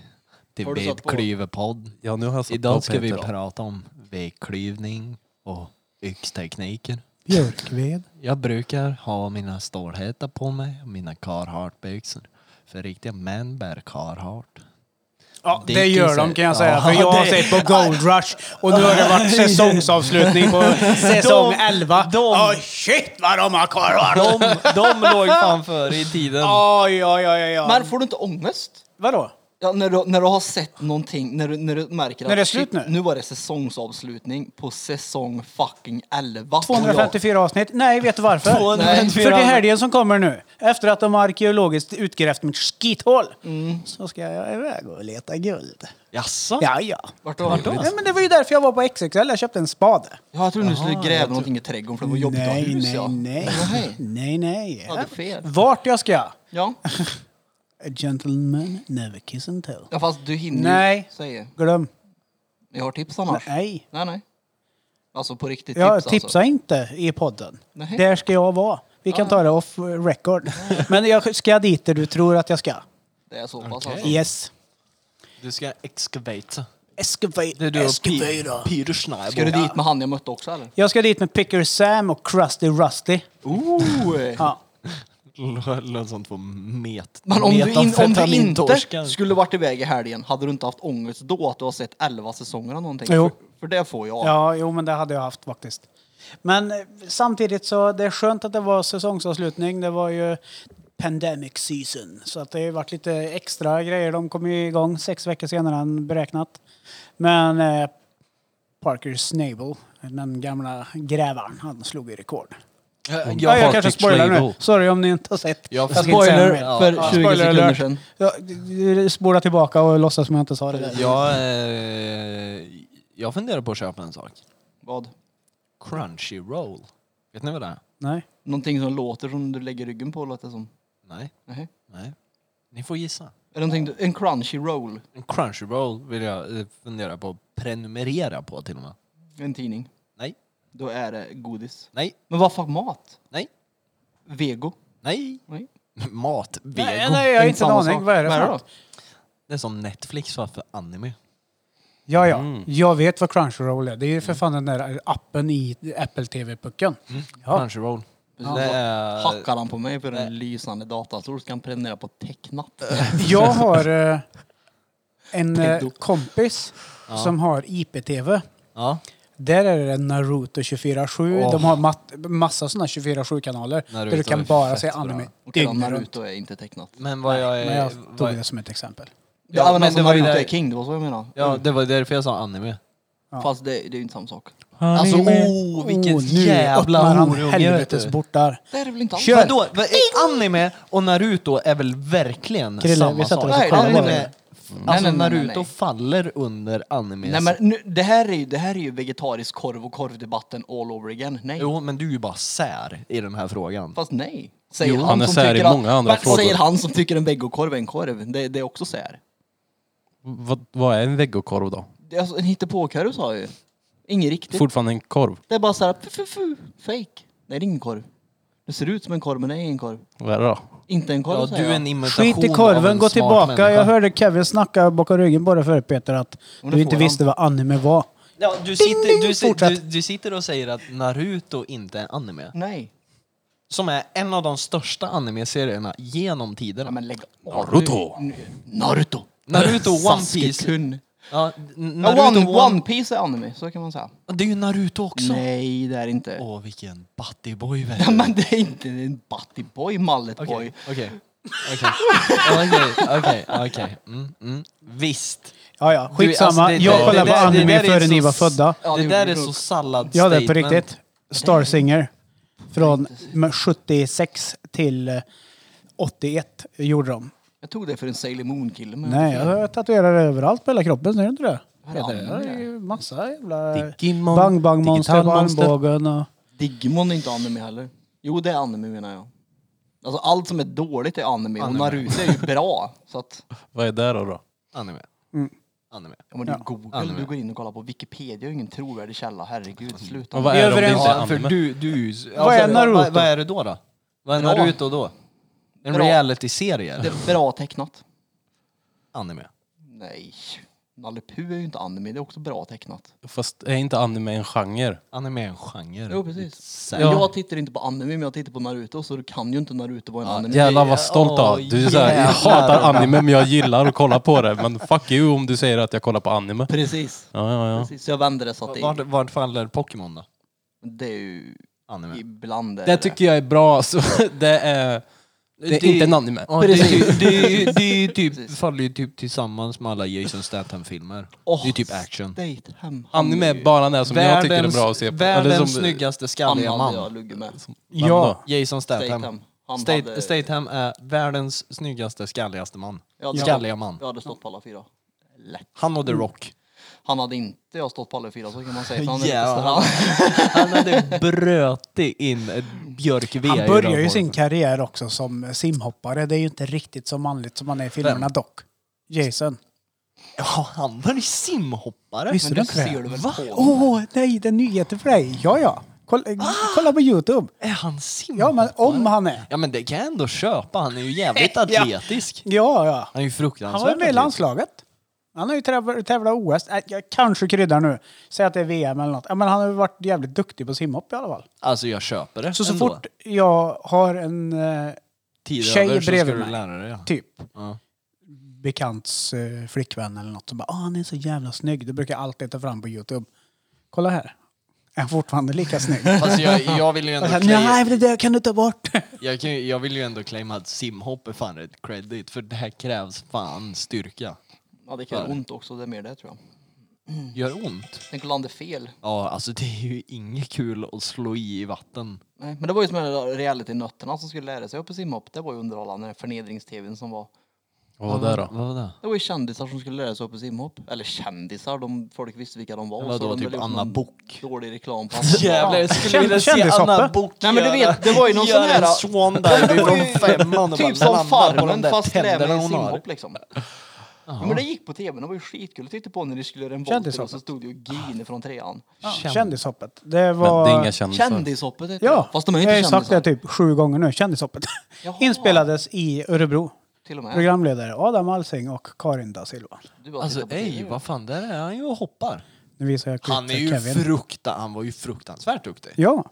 [SPEAKER 2] till
[SPEAKER 4] Har du satt på?
[SPEAKER 2] Veklyvepodd.
[SPEAKER 3] Ja, nu har jag satt på
[SPEAKER 2] Idag ska vi
[SPEAKER 3] Peter.
[SPEAKER 2] prata om vedklyvning och yxtekniker.
[SPEAKER 1] Björkved.
[SPEAKER 2] Jag brukar ha mina stålhättar på mig och mina Carhartt-byxor. För riktiga män bär Carhartt.
[SPEAKER 1] Ja, det
[SPEAKER 2] Dickens
[SPEAKER 1] gör de
[SPEAKER 2] säger-
[SPEAKER 1] kan jag säga.
[SPEAKER 2] Ja,
[SPEAKER 1] För jag har
[SPEAKER 2] det-
[SPEAKER 1] sett på Gold Rush och nu har det varit säsongsavslutning på säsong
[SPEAKER 2] De-
[SPEAKER 1] 11.
[SPEAKER 2] de-
[SPEAKER 1] Ja, shit vad de har kvar!
[SPEAKER 2] De, de låg fan före i tiden.
[SPEAKER 1] Oj, oj, oj, oj.
[SPEAKER 4] Men får du inte ångest?
[SPEAKER 1] Vadå?
[SPEAKER 4] Ja, när, du, när du har sett någonting, när du, när du märker att
[SPEAKER 1] När det är slut
[SPEAKER 4] shit,
[SPEAKER 1] nu?
[SPEAKER 4] nu var det säsongsavslutning på säsong fucking 11.
[SPEAKER 1] 254 avsnitt? Nej, vet du varför?
[SPEAKER 2] 254.
[SPEAKER 1] För det är helgen som kommer nu, efter att de har arkeologiskt utgrävt mitt skithål, så ska jag iväg och leta guld.
[SPEAKER 2] Jaså?
[SPEAKER 1] Ja, ja.
[SPEAKER 4] Vart då? Vart då?
[SPEAKER 1] ja men det var ju därför jag var på XXL. Jag köpte en spade.
[SPEAKER 4] Ja, jag trodde du skulle gräva någonting i trädgården för det var jobbigt att ha
[SPEAKER 1] Nej,
[SPEAKER 4] hus. ja.
[SPEAKER 1] nej, nej. Nej,
[SPEAKER 4] Nej.
[SPEAKER 1] nej.
[SPEAKER 4] Ja, det är fel.
[SPEAKER 1] Vart jag ska? A
[SPEAKER 4] Ja.
[SPEAKER 1] gentleman never kiss and tell.
[SPEAKER 4] ja, fast du hinner
[SPEAKER 1] Nej.
[SPEAKER 4] säga.
[SPEAKER 1] Glöm.
[SPEAKER 4] Jag har tips annars.
[SPEAKER 1] Nej.
[SPEAKER 4] Nej, nej. Alltså på riktigt
[SPEAKER 1] Jag
[SPEAKER 4] tips
[SPEAKER 1] tipsar
[SPEAKER 4] alltså.
[SPEAKER 1] inte i podden.
[SPEAKER 4] Nej.
[SPEAKER 1] Där ska jag vara. Vi kan ta det off record. Men jag ska dit där du tror att jag ska.
[SPEAKER 4] Det är så pass
[SPEAKER 2] Okej.
[SPEAKER 4] alltså.
[SPEAKER 1] Yes.
[SPEAKER 2] Du ska excavate. Det är
[SPEAKER 1] Excavate.
[SPEAKER 2] du och Pi-
[SPEAKER 1] Excavate.
[SPEAKER 2] Peter Schneider.
[SPEAKER 4] Ska du dit med han jag mötte också eller?
[SPEAKER 1] Jag ska dit med Picker Sam och Krusty Rusty.
[SPEAKER 4] Ooh.
[SPEAKER 1] Ja.
[SPEAKER 2] Låter som två met.
[SPEAKER 4] Men om du, in, om du inte
[SPEAKER 2] metamfetamintorskar.
[SPEAKER 4] skulle varit iväg i helgen, hade du inte haft ångest då att du har sett 11 säsonger eller någonting?
[SPEAKER 1] Jo.
[SPEAKER 4] För, för det får jag.
[SPEAKER 1] ja, jo men det hade jag haft faktiskt. Men eh, samtidigt så det är skönt att det var säsongsavslutning. Det var ju pandemic season. Så att det har ju varit lite extra grejer. De kom ju igång sex veckor senare än beräknat. Men eh, Parker Snable, den gamla grävaren, han slog ju rekord.
[SPEAKER 2] Jag,
[SPEAKER 1] Ja, jag kanske
[SPEAKER 2] Patrick
[SPEAKER 1] spoilar nu.
[SPEAKER 2] Schneider.
[SPEAKER 1] Sorry om ni inte har sett.
[SPEAKER 2] Jag
[SPEAKER 1] ska inte säga
[SPEAKER 4] Spoiler
[SPEAKER 1] mer.
[SPEAKER 2] Ja,
[SPEAKER 4] för
[SPEAKER 2] ja.
[SPEAKER 4] 20
[SPEAKER 1] Spoiler
[SPEAKER 4] sekunder
[SPEAKER 1] alert.
[SPEAKER 4] sedan.
[SPEAKER 1] Ja, spola tillbaka och låtsas som jag inte sa det där.
[SPEAKER 2] Jag, eh, jag funderar på att köpa en sak.
[SPEAKER 4] Vad?
[SPEAKER 2] Crunchyroll. Vet ni vad det är?
[SPEAKER 1] Nej.
[SPEAKER 4] Någonting som låter som du lägger ryggen på låter det som.
[SPEAKER 2] Nej.
[SPEAKER 4] Nej.
[SPEAKER 2] Nej. Ni får gissa.
[SPEAKER 4] Är det någonting du, en crunchy roll?
[SPEAKER 2] En Crunchyroll vill jag eh, fundera på att prenumerera på till och med.
[SPEAKER 4] En tidning?
[SPEAKER 2] Nej.
[SPEAKER 4] Då är det godis.
[SPEAKER 2] Nej.
[SPEAKER 4] Men vad fan mat?
[SPEAKER 2] Nej.
[SPEAKER 4] Vego?
[SPEAKER 2] Nej.
[SPEAKER 4] Nej.
[SPEAKER 2] Mat. Vego.
[SPEAKER 1] Nej, nej, jag har inte en
[SPEAKER 4] samma sak.
[SPEAKER 1] aning. Vad är det för något?
[SPEAKER 4] då?
[SPEAKER 2] Det är som Netflix var för anime.
[SPEAKER 1] Ja, ja.
[SPEAKER 2] Mm.
[SPEAKER 1] Jag vet vad Crunchyroll är. Det är ju för fan den där appen i Apple TV-pucken. Ja.
[SPEAKER 2] Crunchyroll.
[SPEAKER 4] Ja,
[SPEAKER 2] Det är...
[SPEAKER 4] Hackar han på mig för en lysande dator ska han prenumerera på tecknat.
[SPEAKER 1] Jag har eh, en eh,
[SPEAKER 4] Pedo.
[SPEAKER 1] kompis som har IPTV.
[SPEAKER 2] Ja.
[SPEAKER 1] Där är det Naruto 24-7. De har mat- massa sådana 24-7-kanaler. Där du
[SPEAKER 2] Naruto
[SPEAKER 1] kan
[SPEAKER 2] är
[SPEAKER 1] bara
[SPEAKER 2] fett
[SPEAKER 1] se
[SPEAKER 2] bra.
[SPEAKER 1] anime
[SPEAKER 4] Och redan
[SPEAKER 1] dygnet runt.
[SPEAKER 4] Naruto är inte tecknat.
[SPEAKER 2] Men vad jag
[SPEAKER 1] Men
[SPEAKER 2] är...
[SPEAKER 1] jag tog
[SPEAKER 2] Vad,
[SPEAKER 1] det som ett exempel.
[SPEAKER 2] Ja,
[SPEAKER 4] Ja, men
[SPEAKER 2] men
[SPEAKER 4] alltså
[SPEAKER 2] det var ju
[SPEAKER 4] Naruto
[SPEAKER 2] där-
[SPEAKER 4] är king, det var så jag menade.
[SPEAKER 2] ja, det var därför jag sa anime.
[SPEAKER 4] Fast det, det är ju inte samma sak.
[SPEAKER 2] Alltså, oh, vilket
[SPEAKER 1] Oh,
[SPEAKER 2] jävla
[SPEAKER 1] han
[SPEAKER 2] horunge,
[SPEAKER 1] helvetes
[SPEAKER 2] vet du.
[SPEAKER 1] bortar.
[SPEAKER 4] Det är det väl inte alls?
[SPEAKER 1] Kör!
[SPEAKER 4] Vadå?
[SPEAKER 2] Vadå? Va- eh, Anime och Naruto är väl verkligen
[SPEAKER 1] Krille, vi
[SPEAKER 2] samma
[SPEAKER 1] satte oss
[SPEAKER 2] sak?
[SPEAKER 1] och
[SPEAKER 4] Nej, kollade
[SPEAKER 2] anime,
[SPEAKER 4] på det.
[SPEAKER 2] Alltså
[SPEAKER 4] nej, nej,
[SPEAKER 2] Naruto
[SPEAKER 4] nej.
[SPEAKER 2] faller under anime.
[SPEAKER 4] Nej men nu, det, här är ju, det här är ju vegetarisk korv och korvdebatten all over again. Nej.
[SPEAKER 2] Jo, men du är ju bara sär i den här frågan.
[SPEAKER 4] Fast nej. Säger
[SPEAKER 3] Jo,
[SPEAKER 4] han,
[SPEAKER 3] han är
[SPEAKER 4] som
[SPEAKER 3] sär i
[SPEAKER 4] tycker att-
[SPEAKER 3] många andra
[SPEAKER 4] men
[SPEAKER 3] frågor.
[SPEAKER 4] Säger han som tycker en vegokorv är en korv. Det, det är också sär.
[SPEAKER 3] Vad, vad är en vegokorv då?
[SPEAKER 4] Det är alltså en hittepåkorv sa jag ju. Inget riktigt.
[SPEAKER 3] Fortfarande en korv.
[SPEAKER 4] Det är bara såhär, fu, fu, fu, fake. Nej det är ingen korv. Det ser ut som en korv men det är ingen korv.
[SPEAKER 3] Vad är det då?
[SPEAKER 4] Inte en korv
[SPEAKER 2] Ja,
[SPEAKER 4] säger
[SPEAKER 2] du är
[SPEAKER 4] jag.
[SPEAKER 2] en imitation
[SPEAKER 1] Skit i
[SPEAKER 2] av en
[SPEAKER 1] korven, gå
[SPEAKER 2] smart
[SPEAKER 1] tillbaka.
[SPEAKER 2] människa.
[SPEAKER 1] Jag hörde Kevin snacka bakom ryggen på dig förut Peter att
[SPEAKER 4] Men det
[SPEAKER 1] du inte
[SPEAKER 4] får han.
[SPEAKER 1] visste vad anime var.
[SPEAKER 2] Ja, du, sitter, du, si- du,
[SPEAKER 1] Fortsätt.
[SPEAKER 2] du sitter och säger att Naruto inte är anime.
[SPEAKER 4] Nej.
[SPEAKER 2] Som är en av de största anime-serierna genom tiderna.
[SPEAKER 4] Ja, men lägg av.
[SPEAKER 3] Naruto.
[SPEAKER 4] Nu- Naruto.
[SPEAKER 2] Naruto One Piece.
[SPEAKER 4] Sasukun.
[SPEAKER 2] Ja, n-
[SPEAKER 4] Ja,
[SPEAKER 2] Naruto
[SPEAKER 4] One,
[SPEAKER 2] One...
[SPEAKER 4] One Piece är anime, så kan man säga.
[SPEAKER 2] Det är ju Naruto också.
[SPEAKER 4] Nej, det är det inte.
[SPEAKER 2] Åh, vilken buttyboy. vet
[SPEAKER 4] Ja,
[SPEAKER 2] du.
[SPEAKER 4] men det är inte en buttyboy, malletboy.
[SPEAKER 2] Okej, okej. Okej, okej, okej. Mm, mm. Visst.
[SPEAKER 1] Ja, ja,
[SPEAKER 2] Du,
[SPEAKER 1] skitsamma.
[SPEAKER 2] alltså, det-
[SPEAKER 1] jag
[SPEAKER 2] det-
[SPEAKER 1] kollade
[SPEAKER 2] det-
[SPEAKER 1] på
[SPEAKER 2] det- det
[SPEAKER 1] anime
[SPEAKER 2] där är
[SPEAKER 1] före
[SPEAKER 2] så
[SPEAKER 1] ni var
[SPEAKER 2] s-
[SPEAKER 1] födda.
[SPEAKER 4] Ja, det
[SPEAKER 2] det där
[SPEAKER 4] gjorde
[SPEAKER 2] är
[SPEAKER 4] du.
[SPEAKER 2] så sallad
[SPEAKER 1] Ja, det är på
[SPEAKER 2] statement. Mm.
[SPEAKER 1] riktigt. Star Singer. Från 76 till eh, 81 gjorde de.
[SPEAKER 2] Mm.
[SPEAKER 4] Jag tog det för en Sailor Moon-kille. men-
[SPEAKER 1] Nej, jag har tatuerat överallt på hela kroppen, ser du inte det?
[SPEAKER 4] Här
[SPEAKER 1] Ja,
[SPEAKER 4] är
[SPEAKER 1] det är
[SPEAKER 4] anime.
[SPEAKER 1] ju massa jävla...
[SPEAKER 3] Digimon,
[SPEAKER 1] Bang Bang Monster
[SPEAKER 3] Digital
[SPEAKER 1] på
[SPEAKER 3] Monster.
[SPEAKER 1] armbågen och...
[SPEAKER 4] Digimon är inte anime heller. Jo, det är anime menar jag. Alltså allt som är dåligt är anime,
[SPEAKER 2] Anime.
[SPEAKER 4] och Naruto är ju bra. Så att,
[SPEAKER 3] Vad är det då? då?
[SPEAKER 2] Anime.
[SPEAKER 1] Mm.
[SPEAKER 2] Anime.
[SPEAKER 4] ja, men det är ju Google,
[SPEAKER 2] anime.
[SPEAKER 4] du går in och kollar på Wikipedia, är ju ingen trovärdig källa. Herregud, sluta.
[SPEAKER 3] Men vad
[SPEAKER 1] Vi är
[SPEAKER 3] är det om det
[SPEAKER 1] överens.
[SPEAKER 3] inte är
[SPEAKER 2] Ja, för
[SPEAKER 3] anime?
[SPEAKER 2] du, du, alltså,
[SPEAKER 1] Vad är Naruto?
[SPEAKER 2] Vad, vad är det då? då? Vad är
[SPEAKER 4] Bra.
[SPEAKER 2] Naruto då? En
[SPEAKER 4] Bra.
[SPEAKER 2] reality-serie?
[SPEAKER 4] Det är bra tecknat.
[SPEAKER 2] Anime.
[SPEAKER 4] Nej. Nalle Puh är ju inte anime, det är också bra tecknat.
[SPEAKER 3] Fast är inte anime en genre?
[SPEAKER 2] Anime är en genre.
[SPEAKER 4] Jo, precis.
[SPEAKER 2] Sen-
[SPEAKER 4] Jag tittar inte på anime, men jag tittar på Naruto, så du kan ju inte Naruto vara en anime.
[SPEAKER 3] Jävlar vad stolt du
[SPEAKER 2] Åh,
[SPEAKER 3] var. Du är såhär, jag
[SPEAKER 2] jävlar.
[SPEAKER 3] hatar anime men jag gillar att kolla på det. Men fuck you om du säger att jag kollar på anime.
[SPEAKER 4] Precis.
[SPEAKER 3] Ja, ja, ja.
[SPEAKER 4] Precis. Så jag vänder det så att det,
[SPEAKER 2] Vart, vart faller Pokémon då?
[SPEAKER 4] det är ju
[SPEAKER 2] Anime.
[SPEAKER 4] ibland... är
[SPEAKER 3] Det tycker jag är bra. Så det är, det är inte en anime.
[SPEAKER 2] Ja, det, är ju-
[SPEAKER 4] Precis.
[SPEAKER 2] det, är ju- det är ju typ,
[SPEAKER 4] Precis.
[SPEAKER 2] faller ju typ tillsammans med alla Jason Statham-filmer.
[SPEAKER 4] Åh,
[SPEAKER 2] det är typ action.
[SPEAKER 4] Statham. Han
[SPEAKER 3] Anime
[SPEAKER 4] är
[SPEAKER 3] är
[SPEAKER 4] ju-
[SPEAKER 3] bara det som jag tycker är bra att se på.
[SPEAKER 2] Världens
[SPEAKER 3] som-
[SPEAKER 2] snyggaste
[SPEAKER 4] Han
[SPEAKER 2] skalliga
[SPEAKER 4] hade
[SPEAKER 2] man.
[SPEAKER 4] jag lugg med.
[SPEAKER 1] Ja,
[SPEAKER 2] Jason Statham.
[SPEAKER 4] Statham. Han
[SPEAKER 2] State-
[SPEAKER 4] hade-
[SPEAKER 2] Statham är världens snyggaste, skalligaste man.
[SPEAKER 4] Ja, det-
[SPEAKER 2] Skalliga man.
[SPEAKER 4] Jag hade stått på alla fyra. Lätt.
[SPEAKER 2] Han och The
[SPEAKER 1] Mm.
[SPEAKER 2] Rock.
[SPEAKER 4] Han hade inte jag stått på alla fyra så kan man säga. För han är
[SPEAKER 2] Jävlar.
[SPEAKER 4] lite större.
[SPEAKER 2] Han hade brötit in ett björkve
[SPEAKER 1] han
[SPEAKER 2] i
[SPEAKER 1] börjar ju
[SPEAKER 2] rövhålet.
[SPEAKER 1] sin karriär också som simhoppare. Det är ju inte riktigt så manligt som han är i filmerna dock. Jason.
[SPEAKER 2] Ja, han var ju simhoppare.
[SPEAKER 1] Visste du
[SPEAKER 4] Men det
[SPEAKER 1] inte
[SPEAKER 4] ser
[SPEAKER 1] det?
[SPEAKER 4] du väl
[SPEAKER 2] Va?
[SPEAKER 4] på?
[SPEAKER 1] Åh, nej, det är nyheter för dig. Ja, ja. Kolla,
[SPEAKER 2] Ah!
[SPEAKER 1] kolla på Youtube.
[SPEAKER 2] Är han simhoppare?
[SPEAKER 1] Ja, men om han är.
[SPEAKER 2] Ja, men det kan jag ändå köpa. Han är ju jävligt atletisk.
[SPEAKER 1] Ja, ja.
[SPEAKER 2] Han är typ. ju fruktansvärt
[SPEAKER 1] Han var ju med i
[SPEAKER 2] atletisk.
[SPEAKER 1] landslaget. Han har ju tävlat, tävlat OS. Äh, jag kanske kryddar nu. Säg att det är VM eller något. Ja, men han har ju varit jävligt duktig på simhopp i alla fall.
[SPEAKER 2] Alltså jag köper det
[SPEAKER 1] Så, så
[SPEAKER 2] ändå.
[SPEAKER 1] fort jag har en eh,
[SPEAKER 2] Tid
[SPEAKER 1] tjej
[SPEAKER 2] över så ska
[SPEAKER 1] bredvid
[SPEAKER 2] du
[SPEAKER 1] mig.
[SPEAKER 2] lära dig. ja.
[SPEAKER 1] typ
[SPEAKER 2] Ja.
[SPEAKER 1] bekants eh, flickvän eller något som bara ah, han är så jävla snygg. Det brukar jag alltid ta fram på Youtube. Kolla här. Är han fortfarande lika snygg?
[SPEAKER 2] Fast Alltså, jag, jag vill ju ändå
[SPEAKER 1] Jag säger,
[SPEAKER 2] claima,
[SPEAKER 1] Nej, men det där kan du ta bort.
[SPEAKER 2] jag kan, ju- jag vill ju ändå claima att simhopp är fan ett credit för det här krävs fan styrka.
[SPEAKER 4] Ja, det kan göra ont också, det är mer det tror jag.
[SPEAKER 2] Gör ont?
[SPEAKER 4] Tänk att landa fel.
[SPEAKER 2] Ja, alltså det är ju inget kul att slå i i vatten.
[SPEAKER 4] Nej, men det var ju som en reality-nötterna som skulle lära sig upp på simhopp. Det var ju underhållande, den här förnedrings-tvn som var.
[SPEAKER 3] Vad var det då?
[SPEAKER 2] Vad var det?
[SPEAKER 4] Det var ju kändisar som skulle lära sig upp på simhopp. Eller kändisar, de, folk visste vilka de var.
[SPEAKER 2] Det var
[SPEAKER 4] så
[SPEAKER 2] då
[SPEAKER 4] de
[SPEAKER 2] typ
[SPEAKER 4] hade gjort
[SPEAKER 2] Anna
[SPEAKER 4] någon
[SPEAKER 2] Bok.
[SPEAKER 4] Dålig reklam på
[SPEAKER 2] Jävlar, jag skulle vilja se
[SPEAKER 1] Kändishoppe.
[SPEAKER 2] Anna Book
[SPEAKER 4] Nej, men du
[SPEAKER 2] göra-
[SPEAKER 4] vet, det var ju någon
[SPEAKER 2] göra
[SPEAKER 4] sån här-
[SPEAKER 2] en swan dive från femman och bara
[SPEAKER 4] Typ som
[SPEAKER 2] landa på de
[SPEAKER 4] Farmen
[SPEAKER 2] där
[SPEAKER 4] fast det är
[SPEAKER 2] tänderna
[SPEAKER 4] med
[SPEAKER 2] hon har.
[SPEAKER 4] simhopp liksom. Ja, men det gick på tv, det var ju skitkul att titta på när de skulle göra en
[SPEAKER 1] Kändishoppet.
[SPEAKER 4] volter och så stod det ju Gin från trean.
[SPEAKER 1] Ja, Kändishoppet. Det var...
[SPEAKER 3] Men det är inga kändisar.
[SPEAKER 4] Kändishoppet heter
[SPEAKER 1] Ja,
[SPEAKER 4] det. Fast de är ju
[SPEAKER 1] jag
[SPEAKER 4] inte
[SPEAKER 1] har ju sagt
[SPEAKER 4] kändisar.
[SPEAKER 1] det typ sju gånger nu. Kändishoppet.
[SPEAKER 4] Jaha.
[SPEAKER 1] Inspelades i Örebro.
[SPEAKER 4] Till och med.
[SPEAKER 1] Programledare Adam Alsing och Karin da Silva.
[SPEAKER 4] Du bara
[SPEAKER 2] Alltså
[SPEAKER 4] tittar på
[SPEAKER 2] ej,
[SPEAKER 4] TV.
[SPEAKER 2] vad fan, där är han ju och hoppar.
[SPEAKER 1] Nu visar jag klipp
[SPEAKER 2] Han är
[SPEAKER 1] till
[SPEAKER 2] ju
[SPEAKER 1] Kevin.
[SPEAKER 2] frukta, han var ju fruktansvärt duktig.
[SPEAKER 1] Ja.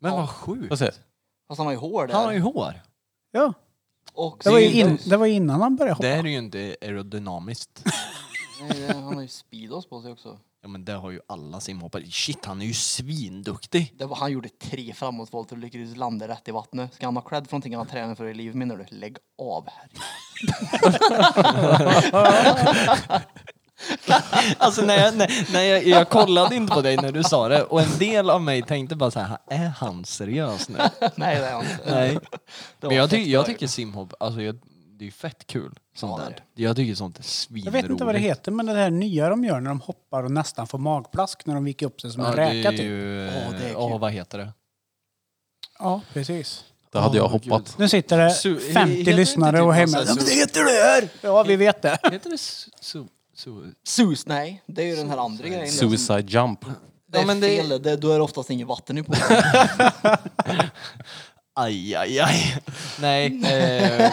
[SPEAKER 2] Men vad sjukt.
[SPEAKER 3] Får se.
[SPEAKER 4] Fast han har ju hår där.
[SPEAKER 2] Han har ju hår.
[SPEAKER 1] ja.
[SPEAKER 4] Och
[SPEAKER 1] Det, var ju in,
[SPEAKER 4] Speedos.
[SPEAKER 1] det var ju innan han började hoppa.
[SPEAKER 2] Det här är ju inte aerodynamiskt.
[SPEAKER 4] Nej, det- Han har ju Speedos på sig också.
[SPEAKER 2] Ja men det har ju alla simhoppare. Shit, han är ju svinduktig.
[SPEAKER 4] Det var, han gjorde tre framåtvolter och lyckades landa rätt i vattnet. Ska han ha cred för någonting han har tränat för i livet menar du? Lägg av här.
[SPEAKER 2] Alltså när jag, när, när jag, jag kollade inte på dig när du sa det och en del av mig tänkte bara så här, är han seriös nu?
[SPEAKER 4] Nej, det är han inte.
[SPEAKER 2] Nej.
[SPEAKER 4] Det var
[SPEAKER 2] Men jag, ty,
[SPEAKER 4] fett
[SPEAKER 2] jag
[SPEAKER 4] bra.
[SPEAKER 2] tycker simhopp, alltså jag, det är ju fett kul. Sånt
[SPEAKER 4] Ja, det är
[SPEAKER 2] där. Jag tycker sånt är svinroligt.
[SPEAKER 1] Jag vet inte vad det heter, men det här nya de gör när de hoppar och nästan får magplask när de viker upp sig som en
[SPEAKER 2] Ja, det
[SPEAKER 1] räka
[SPEAKER 2] är
[SPEAKER 1] typ.
[SPEAKER 2] ju,
[SPEAKER 4] Ja, det är
[SPEAKER 2] ja,
[SPEAKER 4] kul.
[SPEAKER 2] vad heter det?
[SPEAKER 1] Ja, precis.
[SPEAKER 3] Det hade jag
[SPEAKER 2] Åh, gud.
[SPEAKER 3] hoppat.
[SPEAKER 1] Nu sitter det
[SPEAKER 2] Su-
[SPEAKER 1] 50
[SPEAKER 2] he- heter det inte
[SPEAKER 1] lyssnare
[SPEAKER 2] typ
[SPEAKER 1] och hemma.
[SPEAKER 2] någon
[SPEAKER 1] Ja,
[SPEAKER 2] sån
[SPEAKER 1] men
[SPEAKER 2] här
[SPEAKER 1] det heter det här! Ja, vi vet det.
[SPEAKER 2] Heter det su, su, su,
[SPEAKER 4] Sus, nej. Det är ju den här andra grejen.
[SPEAKER 3] Suicide jump.
[SPEAKER 4] Det är
[SPEAKER 2] Ja, men det-
[SPEAKER 4] fel. Det, då är det oftast inget vatten i poolen.
[SPEAKER 2] Aj, aj, aj. Nej, eh,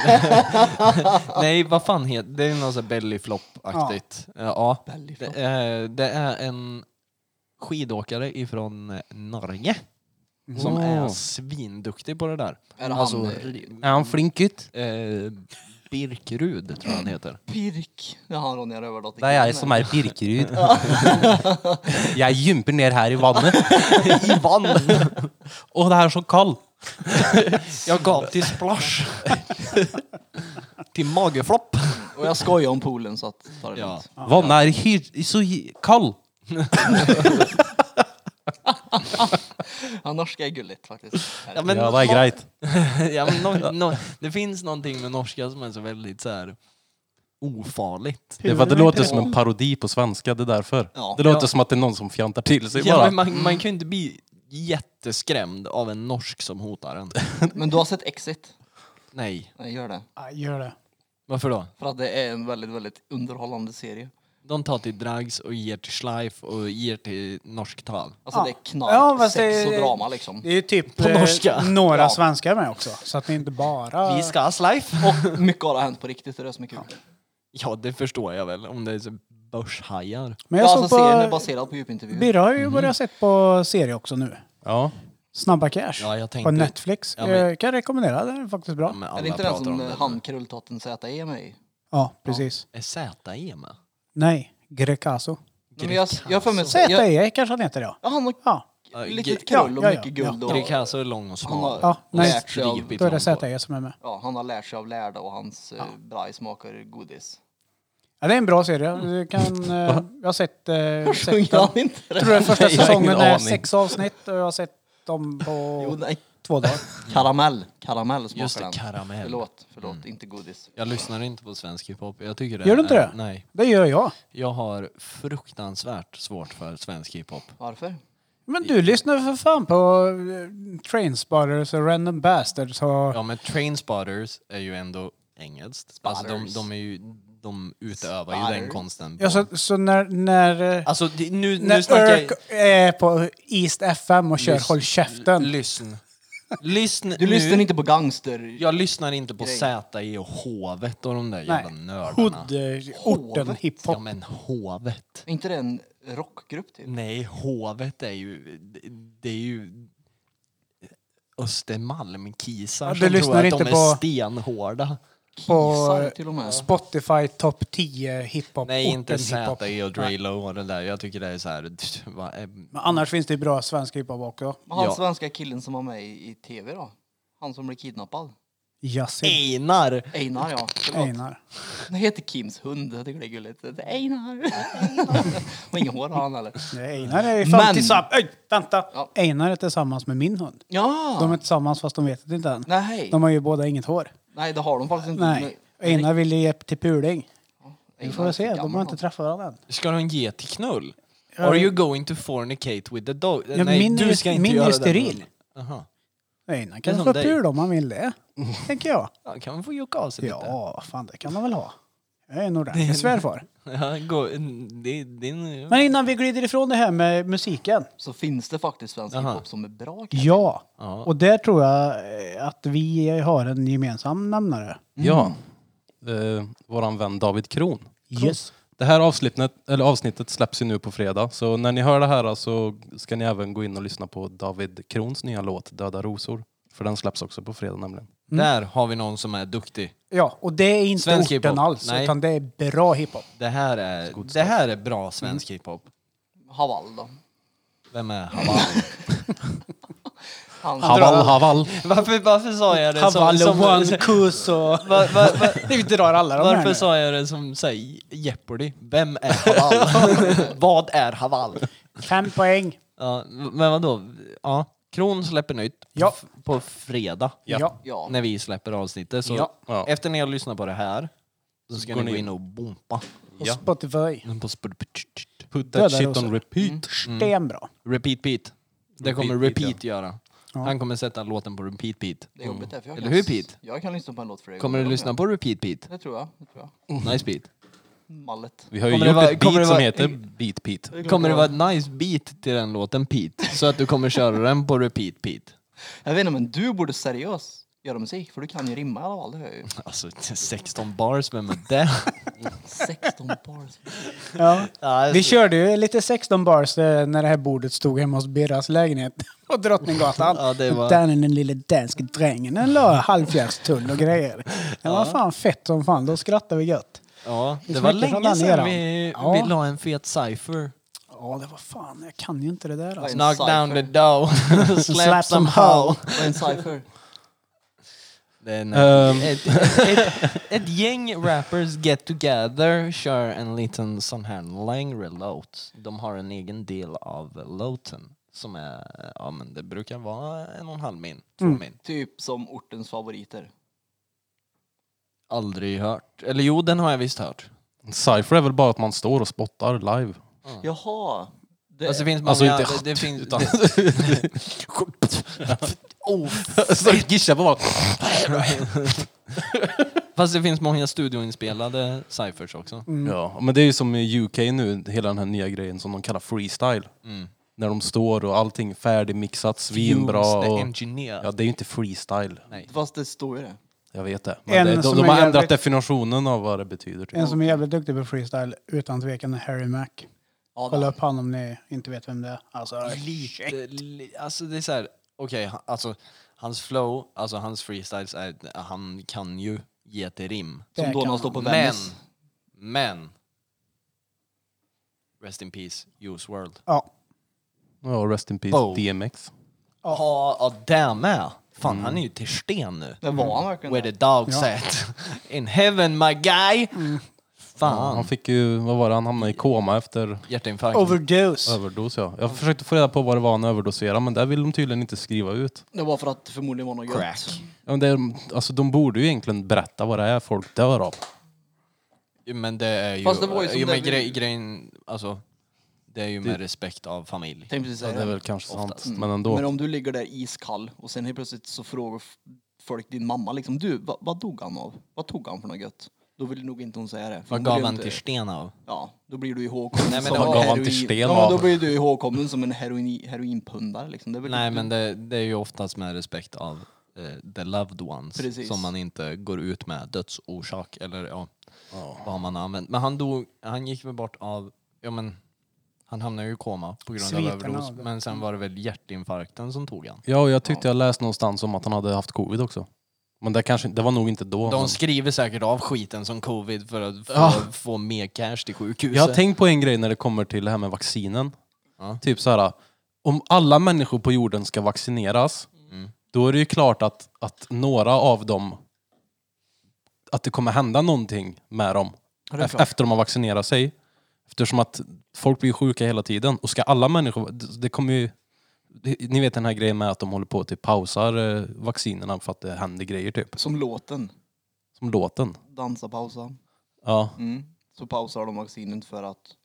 [SPEAKER 2] nej vad fan heter det? är något sånt bellyflop-aktigt. Ja. Ja. Det,
[SPEAKER 4] Bellyflop.
[SPEAKER 2] är, det är en skidåkare ifrån Norge som är svinduktig på det där.
[SPEAKER 4] Är det
[SPEAKER 2] alltså,
[SPEAKER 4] han, eh,
[SPEAKER 2] ri-
[SPEAKER 3] Är han flink ut?
[SPEAKER 2] eh, Birkerud tror jag han heter.
[SPEAKER 4] Pirk. Det har Ronja Rövardotter.
[SPEAKER 3] Det är jag som är Birkerud. Jag gymper ner här i vannet. I vann. Och det är så kallt.
[SPEAKER 2] Jag gav till splash. till mageflopp.
[SPEAKER 4] Och jag skojar om poolen så att ta det
[SPEAKER 2] Ja.
[SPEAKER 4] lugnt.
[SPEAKER 3] Vannet är hy- så hy- kall.
[SPEAKER 4] Ja, norska är gulligt faktiskt.
[SPEAKER 2] Ja, men
[SPEAKER 3] Ja, det är grejt.
[SPEAKER 2] ja, men no, no, det finns någonting med norska som är så väldigt så här ofarligt.
[SPEAKER 3] Det, är för att det låter som en parodi på svenska, det är därför.
[SPEAKER 4] Ja.
[SPEAKER 3] Det låter som att det är någon som fjantar till sig
[SPEAKER 2] Ja,
[SPEAKER 3] bara.
[SPEAKER 2] men man, man kan ju inte bli jätteskrämd av en norsk som hotar en.
[SPEAKER 4] Men du har sett Exit?
[SPEAKER 2] Nej.
[SPEAKER 4] Nej, gör det.
[SPEAKER 1] Ja, gör det.
[SPEAKER 2] Varför då?
[SPEAKER 4] För att det är en väldigt, väldigt underhållande serie.
[SPEAKER 2] De tar till drags och ger till schleif och ger till norsk tal.
[SPEAKER 4] Alltså
[SPEAKER 1] Ja.
[SPEAKER 4] det är knark,
[SPEAKER 1] Ja, fast det-
[SPEAKER 4] sex och drama liksom.
[SPEAKER 1] Det är ju typ
[SPEAKER 2] På
[SPEAKER 1] eh,
[SPEAKER 2] norska.
[SPEAKER 1] några
[SPEAKER 4] Ja. Ah.
[SPEAKER 1] svenskar med också. Så att det inte bara...
[SPEAKER 2] Vi ska ha schleif!
[SPEAKER 4] Och mycket har hänt på riktigt, det är det som är kul.
[SPEAKER 2] Ja, det förstår jag väl om det är så börshajar.
[SPEAKER 1] Men
[SPEAKER 4] Jag
[SPEAKER 1] jag
[SPEAKER 4] alltså
[SPEAKER 1] såg
[SPEAKER 4] serien är
[SPEAKER 1] på...
[SPEAKER 4] baserad på djupintervjuer.
[SPEAKER 1] Birra har ju börjat sett på serie också nu.
[SPEAKER 3] Ja.
[SPEAKER 1] Snabba Cash.
[SPEAKER 2] Ja, jag
[SPEAKER 1] på
[SPEAKER 2] tänkte-
[SPEAKER 1] Netflix.
[SPEAKER 2] Ja, men-
[SPEAKER 1] Eh, Kan jag rekommendera, den är faktiskt bra.
[SPEAKER 2] Men
[SPEAKER 4] Är
[SPEAKER 2] alla
[SPEAKER 4] det inte den
[SPEAKER 2] pratar om
[SPEAKER 4] som
[SPEAKER 2] det.
[SPEAKER 4] han krulltotten ZE med i?
[SPEAKER 1] Ja, precis.
[SPEAKER 2] Är ZE med?
[SPEAKER 1] Nej, Grecaso.
[SPEAKER 4] Men jag, jag har för mig... jag-
[SPEAKER 1] ZE kanske han heter ja.
[SPEAKER 4] Ja, han har
[SPEAKER 1] Ja,
[SPEAKER 2] Ja,
[SPEAKER 4] lite
[SPEAKER 2] Gre-
[SPEAKER 4] krull och
[SPEAKER 1] ja, ja,
[SPEAKER 4] mycket
[SPEAKER 1] ja.
[SPEAKER 4] guld. och-
[SPEAKER 2] Greekazo är lång och
[SPEAKER 4] Han
[SPEAKER 2] smal.
[SPEAKER 4] har
[SPEAKER 1] Ja, nej.
[SPEAKER 4] lärt sig av,
[SPEAKER 2] Stripig
[SPEAKER 1] då är det
[SPEAKER 2] framgång.
[SPEAKER 1] ZE som är med.
[SPEAKER 4] ja, han har lärt sig av lärda och hans eh, ja. braj smakar godis.
[SPEAKER 1] Ja, det är en bra serie. Du kan, eh, jag har sett... Eh, sett
[SPEAKER 4] Sjunger
[SPEAKER 1] dem.
[SPEAKER 4] han inte
[SPEAKER 1] Jag
[SPEAKER 4] det?
[SPEAKER 1] tror den första
[SPEAKER 3] Nej, jag har ingen
[SPEAKER 1] säsongen är
[SPEAKER 3] aning.
[SPEAKER 1] sex avsnitt och jag har sett dem på
[SPEAKER 4] Jo, nej.
[SPEAKER 1] två dagar.
[SPEAKER 4] Karamell. Karamell smakar
[SPEAKER 2] Just det,
[SPEAKER 4] den.
[SPEAKER 2] karamell. Mm.
[SPEAKER 4] Förlåt, förlåt. Inte godis.
[SPEAKER 2] Jag lyssnar inte på svensk hiphop. Jag tycker det
[SPEAKER 1] Gör du inte
[SPEAKER 2] är,
[SPEAKER 1] det?
[SPEAKER 2] Nej.
[SPEAKER 1] Det gör jag.
[SPEAKER 2] Jag har fruktansvärt svårt för svensk hiphop.
[SPEAKER 4] Varför?
[SPEAKER 1] Men du lyssnar för fan på eh, Trainspotters och Random Bastards och...
[SPEAKER 2] Ja men Trainspotters är ju ändå engelskt. Alltså de,
[SPEAKER 4] Spotters.
[SPEAKER 2] de, är ju, de utövar ju den
[SPEAKER 4] Spotters.
[SPEAKER 2] konsten. på-
[SPEAKER 1] Ja, så, så när... när eh,
[SPEAKER 2] Alltså det- nu, nu
[SPEAKER 1] När
[SPEAKER 2] snackar jag...
[SPEAKER 1] Örk är på East FM och kör
[SPEAKER 2] Lys-
[SPEAKER 1] Håll käften.
[SPEAKER 2] Lyssn. Lyssn
[SPEAKER 4] Du
[SPEAKER 2] nu.
[SPEAKER 4] lyssnar inte på gangster...
[SPEAKER 2] Jag lyssnar inte på
[SPEAKER 4] Grej.
[SPEAKER 2] ZI och Hovet och de där jävla nördarna.
[SPEAKER 1] Hood, eh, orten,
[SPEAKER 4] Hovet.
[SPEAKER 2] Ja
[SPEAKER 1] hiphop.
[SPEAKER 2] men Hovet.
[SPEAKER 4] Är inte det en rockgrupp
[SPEAKER 1] Mm.
[SPEAKER 4] typ?
[SPEAKER 2] Nej, Hovet är ju... det- Det är ju... Östermalmkisar
[SPEAKER 1] Ja, du
[SPEAKER 2] som
[SPEAKER 1] lyssnar
[SPEAKER 2] tror att
[SPEAKER 1] inte
[SPEAKER 2] de
[SPEAKER 1] på-
[SPEAKER 2] är stenhårda.
[SPEAKER 1] På
[SPEAKER 4] Kisar till och med.
[SPEAKER 1] Spotify topp 10 hiphop.
[SPEAKER 2] Nej, inte
[SPEAKER 1] orten hiphop.
[SPEAKER 2] ZI och Dre
[SPEAKER 1] Nej.
[SPEAKER 2] Low och det där. Jag tycker det är så här... vad är-
[SPEAKER 1] Men annars finns det ju bra svensk hiphop också.
[SPEAKER 4] Men han
[SPEAKER 2] Ja.
[SPEAKER 4] svenska killen som var med i, i tv då? Han som blev kidnappad?
[SPEAKER 1] Yasin.
[SPEAKER 2] Einar!
[SPEAKER 4] Einar ja. Förlåt.
[SPEAKER 1] Einar.
[SPEAKER 4] Han heter Kims hund. Jag tycker det är gulligt. Det är Einar. Och inga hår har han heller.
[SPEAKER 1] Nej, Einar är ju fan
[SPEAKER 4] Men-
[SPEAKER 1] tillsammans... Öj, vänta!
[SPEAKER 4] Ja.
[SPEAKER 1] Einar är tillsammans med min hund.
[SPEAKER 4] Ja!
[SPEAKER 1] De är tillsammans fast de vet det inte än.
[SPEAKER 4] Nej.
[SPEAKER 1] De har ju båda inget hår.
[SPEAKER 4] Nej, det har de faktiskt inte.
[SPEAKER 1] Nej. Einar vill ju ge till puling. Vi får
[SPEAKER 4] Einar är
[SPEAKER 1] väl se,
[SPEAKER 4] för
[SPEAKER 1] de har
[SPEAKER 4] gammal.
[SPEAKER 1] inte träffat varandra än.
[SPEAKER 2] Ska de ge till knull?
[SPEAKER 1] Ja,
[SPEAKER 2] Are
[SPEAKER 1] det-
[SPEAKER 2] you going to fornicate with the dog?
[SPEAKER 1] Ja, min är ju- min är ju steril.
[SPEAKER 2] Aha.
[SPEAKER 1] Einar
[SPEAKER 2] Det är
[SPEAKER 1] kan
[SPEAKER 2] som
[SPEAKER 1] få
[SPEAKER 2] dig.
[SPEAKER 1] pul om han vill det. Tänker jag.
[SPEAKER 2] Ja, kan man få jucka av sig lite?
[SPEAKER 1] Ja, fan det kan man väl ha. Jag är en ordentlig svärfar.
[SPEAKER 2] Ja, gå, det, det, är-
[SPEAKER 1] Men innan vi glider ifrån det här med musiken.
[SPEAKER 4] Så finns det faktiskt svensk
[SPEAKER 2] Jaha.
[SPEAKER 4] hiphop som är bra. kanske.
[SPEAKER 1] Ja,
[SPEAKER 2] Ja.
[SPEAKER 1] och där tror jag eh, att vi har en gemensam nämnare.
[SPEAKER 3] Ja. Mm. Eh, våran vän David Kron.
[SPEAKER 1] Yes.
[SPEAKER 3] Det här avsnittet, eller avsnittet släpps ju nu på fredag, så när ni hör det här så ska ni även gå in och lyssna på David Krons nya låt Döda rosor. För den släpps också på fredag nämligen.
[SPEAKER 2] Där har vi någon som är duktig.
[SPEAKER 1] Ja, och det är inte
[SPEAKER 2] Svensk
[SPEAKER 1] orten
[SPEAKER 2] hiphop.
[SPEAKER 1] alls,
[SPEAKER 2] Nej.
[SPEAKER 1] utan det är bra hiphop.
[SPEAKER 2] Det här är, det här är bra svensk
[SPEAKER 1] Mm.
[SPEAKER 2] hiphop.
[SPEAKER 4] Haval då.
[SPEAKER 2] Vem är Haval?
[SPEAKER 4] Han,
[SPEAKER 3] Haval, haval!
[SPEAKER 2] varför, varför sa jag det som...
[SPEAKER 1] Haval
[SPEAKER 2] som
[SPEAKER 1] och One Kus och...
[SPEAKER 2] va, va, va,
[SPEAKER 1] Vi drar alla de här
[SPEAKER 2] varför
[SPEAKER 1] nu.
[SPEAKER 2] sa jag det som säger Jeopardy? Vem är Haval? Vad är Haval?
[SPEAKER 1] Fem poäng.
[SPEAKER 2] Ja, men vadå? Ja, Kron släpper nytt
[SPEAKER 1] Ja.
[SPEAKER 2] på, på fredag.
[SPEAKER 1] Ja.
[SPEAKER 4] ja.
[SPEAKER 2] När vi släpper avsnittet. Så
[SPEAKER 1] Ja.
[SPEAKER 3] Ja.
[SPEAKER 2] efter ni har lyssnat på det här så ska
[SPEAKER 3] Går
[SPEAKER 2] ni gå
[SPEAKER 3] ni-
[SPEAKER 2] in och bompa.
[SPEAKER 1] Och
[SPEAKER 3] Ja.
[SPEAKER 1] Spotify.
[SPEAKER 2] På sp-
[SPEAKER 3] Put
[SPEAKER 1] Döda
[SPEAKER 3] that shit
[SPEAKER 1] rosor.
[SPEAKER 3] on repeat.
[SPEAKER 2] Mm.
[SPEAKER 1] Stenbra.
[SPEAKER 2] Repeat Pete. Det kommer
[SPEAKER 3] Repeat Pete,
[SPEAKER 2] Repeat göra. Han kommer sätta låten på Repeat Pete.
[SPEAKER 4] Det är jobbigt där, för jag
[SPEAKER 2] Eller
[SPEAKER 4] kan-
[SPEAKER 2] hur, Pete?
[SPEAKER 4] Jag kan lyssna på en låt flera
[SPEAKER 2] Kommer du
[SPEAKER 4] gånger.
[SPEAKER 2] lyssna på Repeat Pete?
[SPEAKER 4] Det tror jag. Det tror
[SPEAKER 2] Nice beat.
[SPEAKER 4] jag. Mallet.
[SPEAKER 3] Vi har ju
[SPEAKER 2] Kommer det
[SPEAKER 3] gjort
[SPEAKER 2] vara-
[SPEAKER 3] Mm. ett
[SPEAKER 2] kommer det
[SPEAKER 3] beat som
[SPEAKER 2] vara- Mm.
[SPEAKER 3] heter Beat Pete.
[SPEAKER 2] Kommer det vara ett nice beat till den låten Pete? Så att du kommer köra den på Repeat Pete.
[SPEAKER 4] Jag vet inte, men du borde seriöst göra musik, för du kan ju rimma i alla fall. Det hör jag ju.
[SPEAKER 2] Alltså 16 bars, vem är det?
[SPEAKER 4] 16 bars.
[SPEAKER 1] Ja.
[SPEAKER 2] Ja,
[SPEAKER 1] Vi körde ju lite 16 bars eh, när det här bordet stod hemma hos Birras lägenhet på Drottninggatan.
[SPEAKER 2] Ja, det var-
[SPEAKER 1] Där är den lille danske drängen den la halvfjärdstull och grejer. Det var fan fett som fan, då skrattade vi gött.
[SPEAKER 2] Ja,
[SPEAKER 1] Vi
[SPEAKER 2] det var
[SPEAKER 1] smäcker från
[SPEAKER 2] länge
[SPEAKER 1] den eran.
[SPEAKER 2] sedan vi,
[SPEAKER 1] Ja.
[SPEAKER 2] vi la en fet cypher.
[SPEAKER 1] Ja, det var fan, jag kan ju inte det där alltså.
[SPEAKER 4] En
[SPEAKER 2] Knock down the
[SPEAKER 4] cypher.
[SPEAKER 2] dough, slap,
[SPEAKER 1] Slap some
[SPEAKER 2] some
[SPEAKER 1] hoe.
[SPEAKER 2] hoe.
[SPEAKER 4] Vad är en cypher?
[SPEAKER 2] Det är en-
[SPEAKER 3] Ehm.
[SPEAKER 2] ett, ett, ett, ett gäng rappers get together, kör en liten sån här längre låt. De har en egen del av låten som är, ja men det brukar vara en och en halv min, två min.
[SPEAKER 4] Typ som ortens favoriter.
[SPEAKER 2] Aldrig hört. Eller jo, den har jag visst hört.
[SPEAKER 3] Cypher är väl bara att man står och spottar live.
[SPEAKER 4] Jaha. Det,
[SPEAKER 2] Alltså det finns många...
[SPEAKER 3] Alltså inte
[SPEAKER 2] det, det finns,
[SPEAKER 3] utan...
[SPEAKER 2] det, oh,
[SPEAKER 3] Så Gisha bara...
[SPEAKER 2] fast det finns många studioinspelade cyphers också.
[SPEAKER 3] Ja, men det är ju som i UK nu, hela den här nya grejen som de kallar freestyle. När de står och allting färdigmixat, svinbra.
[SPEAKER 2] Fumes the
[SPEAKER 3] Och...
[SPEAKER 2] engineer.
[SPEAKER 3] Ja, det är ju inte freestyle.
[SPEAKER 4] fast det står ju det.
[SPEAKER 3] Jag vet det.
[SPEAKER 1] En
[SPEAKER 3] Men det, de,
[SPEAKER 1] som
[SPEAKER 3] de
[SPEAKER 1] är
[SPEAKER 3] har ändrat
[SPEAKER 1] jävligt-
[SPEAKER 3] definitionen av vad det betyder. Typ.
[SPEAKER 1] En som är jävligt duktig på freestyle, utan tvekan, är Harry Mac.
[SPEAKER 4] Ja,
[SPEAKER 1] Kolla
[SPEAKER 4] det-
[SPEAKER 1] upp han om ni inte vet vem det är. Alltså, shit.
[SPEAKER 2] Lite, li, alltså det är så här, okej, ha- alltså hans flow, alltså hans freestyles, är, han kan ju ge till rim.
[SPEAKER 1] Det
[SPEAKER 4] Som då
[SPEAKER 1] kan
[SPEAKER 4] när
[SPEAKER 1] man.
[SPEAKER 4] han står på
[SPEAKER 2] Men,
[SPEAKER 4] Venice.
[SPEAKER 2] men. Rest in peace, Use World.
[SPEAKER 1] Ja.
[SPEAKER 3] Ja, rest in peace
[SPEAKER 2] Oh.
[SPEAKER 3] DMX.
[SPEAKER 1] Ja.
[SPEAKER 2] Ja, ja det med. Fan, han är ju till sten nu.
[SPEAKER 4] Det var han verkligen.
[SPEAKER 2] Where the dog
[SPEAKER 1] Ja.
[SPEAKER 2] sat. In heaven my guy!
[SPEAKER 4] Mm.
[SPEAKER 3] Ja, han
[SPEAKER 2] Fan,
[SPEAKER 3] fick ju, vad var det, han hamnade i koma efter
[SPEAKER 2] hjärtinfarkt.
[SPEAKER 1] Overdose.
[SPEAKER 3] överdos ja. Jag försökte få reda på vad det var han överdoserade men det vill de tydligen inte skriva ut.
[SPEAKER 4] Det var för att det förmodligen var något
[SPEAKER 2] Crack.
[SPEAKER 4] gött.
[SPEAKER 3] Ja, men det, är- alltså, de borde ju egentligen berätta vad det är folk dör av.
[SPEAKER 2] Men det är ju...
[SPEAKER 4] Fast det var ju som
[SPEAKER 2] jo,
[SPEAKER 4] det
[SPEAKER 2] men
[SPEAKER 4] vi-
[SPEAKER 2] grej, grejen, alltså. Det är ju med respekt av familj.
[SPEAKER 4] Tänkte precis
[SPEAKER 3] Ja,
[SPEAKER 4] säga
[SPEAKER 3] det är väl kanske sant, men ändå.
[SPEAKER 4] Mm. Men om du ligger där iskall och sen helt plötsligt så frågar f- folk din mamma liksom, du, vad, vad dog han av? Vad tog han för något gött? Då vill nog inte hon säga det. för
[SPEAKER 2] Vad
[SPEAKER 4] hon
[SPEAKER 2] gav
[SPEAKER 4] blir
[SPEAKER 2] han
[SPEAKER 4] inte-
[SPEAKER 2] till sten av?
[SPEAKER 4] Ja, då blir du ihågkommen
[SPEAKER 2] Nej, men
[SPEAKER 4] som
[SPEAKER 2] det
[SPEAKER 4] en
[SPEAKER 2] var-
[SPEAKER 3] gav han
[SPEAKER 4] heroin-
[SPEAKER 3] till sten
[SPEAKER 4] ja, men
[SPEAKER 3] av.
[SPEAKER 4] Då blir du ihågkommen som en heroin, heroinpundare liksom. Det är väl
[SPEAKER 2] Nej men det, det är ju oftast med respekt av eh, the loved ones.
[SPEAKER 4] Precis.
[SPEAKER 2] Som man inte går ut med dödsorsak eller ja, vad man har använt. Men han dog, han gick väl bort av, ja men han hamnade ju i koma på grund
[SPEAKER 1] Sviterna
[SPEAKER 2] av överdos.
[SPEAKER 1] av det.
[SPEAKER 2] Men sen var det väl hjärtinfarkten som tog han.
[SPEAKER 3] Ja, och jag tyckte jag läste någonstans om att han hade haft covid också. Men det, kanske, det var nog inte då. men-
[SPEAKER 2] De skriver säkert av skiten som covid för att få, få mer cash till sjukhuset.
[SPEAKER 3] Jag har tänkt på en grej när det kommer till det här med vaccinen.
[SPEAKER 2] Ja.
[SPEAKER 3] Typ så här, om alla människor på jorden ska vaccineras,
[SPEAKER 2] Mm.
[SPEAKER 3] då är det ju klart att, att några av dem, att det kommer hända någonting med dem
[SPEAKER 4] det är
[SPEAKER 3] ef-
[SPEAKER 4] klart.
[SPEAKER 3] efter de har vaccinerat sig. Eftersom att folk blir sjuka hela tiden. Och ska alla människor, det det kommer ju, det- ni vet den här grejen med att de håller på att typ pausar eh, vaccinerna för att det händer grejer typ.
[SPEAKER 4] Som låten,
[SPEAKER 3] Som låten.
[SPEAKER 4] dansa, pausa.
[SPEAKER 3] Ja,
[SPEAKER 4] Mm. Så pausar de vaccinet för att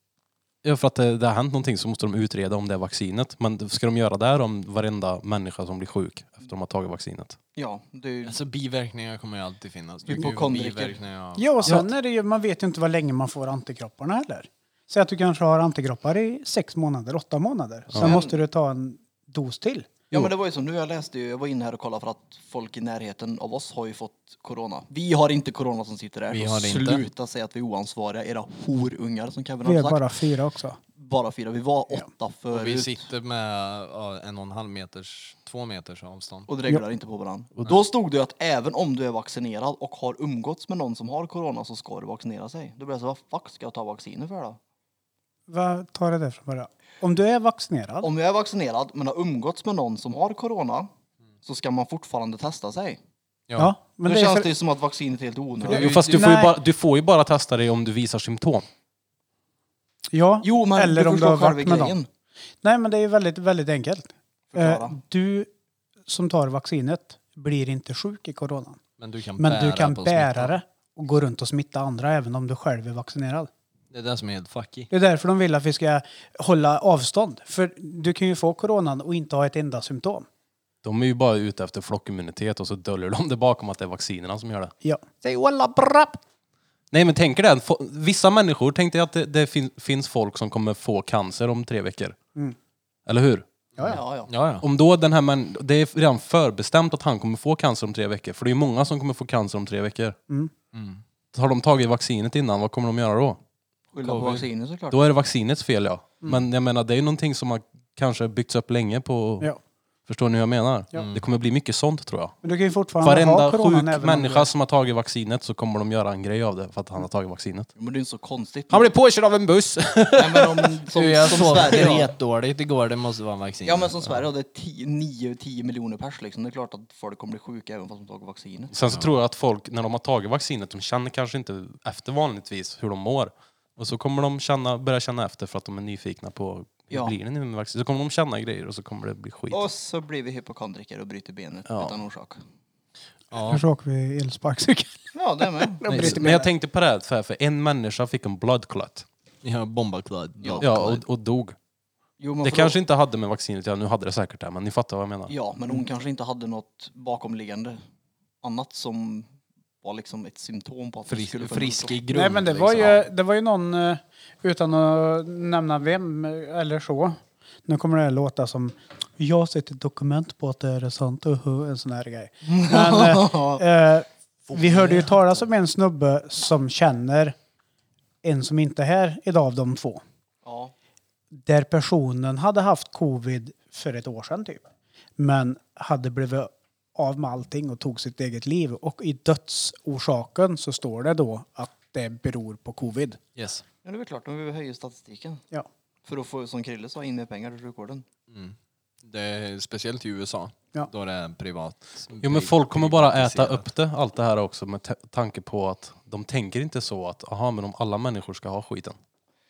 [SPEAKER 3] Ja, för att det, det har hänt någonting så måste de utreda om det är vaccinet. Men ska de göra det här om varenda människa som blir sjuk efter de har tagit vaccinet?
[SPEAKER 4] Ja, det är ju...
[SPEAKER 2] Alltså biverkningar kommer ju alltid finnas. Du kan ju få
[SPEAKER 4] Hypokondriker.
[SPEAKER 2] biverkningar av-
[SPEAKER 1] Ja, och sen är det ju, man vet ju inte vad länge man får antikropparna heller. Säg att du kanske har antikroppar i sex månader, åtta månader. Sen måste du ta en dos till.
[SPEAKER 4] Ja men det var ju som nu, jag läste ju, jag var inne här och kollade för att folk i närheten av oss har ju fått corona. Vi har inte corona som sitter där.
[SPEAKER 2] Vi
[SPEAKER 4] så
[SPEAKER 2] har det inte.
[SPEAKER 4] sluta säga att vi är oansvariga, era horungar som Kevin
[SPEAKER 1] Vi
[SPEAKER 4] har
[SPEAKER 1] är
[SPEAKER 4] sagt.
[SPEAKER 1] bara fyra också.
[SPEAKER 4] bara fyra, vi var åtta
[SPEAKER 2] Och vi
[SPEAKER 4] förut.
[SPEAKER 2] sitter med ja, en och en halv meters, två meters avstånd.
[SPEAKER 4] och det reglar inte på varandra. Och då stod det ju att även om du är vaccinerad och har umgåtts med någon som har corona så ska du vaccinera sig. Då blir jag så, vad fuck ska jag ta vacciner för då?
[SPEAKER 1] Vad tar det där från början? Om du är vaccinerad,
[SPEAKER 4] Om jag är vaccinerad men har umgåtts med någon som har corona så ska man fortfarande testa sig.
[SPEAKER 1] ja. Men
[SPEAKER 4] nu
[SPEAKER 1] det är
[SPEAKER 4] känns det
[SPEAKER 1] för,
[SPEAKER 4] ju som att vaccinet är helt onödigt.
[SPEAKER 3] Jo, fast du får, ju
[SPEAKER 1] Nej.
[SPEAKER 3] bara, du får ju bara testa dig om du visar symptom.
[SPEAKER 1] ja,
[SPEAKER 4] Jo men
[SPEAKER 1] eller
[SPEAKER 4] du
[SPEAKER 1] om du
[SPEAKER 4] förstår
[SPEAKER 1] har
[SPEAKER 4] själva
[SPEAKER 1] varit med
[SPEAKER 4] grejen.
[SPEAKER 1] dem. Nej, men det är ju väldigt, väldigt enkelt.
[SPEAKER 4] Förklara.
[SPEAKER 1] Eh, du som tar vaccinet blir inte sjuk i coronan.
[SPEAKER 2] Men du kan bära,
[SPEAKER 1] Men du kan
[SPEAKER 2] på
[SPEAKER 1] bära
[SPEAKER 2] smittan.
[SPEAKER 1] det och gå runt och smitta andra även om du själv är vaccinerad.
[SPEAKER 2] Det är det som är helt fucky.
[SPEAKER 1] Det är därför de vill att vi ska hålla avstånd. För du kan ju få coronan och inte ha ett enda symptom.
[SPEAKER 3] De är ju bara ute efter flockimmunitet och så döljer de det bakom att det är vaccinerna som gör det.
[SPEAKER 1] Ja.
[SPEAKER 2] Säg walla brapp!
[SPEAKER 3] Nej men tänker det, fo- vissa människor, tänkte jag att det, det fin, finns folk som kommer få cancer om tre veckor.
[SPEAKER 1] Mm.
[SPEAKER 3] Eller hur?
[SPEAKER 4] Ja, ja. ja.
[SPEAKER 2] Ja, ja.
[SPEAKER 3] Om då den här män, det är redan förbestämt att han kommer få cancer om tre veckor, för det är ju många som kommer få cancer om tre veckor.
[SPEAKER 1] Mm.
[SPEAKER 3] Mm. Har de tagit vaccinet innan, vad kommer de göra då?
[SPEAKER 4] Skylla på vacciner såklart.
[SPEAKER 3] Då är det vaccinets fel ja.
[SPEAKER 1] Mm.
[SPEAKER 3] Men jag menar, det är ju någonting som har kanske byggts upp länge på...
[SPEAKER 1] ja.
[SPEAKER 3] Förstår ni hur jag menar? Det kommer bli mycket sånt tror jag.
[SPEAKER 1] Men du kan ju fortfarande ha
[SPEAKER 3] Varenda
[SPEAKER 1] coronan
[SPEAKER 3] sjuk
[SPEAKER 1] även om
[SPEAKER 3] människa som har tagit vaccinet så kommer de göra en grej av det för att han har tagit vaccinet.
[SPEAKER 4] Men det är inte så konstigt.
[SPEAKER 3] Han blev påkörd av en buss!
[SPEAKER 4] Nej, men om, som,
[SPEAKER 2] Du, jag
[SPEAKER 4] som
[SPEAKER 2] sov
[SPEAKER 4] Sverige då.
[SPEAKER 2] retdåligt igår, det måste vara en vaccin.
[SPEAKER 4] Ja men som Sverige då, det är 10 9, 10 miljoner pers liksom. Det är klart att folk kommer bli sjuka även fast de tagit vaccinet.
[SPEAKER 3] Sen så tror jag att folk, när de har tagit vaccinet, de känner kanske inte efter vanligtvis hur de mår. Och så kommer de känna, börja känna efter för att de är nyfikna på hur
[SPEAKER 4] Ja.
[SPEAKER 3] blir det nu med vaccin. Så kommer de känna grejer och så kommer det bli skit.
[SPEAKER 4] Och så blir vi hypokondriker och bryter benet utan orsak.
[SPEAKER 2] ja.
[SPEAKER 1] Kanske åker vi elsparkcykel.
[SPEAKER 4] Ja, det med.
[SPEAKER 1] och bryter
[SPEAKER 3] Men jag
[SPEAKER 1] benet.
[SPEAKER 3] tänkte på det här, för, för en människa fick en blood clot.
[SPEAKER 2] ja bombaklad.
[SPEAKER 3] Ja, och, och dog.
[SPEAKER 4] Jo, men
[SPEAKER 3] Det
[SPEAKER 4] för
[SPEAKER 3] kanske inte hade med vaccinet ja, nu hade det säkert det, men ni fattar vad jag menar.
[SPEAKER 4] Ja, men hon kanske inte hade något bakomliggande annat som var liksom ett symptom på att hon
[SPEAKER 2] Fris,
[SPEAKER 4] skulle få
[SPEAKER 2] frisk i grund.
[SPEAKER 1] Nej men det var
[SPEAKER 2] liksom.
[SPEAKER 1] ju, det var ju någon, eh, utan att nämna vem eh, eller så. Nu kommer det här låta som, jag har sett ett dokument på att det är sant, uhu, en sån här grej. Men eh, eh, Vi hörde ju talas om en snubbe som känner en som inte är här idag av de två.
[SPEAKER 4] Ja.
[SPEAKER 1] Där personen hade haft covid för ett år sedan typ. Men hade blivit av med allting och tog sitt eget liv. Och i dödsorsaken så står det då att det beror på covid.
[SPEAKER 2] Yes.
[SPEAKER 4] ja, det är väl klart. De vill höja statistiken.
[SPEAKER 1] Ja.
[SPEAKER 4] För att få, som Krille sa, in mer pengar till sjukvården.
[SPEAKER 2] Det är speciellt i USA.
[SPEAKER 1] Ja.
[SPEAKER 2] Då det är privat.
[SPEAKER 3] Jo men folk kommer bara äta upp det, allt det här också med ta- tanke på att de tänker inte så att aha men om alla människor ska ha skiten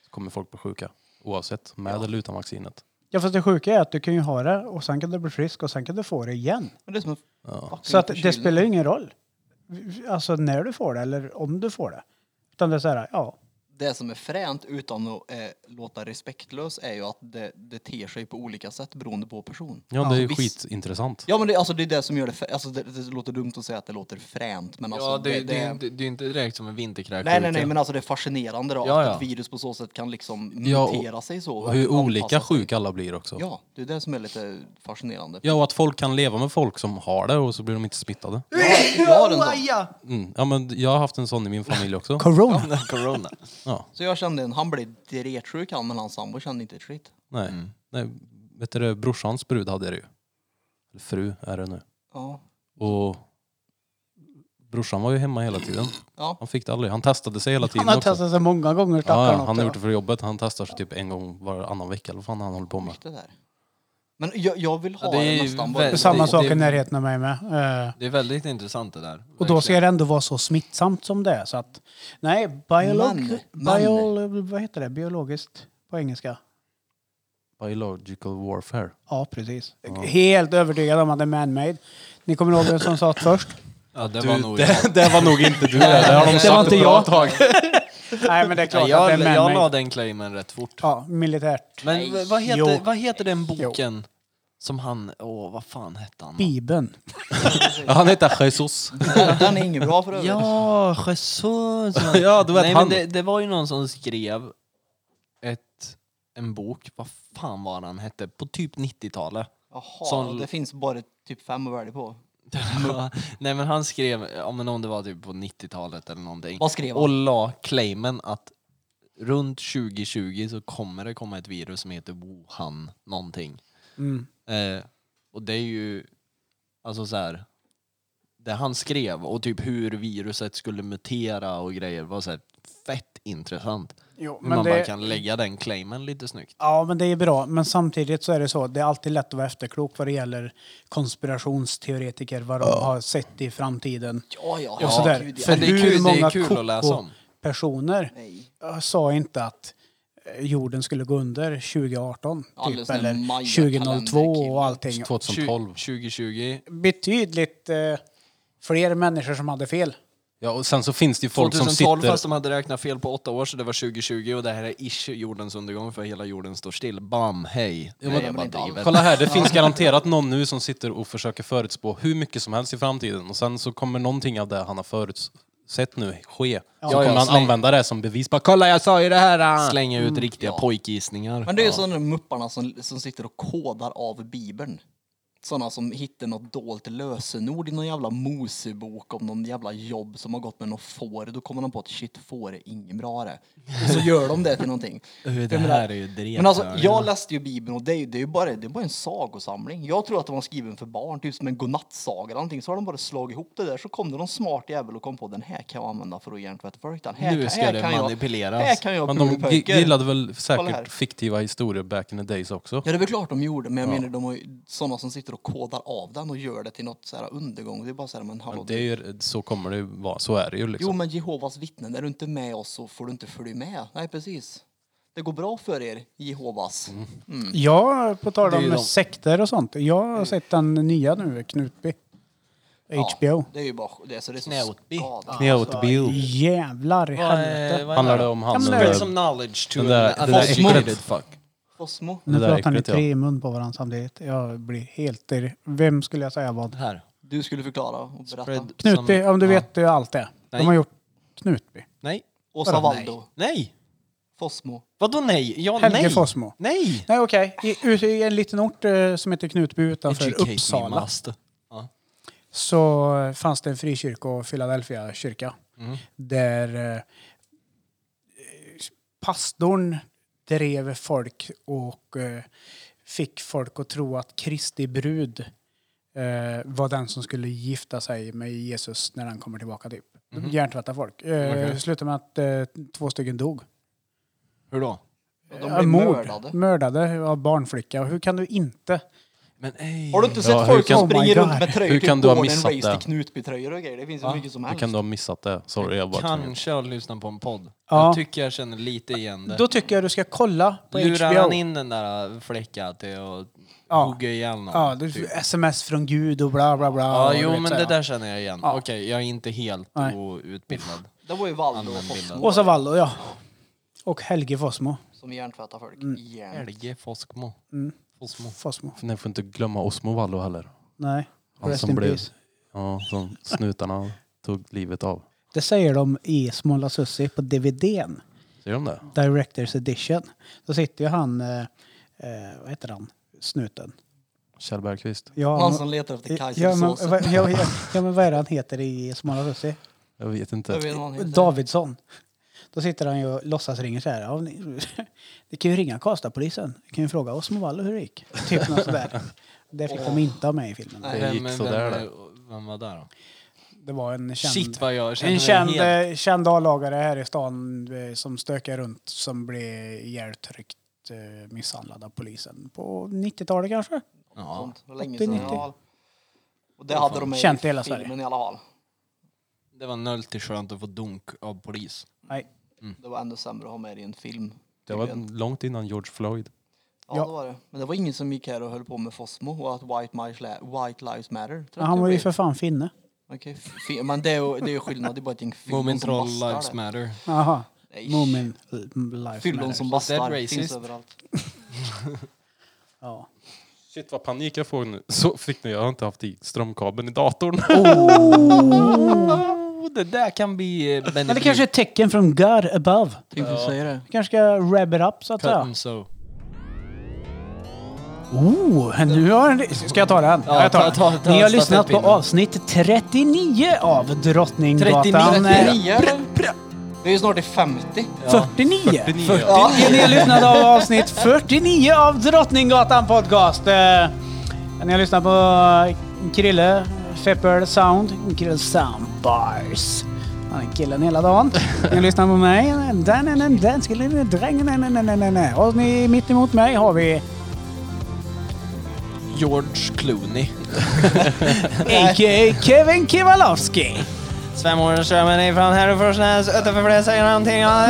[SPEAKER 3] så kommer folk bli sjuka. Oavsett, med eller utan vaccinet.
[SPEAKER 1] ja fast det sjuka är att du kan ju ha det och sen kan du bli frisk och sen kan du få det igen.
[SPEAKER 4] Men det är som en
[SPEAKER 3] Ja.
[SPEAKER 4] fucking
[SPEAKER 1] Så att det
[SPEAKER 4] förkylning.
[SPEAKER 1] spelar ju ingen roll. Alltså när du får det eller om du får det. Utan det är så här, ja.
[SPEAKER 4] Det som är fränt utan att eh, låta respektlös är ju att det, det ter sig på olika sätt beroende på person.
[SPEAKER 3] Ja det är ju
[SPEAKER 4] visst.
[SPEAKER 3] skitintressant.
[SPEAKER 4] Ja men det, alltså, det är det som gör det, fr- alltså, det, det låter dumt att säga att det låter fränt men alltså
[SPEAKER 2] Ja, det, det,
[SPEAKER 4] det
[SPEAKER 2] är inte- det är inte direkt som en vinterkräksjuka.
[SPEAKER 4] Nej, nej, nej, men alltså det är fascinerande då,
[SPEAKER 2] Ja,
[SPEAKER 4] att
[SPEAKER 2] ja.
[SPEAKER 4] ett virus på så sätt kan liksom
[SPEAKER 3] Ja, och-
[SPEAKER 4] mutera sig så.
[SPEAKER 3] Och hur
[SPEAKER 4] anpassa
[SPEAKER 3] olika
[SPEAKER 4] sig.
[SPEAKER 3] sjuka alla blir också.
[SPEAKER 4] Ja, det är det som är lite fascinerande.
[SPEAKER 3] Ja, och att folk kan leva med folk som har det och så blir de inte smittade.
[SPEAKER 4] Jag har en sån.
[SPEAKER 3] Mm. Ja, men jag har haft en sån i min familj också.
[SPEAKER 1] Corona.
[SPEAKER 2] Corona.
[SPEAKER 3] Ja,
[SPEAKER 4] Så jag kände en, han blev diretsjuk han, men hans sambo kände inte ett skit.
[SPEAKER 3] nej. nej. Vet du det, brorsans brud hade det ju. Eller fru är det nu.
[SPEAKER 4] Ja.
[SPEAKER 3] Och brorsan var ju hemma hela tiden.
[SPEAKER 4] Ja.
[SPEAKER 3] Han fick det aldrig. Han testade sig hela tiden
[SPEAKER 1] Han har
[SPEAKER 3] också.
[SPEAKER 1] testat sig många gånger
[SPEAKER 3] Ja,
[SPEAKER 1] stackaren.
[SPEAKER 3] ja, han
[SPEAKER 1] också.
[SPEAKER 3] har gjort det för jobbet. Han testar sig typ en gång varannan vecka eller vad fan han håller på med.
[SPEAKER 4] Det där. Men jag, jag vill ha
[SPEAKER 2] Ja, det är
[SPEAKER 4] det
[SPEAKER 2] ju
[SPEAKER 4] nästan
[SPEAKER 1] Det
[SPEAKER 4] bara.
[SPEAKER 1] är samma
[SPEAKER 2] Det-
[SPEAKER 1] sak
[SPEAKER 2] det-
[SPEAKER 1] i närheten av mig med. Eh,
[SPEAKER 2] Det är väldigt intressant det där.
[SPEAKER 1] och då ska
[SPEAKER 2] Verkligen.
[SPEAKER 1] det ändå vara så smittsamt som det är. Så att, nej, biolog,
[SPEAKER 4] Men, men.
[SPEAKER 1] biol, vad heter det? biologiskt på engelska.
[SPEAKER 3] Biological warfare.
[SPEAKER 1] Ja, precis. Helt övertygad om att det är man-made. Ni kommer ihåg vem som sa det först?
[SPEAKER 2] Ja, det var nog jag.
[SPEAKER 3] det, det var nog inte du. Det, det, har
[SPEAKER 1] Det
[SPEAKER 3] de
[SPEAKER 1] var
[SPEAKER 3] sagt
[SPEAKER 1] inte
[SPEAKER 3] ett bra
[SPEAKER 1] jag.
[SPEAKER 3] tag.
[SPEAKER 1] Nej, men det är klart
[SPEAKER 2] Ja, jag,
[SPEAKER 1] att det är
[SPEAKER 2] jag la
[SPEAKER 1] man-made.
[SPEAKER 2] den claimen rätt fort.
[SPEAKER 1] Ja, militärt.
[SPEAKER 2] Men v- vad
[SPEAKER 1] Jo.
[SPEAKER 2] heter, vad heter den boken som han... Åh, vad fan hette han?
[SPEAKER 1] Bibeln.
[SPEAKER 3] Ja, han heter Jesus.
[SPEAKER 4] Den är ingen bra för övrigt.
[SPEAKER 2] Ja, Jesus!
[SPEAKER 3] Ja, du vet
[SPEAKER 2] Nej,
[SPEAKER 3] han.
[SPEAKER 2] Men det, det var ju någon som skrev ett, en bok, vad fan var han hette, på typ 90-talet.
[SPEAKER 4] Jaha,
[SPEAKER 2] Sån-
[SPEAKER 4] det finns bara typ fem att välja på.
[SPEAKER 2] Nej men han skrev, ja men om det var typ på 90-talet eller någonting.
[SPEAKER 4] Vad skrev han?
[SPEAKER 2] Och la claimen att runt 2020 så kommer det komma ett virus som heter Wuhan någonting.
[SPEAKER 1] Mm.
[SPEAKER 2] Eh, och det är ju, alltså så här. Det han skrev och typ hur viruset skulle mutera och grejer var så här fett intressant.
[SPEAKER 1] Jo,
[SPEAKER 2] Hur
[SPEAKER 1] men
[SPEAKER 2] man bara
[SPEAKER 1] det,
[SPEAKER 2] kan lägga den claimen lite snyggt.
[SPEAKER 1] ja, men det är bra. Men samtidigt så är det så, det är alltid lätt att vara efterklok vad det gäller konspirationsteoretiker, vad de har sett i framtiden.
[SPEAKER 4] Ja, ja,
[SPEAKER 1] och sådär.
[SPEAKER 4] gud, ja.
[SPEAKER 1] För
[SPEAKER 2] Men det är
[SPEAKER 1] hur
[SPEAKER 2] kul- det är
[SPEAKER 1] många
[SPEAKER 2] kul att läsa om.
[SPEAKER 1] personer
[SPEAKER 4] Nej.
[SPEAKER 1] sa inte att eh, jorden skulle gå under 2018 typ,
[SPEAKER 4] Alldeles den
[SPEAKER 1] eller
[SPEAKER 4] Maya-kalender-
[SPEAKER 1] 2002 och allting.
[SPEAKER 3] 2012.
[SPEAKER 2] 2020.
[SPEAKER 1] Betydligt eh, fler människor som hade fel.
[SPEAKER 3] Ja, och sen så finns det ju folk som
[SPEAKER 2] 2012
[SPEAKER 3] sitter...
[SPEAKER 2] fast de hade räknat fel på åtta år så det var 2020 och det här är ish jordens undergång för hela jorden står still. Bam, hej.
[SPEAKER 4] men-
[SPEAKER 2] Nej, jag
[SPEAKER 4] men
[SPEAKER 2] bara
[SPEAKER 4] inte alls.
[SPEAKER 2] driver.
[SPEAKER 3] Kolla här, det finns garanterat någon nu som sitter och försöker förutspå hur mycket som helst i framtiden och sen så kommer någonting av det han har förutsett nu ske. Så kommer
[SPEAKER 2] ja,
[SPEAKER 3] han
[SPEAKER 2] släng.
[SPEAKER 3] använda det som bevis. Bara, Kolla jag sa ju det här! ah!" Släng.
[SPEAKER 2] Slänga
[SPEAKER 1] Mm.
[SPEAKER 2] ut riktiga pojkgissningar.
[SPEAKER 4] Men det är ju sådana mupparna som, som sitter och kodar av Bibeln. Sådana som hittar något dolt lösenord i någon jävla Mosebok om någon jävla jobb som har gått med något får. Då kommer de på att shit, får är inget bra det. Och så gör de det till någonting.
[SPEAKER 2] Hur det
[SPEAKER 4] Jag menar-
[SPEAKER 2] här är ju drev.
[SPEAKER 4] Men alltså, jag läste ju Bibeln och det är ju, det är ju bara, det är bara en sagosamling. Jag tror att den var skriven för barn, typ som en godnattsaga eller någonting. Så har de bara slagit ihop det där, så kom det någon smart jävel och kom på den här kan jag använda för att hjärntvätta folk. Den här,
[SPEAKER 2] Nu
[SPEAKER 4] kan-
[SPEAKER 2] ska
[SPEAKER 4] här
[SPEAKER 2] det
[SPEAKER 4] kan jag-
[SPEAKER 2] manipuleras.
[SPEAKER 4] Här kan jag
[SPEAKER 3] Men de gi-
[SPEAKER 4] pulverpöker.
[SPEAKER 3] gillade väl
[SPEAKER 4] Kolla här.
[SPEAKER 3] säkert fiktiva historier back in the days också.
[SPEAKER 4] Ja, det är väl klart de gjorde, men jag menar de har ju sådana som sitter och kodar av den och gör det till något så här undergång. Det är bara så här, men hallå.
[SPEAKER 3] Men det är ju, så kommer det ju vara, så är det ju
[SPEAKER 4] Jo,
[SPEAKER 3] liksom.
[SPEAKER 4] men Jehovas vittnen, är du inte med oss så får du inte följa med. Nej, precis. Det går bra för er, Jehovas.
[SPEAKER 1] Mm. Ja, på tal
[SPEAKER 2] Mm. Det är
[SPEAKER 1] om
[SPEAKER 2] ju de. Mm.
[SPEAKER 1] sekter och sånt. Jag har sett den nya nu, Knutby. HBO.
[SPEAKER 4] Ja, det är ju bara det är så, Alltså, det är så
[SPEAKER 2] Knäutby.
[SPEAKER 4] skadat.
[SPEAKER 3] Knäutbild.
[SPEAKER 1] Jävlar i helvete.
[SPEAKER 3] Handlar det om
[SPEAKER 1] Ja,
[SPEAKER 3] han
[SPEAKER 1] men
[SPEAKER 3] den
[SPEAKER 1] det är
[SPEAKER 3] där,
[SPEAKER 1] som-
[SPEAKER 2] knowledge to
[SPEAKER 3] den där,
[SPEAKER 2] an
[SPEAKER 3] det där
[SPEAKER 2] uneducated
[SPEAKER 3] äcklet?
[SPEAKER 2] fuck.
[SPEAKER 4] Osmo.
[SPEAKER 1] Nu
[SPEAKER 3] det där är
[SPEAKER 1] pratar ni
[SPEAKER 3] äckligt, ja.
[SPEAKER 1] tre i mun på varandra samtidigt. Jag blir helt... irr- Vem skulle jag säga vad?
[SPEAKER 2] Här.
[SPEAKER 4] Du skulle förklara och berätta.
[SPEAKER 2] Fred-
[SPEAKER 1] Knutby,
[SPEAKER 2] som-
[SPEAKER 1] om du
[SPEAKER 2] ja.
[SPEAKER 1] vet ju allt det. De
[SPEAKER 2] Nej.
[SPEAKER 1] har gjort Knutby.
[SPEAKER 2] Nej.
[SPEAKER 4] Åsa Valdo.
[SPEAKER 2] Nej. nej.
[SPEAKER 4] Fosmo.
[SPEAKER 2] Vadå nej? Ja,
[SPEAKER 1] Helge
[SPEAKER 2] nej.
[SPEAKER 1] Fossmo.
[SPEAKER 2] Nej!
[SPEAKER 1] Nej, okej. I, ut- I en liten ort eh, som heter Knutby utanför
[SPEAKER 2] Educate me,
[SPEAKER 1] Uppsala
[SPEAKER 2] master. Ja.
[SPEAKER 1] så fanns det en frikyrka och Philadelphia kyrka.
[SPEAKER 2] Mm.
[SPEAKER 1] Där eh, pastorn drev folk och eh, fick folk att tro att Kristi brud eh, var den som skulle gifta sig med Jesus när han kommer tillbaka. Typ.
[SPEAKER 2] Mhm.
[SPEAKER 1] Mm. Hjärntvätta folk. Eh, Slutade med att eh, två stycken dog.
[SPEAKER 2] Hur då?
[SPEAKER 4] De
[SPEAKER 1] Ja,
[SPEAKER 4] blir
[SPEAKER 1] Eh, mord.
[SPEAKER 4] mördade.
[SPEAKER 1] Mördade av barnflicka. Hur kan du inte?
[SPEAKER 2] Men ej.
[SPEAKER 4] Har du inte sett
[SPEAKER 3] hur
[SPEAKER 4] folk
[SPEAKER 1] kan-
[SPEAKER 4] som springer
[SPEAKER 1] Oh my
[SPEAKER 4] runt med
[SPEAKER 1] God.
[SPEAKER 4] tröjor?
[SPEAKER 3] Hur
[SPEAKER 4] typ
[SPEAKER 3] kan du ha
[SPEAKER 4] Gordon
[SPEAKER 3] missat
[SPEAKER 4] Ramsay
[SPEAKER 3] det?
[SPEAKER 4] Knutby-tröjor och grejer. Det finns hur mycket som
[SPEAKER 3] Hur
[SPEAKER 4] helst.
[SPEAKER 3] kan du ha missat det? Sorry, jag bara tvungen.
[SPEAKER 2] Kanske har lyssnat på en podd.
[SPEAKER 1] Ja.
[SPEAKER 2] Jag tycker jag känner lite igen det.
[SPEAKER 1] Då tycker jag du ska kolla på
[SPEAKER 2] Lurar
[SPEAKER 1] HBO.
[SPEAKER 2] han in den där fläckan till att
[SPEAKER 1] Ja.
[SPEAKER 2] hugga ihjäl någon?
[SPEAKER 1] ja, det är
[SPEAKER 2] typ.
[SPEAKER 1] sms från Gud och bla bla bla.
[SPEAKER 2] ja
[SPEAKER 1] och du
[SPEAKER 2] jo
[SPEAKER 1] vet
[SPEAKER 2] men
[SPEAKER 1] så
[SPEAKER 2] det
[SPEAKER 1] här,
[SPEAKER 2] där känner jag igen. Okej, jag är inte helt
[SPEAKER 1] Nej.
[SPEAKER 2] outbildad.
[SPEAKER 4] Det var ju Valdo och
[SPEAKER 2] Allmänbildad.
[SPEAKER 1] ja. Och
[SPEAKER 4] Fossmo
[SPEAKER 1] så Vallo, ja. Och Helge Fossmo.
[SPEAKER 4] som hjärntvättar folk.
[SPEAKER 1] Mm.
[SPEAKER 4] Järn.
[SPEAKER 2] Helge Foskmo. Fosmo.
[SPEAKER 1] Fossmo.
[SPEAKER 3] Ni får inte glömma Osmo Vallo heller.
[SPEAKER 1] Nej.
[SPEAKER 3] Han
[SPEAKER 1] Rest
[SPEAKER 3] som
[SPEAKER 1] in
[SPEAKER 3] blev-
[SPEAKER 1] peace.
[SPEAKER 3] Ja, som snutarna tog livet av.
[SPEAKER 1] Det säger de i Småla Sussi på DVDn.
[SPEAKER 3] Ser de det?
[SPEAKER 1] Directors edition. Då sitter ju han, eh, eh, vad heter han, snuten.
[SPEAKER 3] Kjell Bergqvist.
[SPEAKER 1] Ja,
[SPEAKER 4] Han
[SPEAKER 1] men-
[SPEAKER 4] som letar efter
[SPEAKER 1] ja, men,
[SPEAKER 4] kajsersåsen.
[SPEAKER 1] va, ja, ja, ja, men vad är det han heter i Småla Sussi?
[SPEAKER 3] Jag vet
[SPEAKER 4] Jag vet
[SPEAKER 3] inte.
[SPEAKER 4] inte vad han heter.
[SPEAKER 1] Eh, Davidsson. Då sitter han ju och låtsas ringer så här. Ja, ni, ni kan ju ringa Karlstadpolisen. Ni kan ju fråga Osmo Vallo hur det gick. Typ något sådär. Det fick de inte ha med i filmen.
[SPEAKER 4] Nej.
[SPEAKER 3] Det gick sådär
[SPEAKER 2] vem,
[SPEAKER 3] det.
[SPEAKER 2] vem var där då?
[SPEAKER 1] Det var en känd,
[SPEAKER 2] Shit vad jag känner
[SPEAKER 1] en känd,
[SPEAKER 2] mig helt...
[SPEAKER 1] eh, känd A-lagare här i stan eh, som stökar runt som blev ihjältryckt eh, misshandlad av polisen på 90-talet kanske.
[SPEAKER 2] Ja.
[SPEAKER 4] Sånt. Det var länge sedan.
[SPEAKER 1] 80-90.
[SPEAKER 4] Ja. Och det hade de med
[SPEAKER 1] Känt i
[SPEAKER 4] i
[SPEAKER 1] hela
[SPEAKER 4] filmen i alla fall.
[SPEAKER 2] Det var nöjt skönt att få dunk av polis.
[SPEAKER 1] Nej.
[SPEAKER 2] Mm.
[SPEAKER 4] Det var ändå sämre att ha med i en film.
[SPEAKER 3] Det var
[SPEAKER 4] tydligen.
[SPEAKER 3] långt innan George Floyd.
[SPEAKER 4] Ja,
[SPEAKER 1] Ja.
[SPEAKER 4] det var det. Men det var ingen som gick här och höll på med Fosmo och att White, Mice La- White Lives Matter. tror
[SPEAKER 1] Men
[SPEAKER 4] jag
[SPEAKER 1] han
[SPEAKER 4] det
[SPEAKER 1] var ju
[SPEAKER 4] blev.
[SPEAKER 1] för fan finne.
[SPEAKER 4] Okej, fi- men det är ju det är ju skillnad. Det är bara att det är en film
[SPEAKER 2] Momentral
[SPEAKER 4] som bastar
[SPEAKER 2] lives
[SPEAKER 4] det.
[SPEAKER 2] matter.
[SPEAKER 1] Jaha.
[SPEAKER 4] Nej,
[SPEAKER 1] Moment eh, life
[SPEAKER 4] Fyllon
[SPEAKER 1] matters.
[SPEAKER 4] som
[SPEAKER 2] Dead
[SPEAKER 4] bastar finns
[SPEAKER 2] racist.
[SPEAKER 4] överallt.
[SPEAKER 1] Ja.
[SPEAKER 3] Shit vad panik jag får nu. Så fick ni, jag har inte haft i strömkabeln i datorn.
[SPEAKER 2] Oh, det där kan bli... eh,
[SPEAKER 1] Men det kanske är ett tecken från God above.
[SPEAKER 2] Typ
[SPEAKER 4] Tänkte du säga det?
[SPEAKER 1] Vi kanske ska wrap it up så att säga.
[SPEAKER 2] Cut so.
[SPEAKER 1] Oh, nu har en... Ska jag ta den?
[SPEAKER 2] Ja,
[SPEAKER 1] jag
[SPEAKER 2] ta- ta- ta
[SPEAKER 1] Ni har
[SPEAKER 2] stafettpinnen.
[SPEAKER 1] lyssnat på avsnitt 39 av Drottninggatan. Eh,
[SPEAKER 2] 39.
[SPEAKER 4] 39 eller? Vi är ju snart i 50.
[SPEAKER 1] 49.
[SPEAKER 3] 49.
[SPEAKER 1] Ja. Ni har lyssnat på avsnitt 49 av Drottninggatan Podcast. Eh, Ni har lyssnat på Krille, Fepper Sound, Krille Sound Bars. Han är killen hela dagen. Ni har lyssnat på mig. Den, den, den, den, skulle ni drängen, nej, nej, nej, nej, nej. Och ni, mitt emot mig har vi
[SPEAKER 2] George Clooney.
[SPEAKER 1] a.k.a. Kevin Kivalowski.
[SPEAKER 2] Sven Mordenström är från Härnöforsnäs utanför Fläsängen någonting.
[SPEAKER 1] Ah,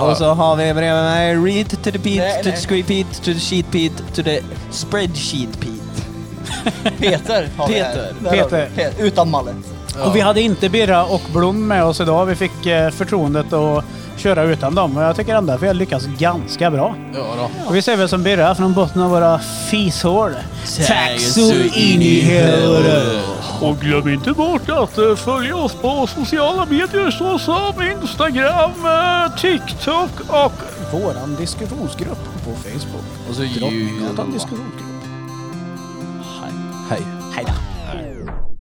[SPEAKER 2] Och så har vi bredvid mig Read to the
[SPEAKER 4] Nej,
[SPEAKER 2] Pete, to the
[SPEAKER 4] nej.
[SPEAKER 2] Squee Pete, to the Sheet Pete, to the Spreadsheet Pete.
[SPEAKER 4] Peter har vi här.
[SPEAKER 2] Peter.
[SPEAKER 4] Där har vi.
[SPEAKER 1] Peter.
[SPEAKER 4] Pe- Utan mallet.
[SPEAKER 1] Och vi hade inte Birra och Blom med oss idag. Vi fick eh, förtroendet att köra utan dem. Och jag tycker ändå att vi har lyckats ganska bra.
[SPEAKER 3] Ja då.
[SPEAKER 1] Och vi säger väl som Birra från botten av våra fishål. Tack så in i helvete! Och glöm inte bort att eh, följa oss på sociala medier såsom Instagram, eh, TikTok och våran diskussionsgrupp på Facebook.
[SPEAKER 2] Och så
[SPEAKER 1] Drottninggatan diskussionsgrupp.
[SPEAKER 3] Hej.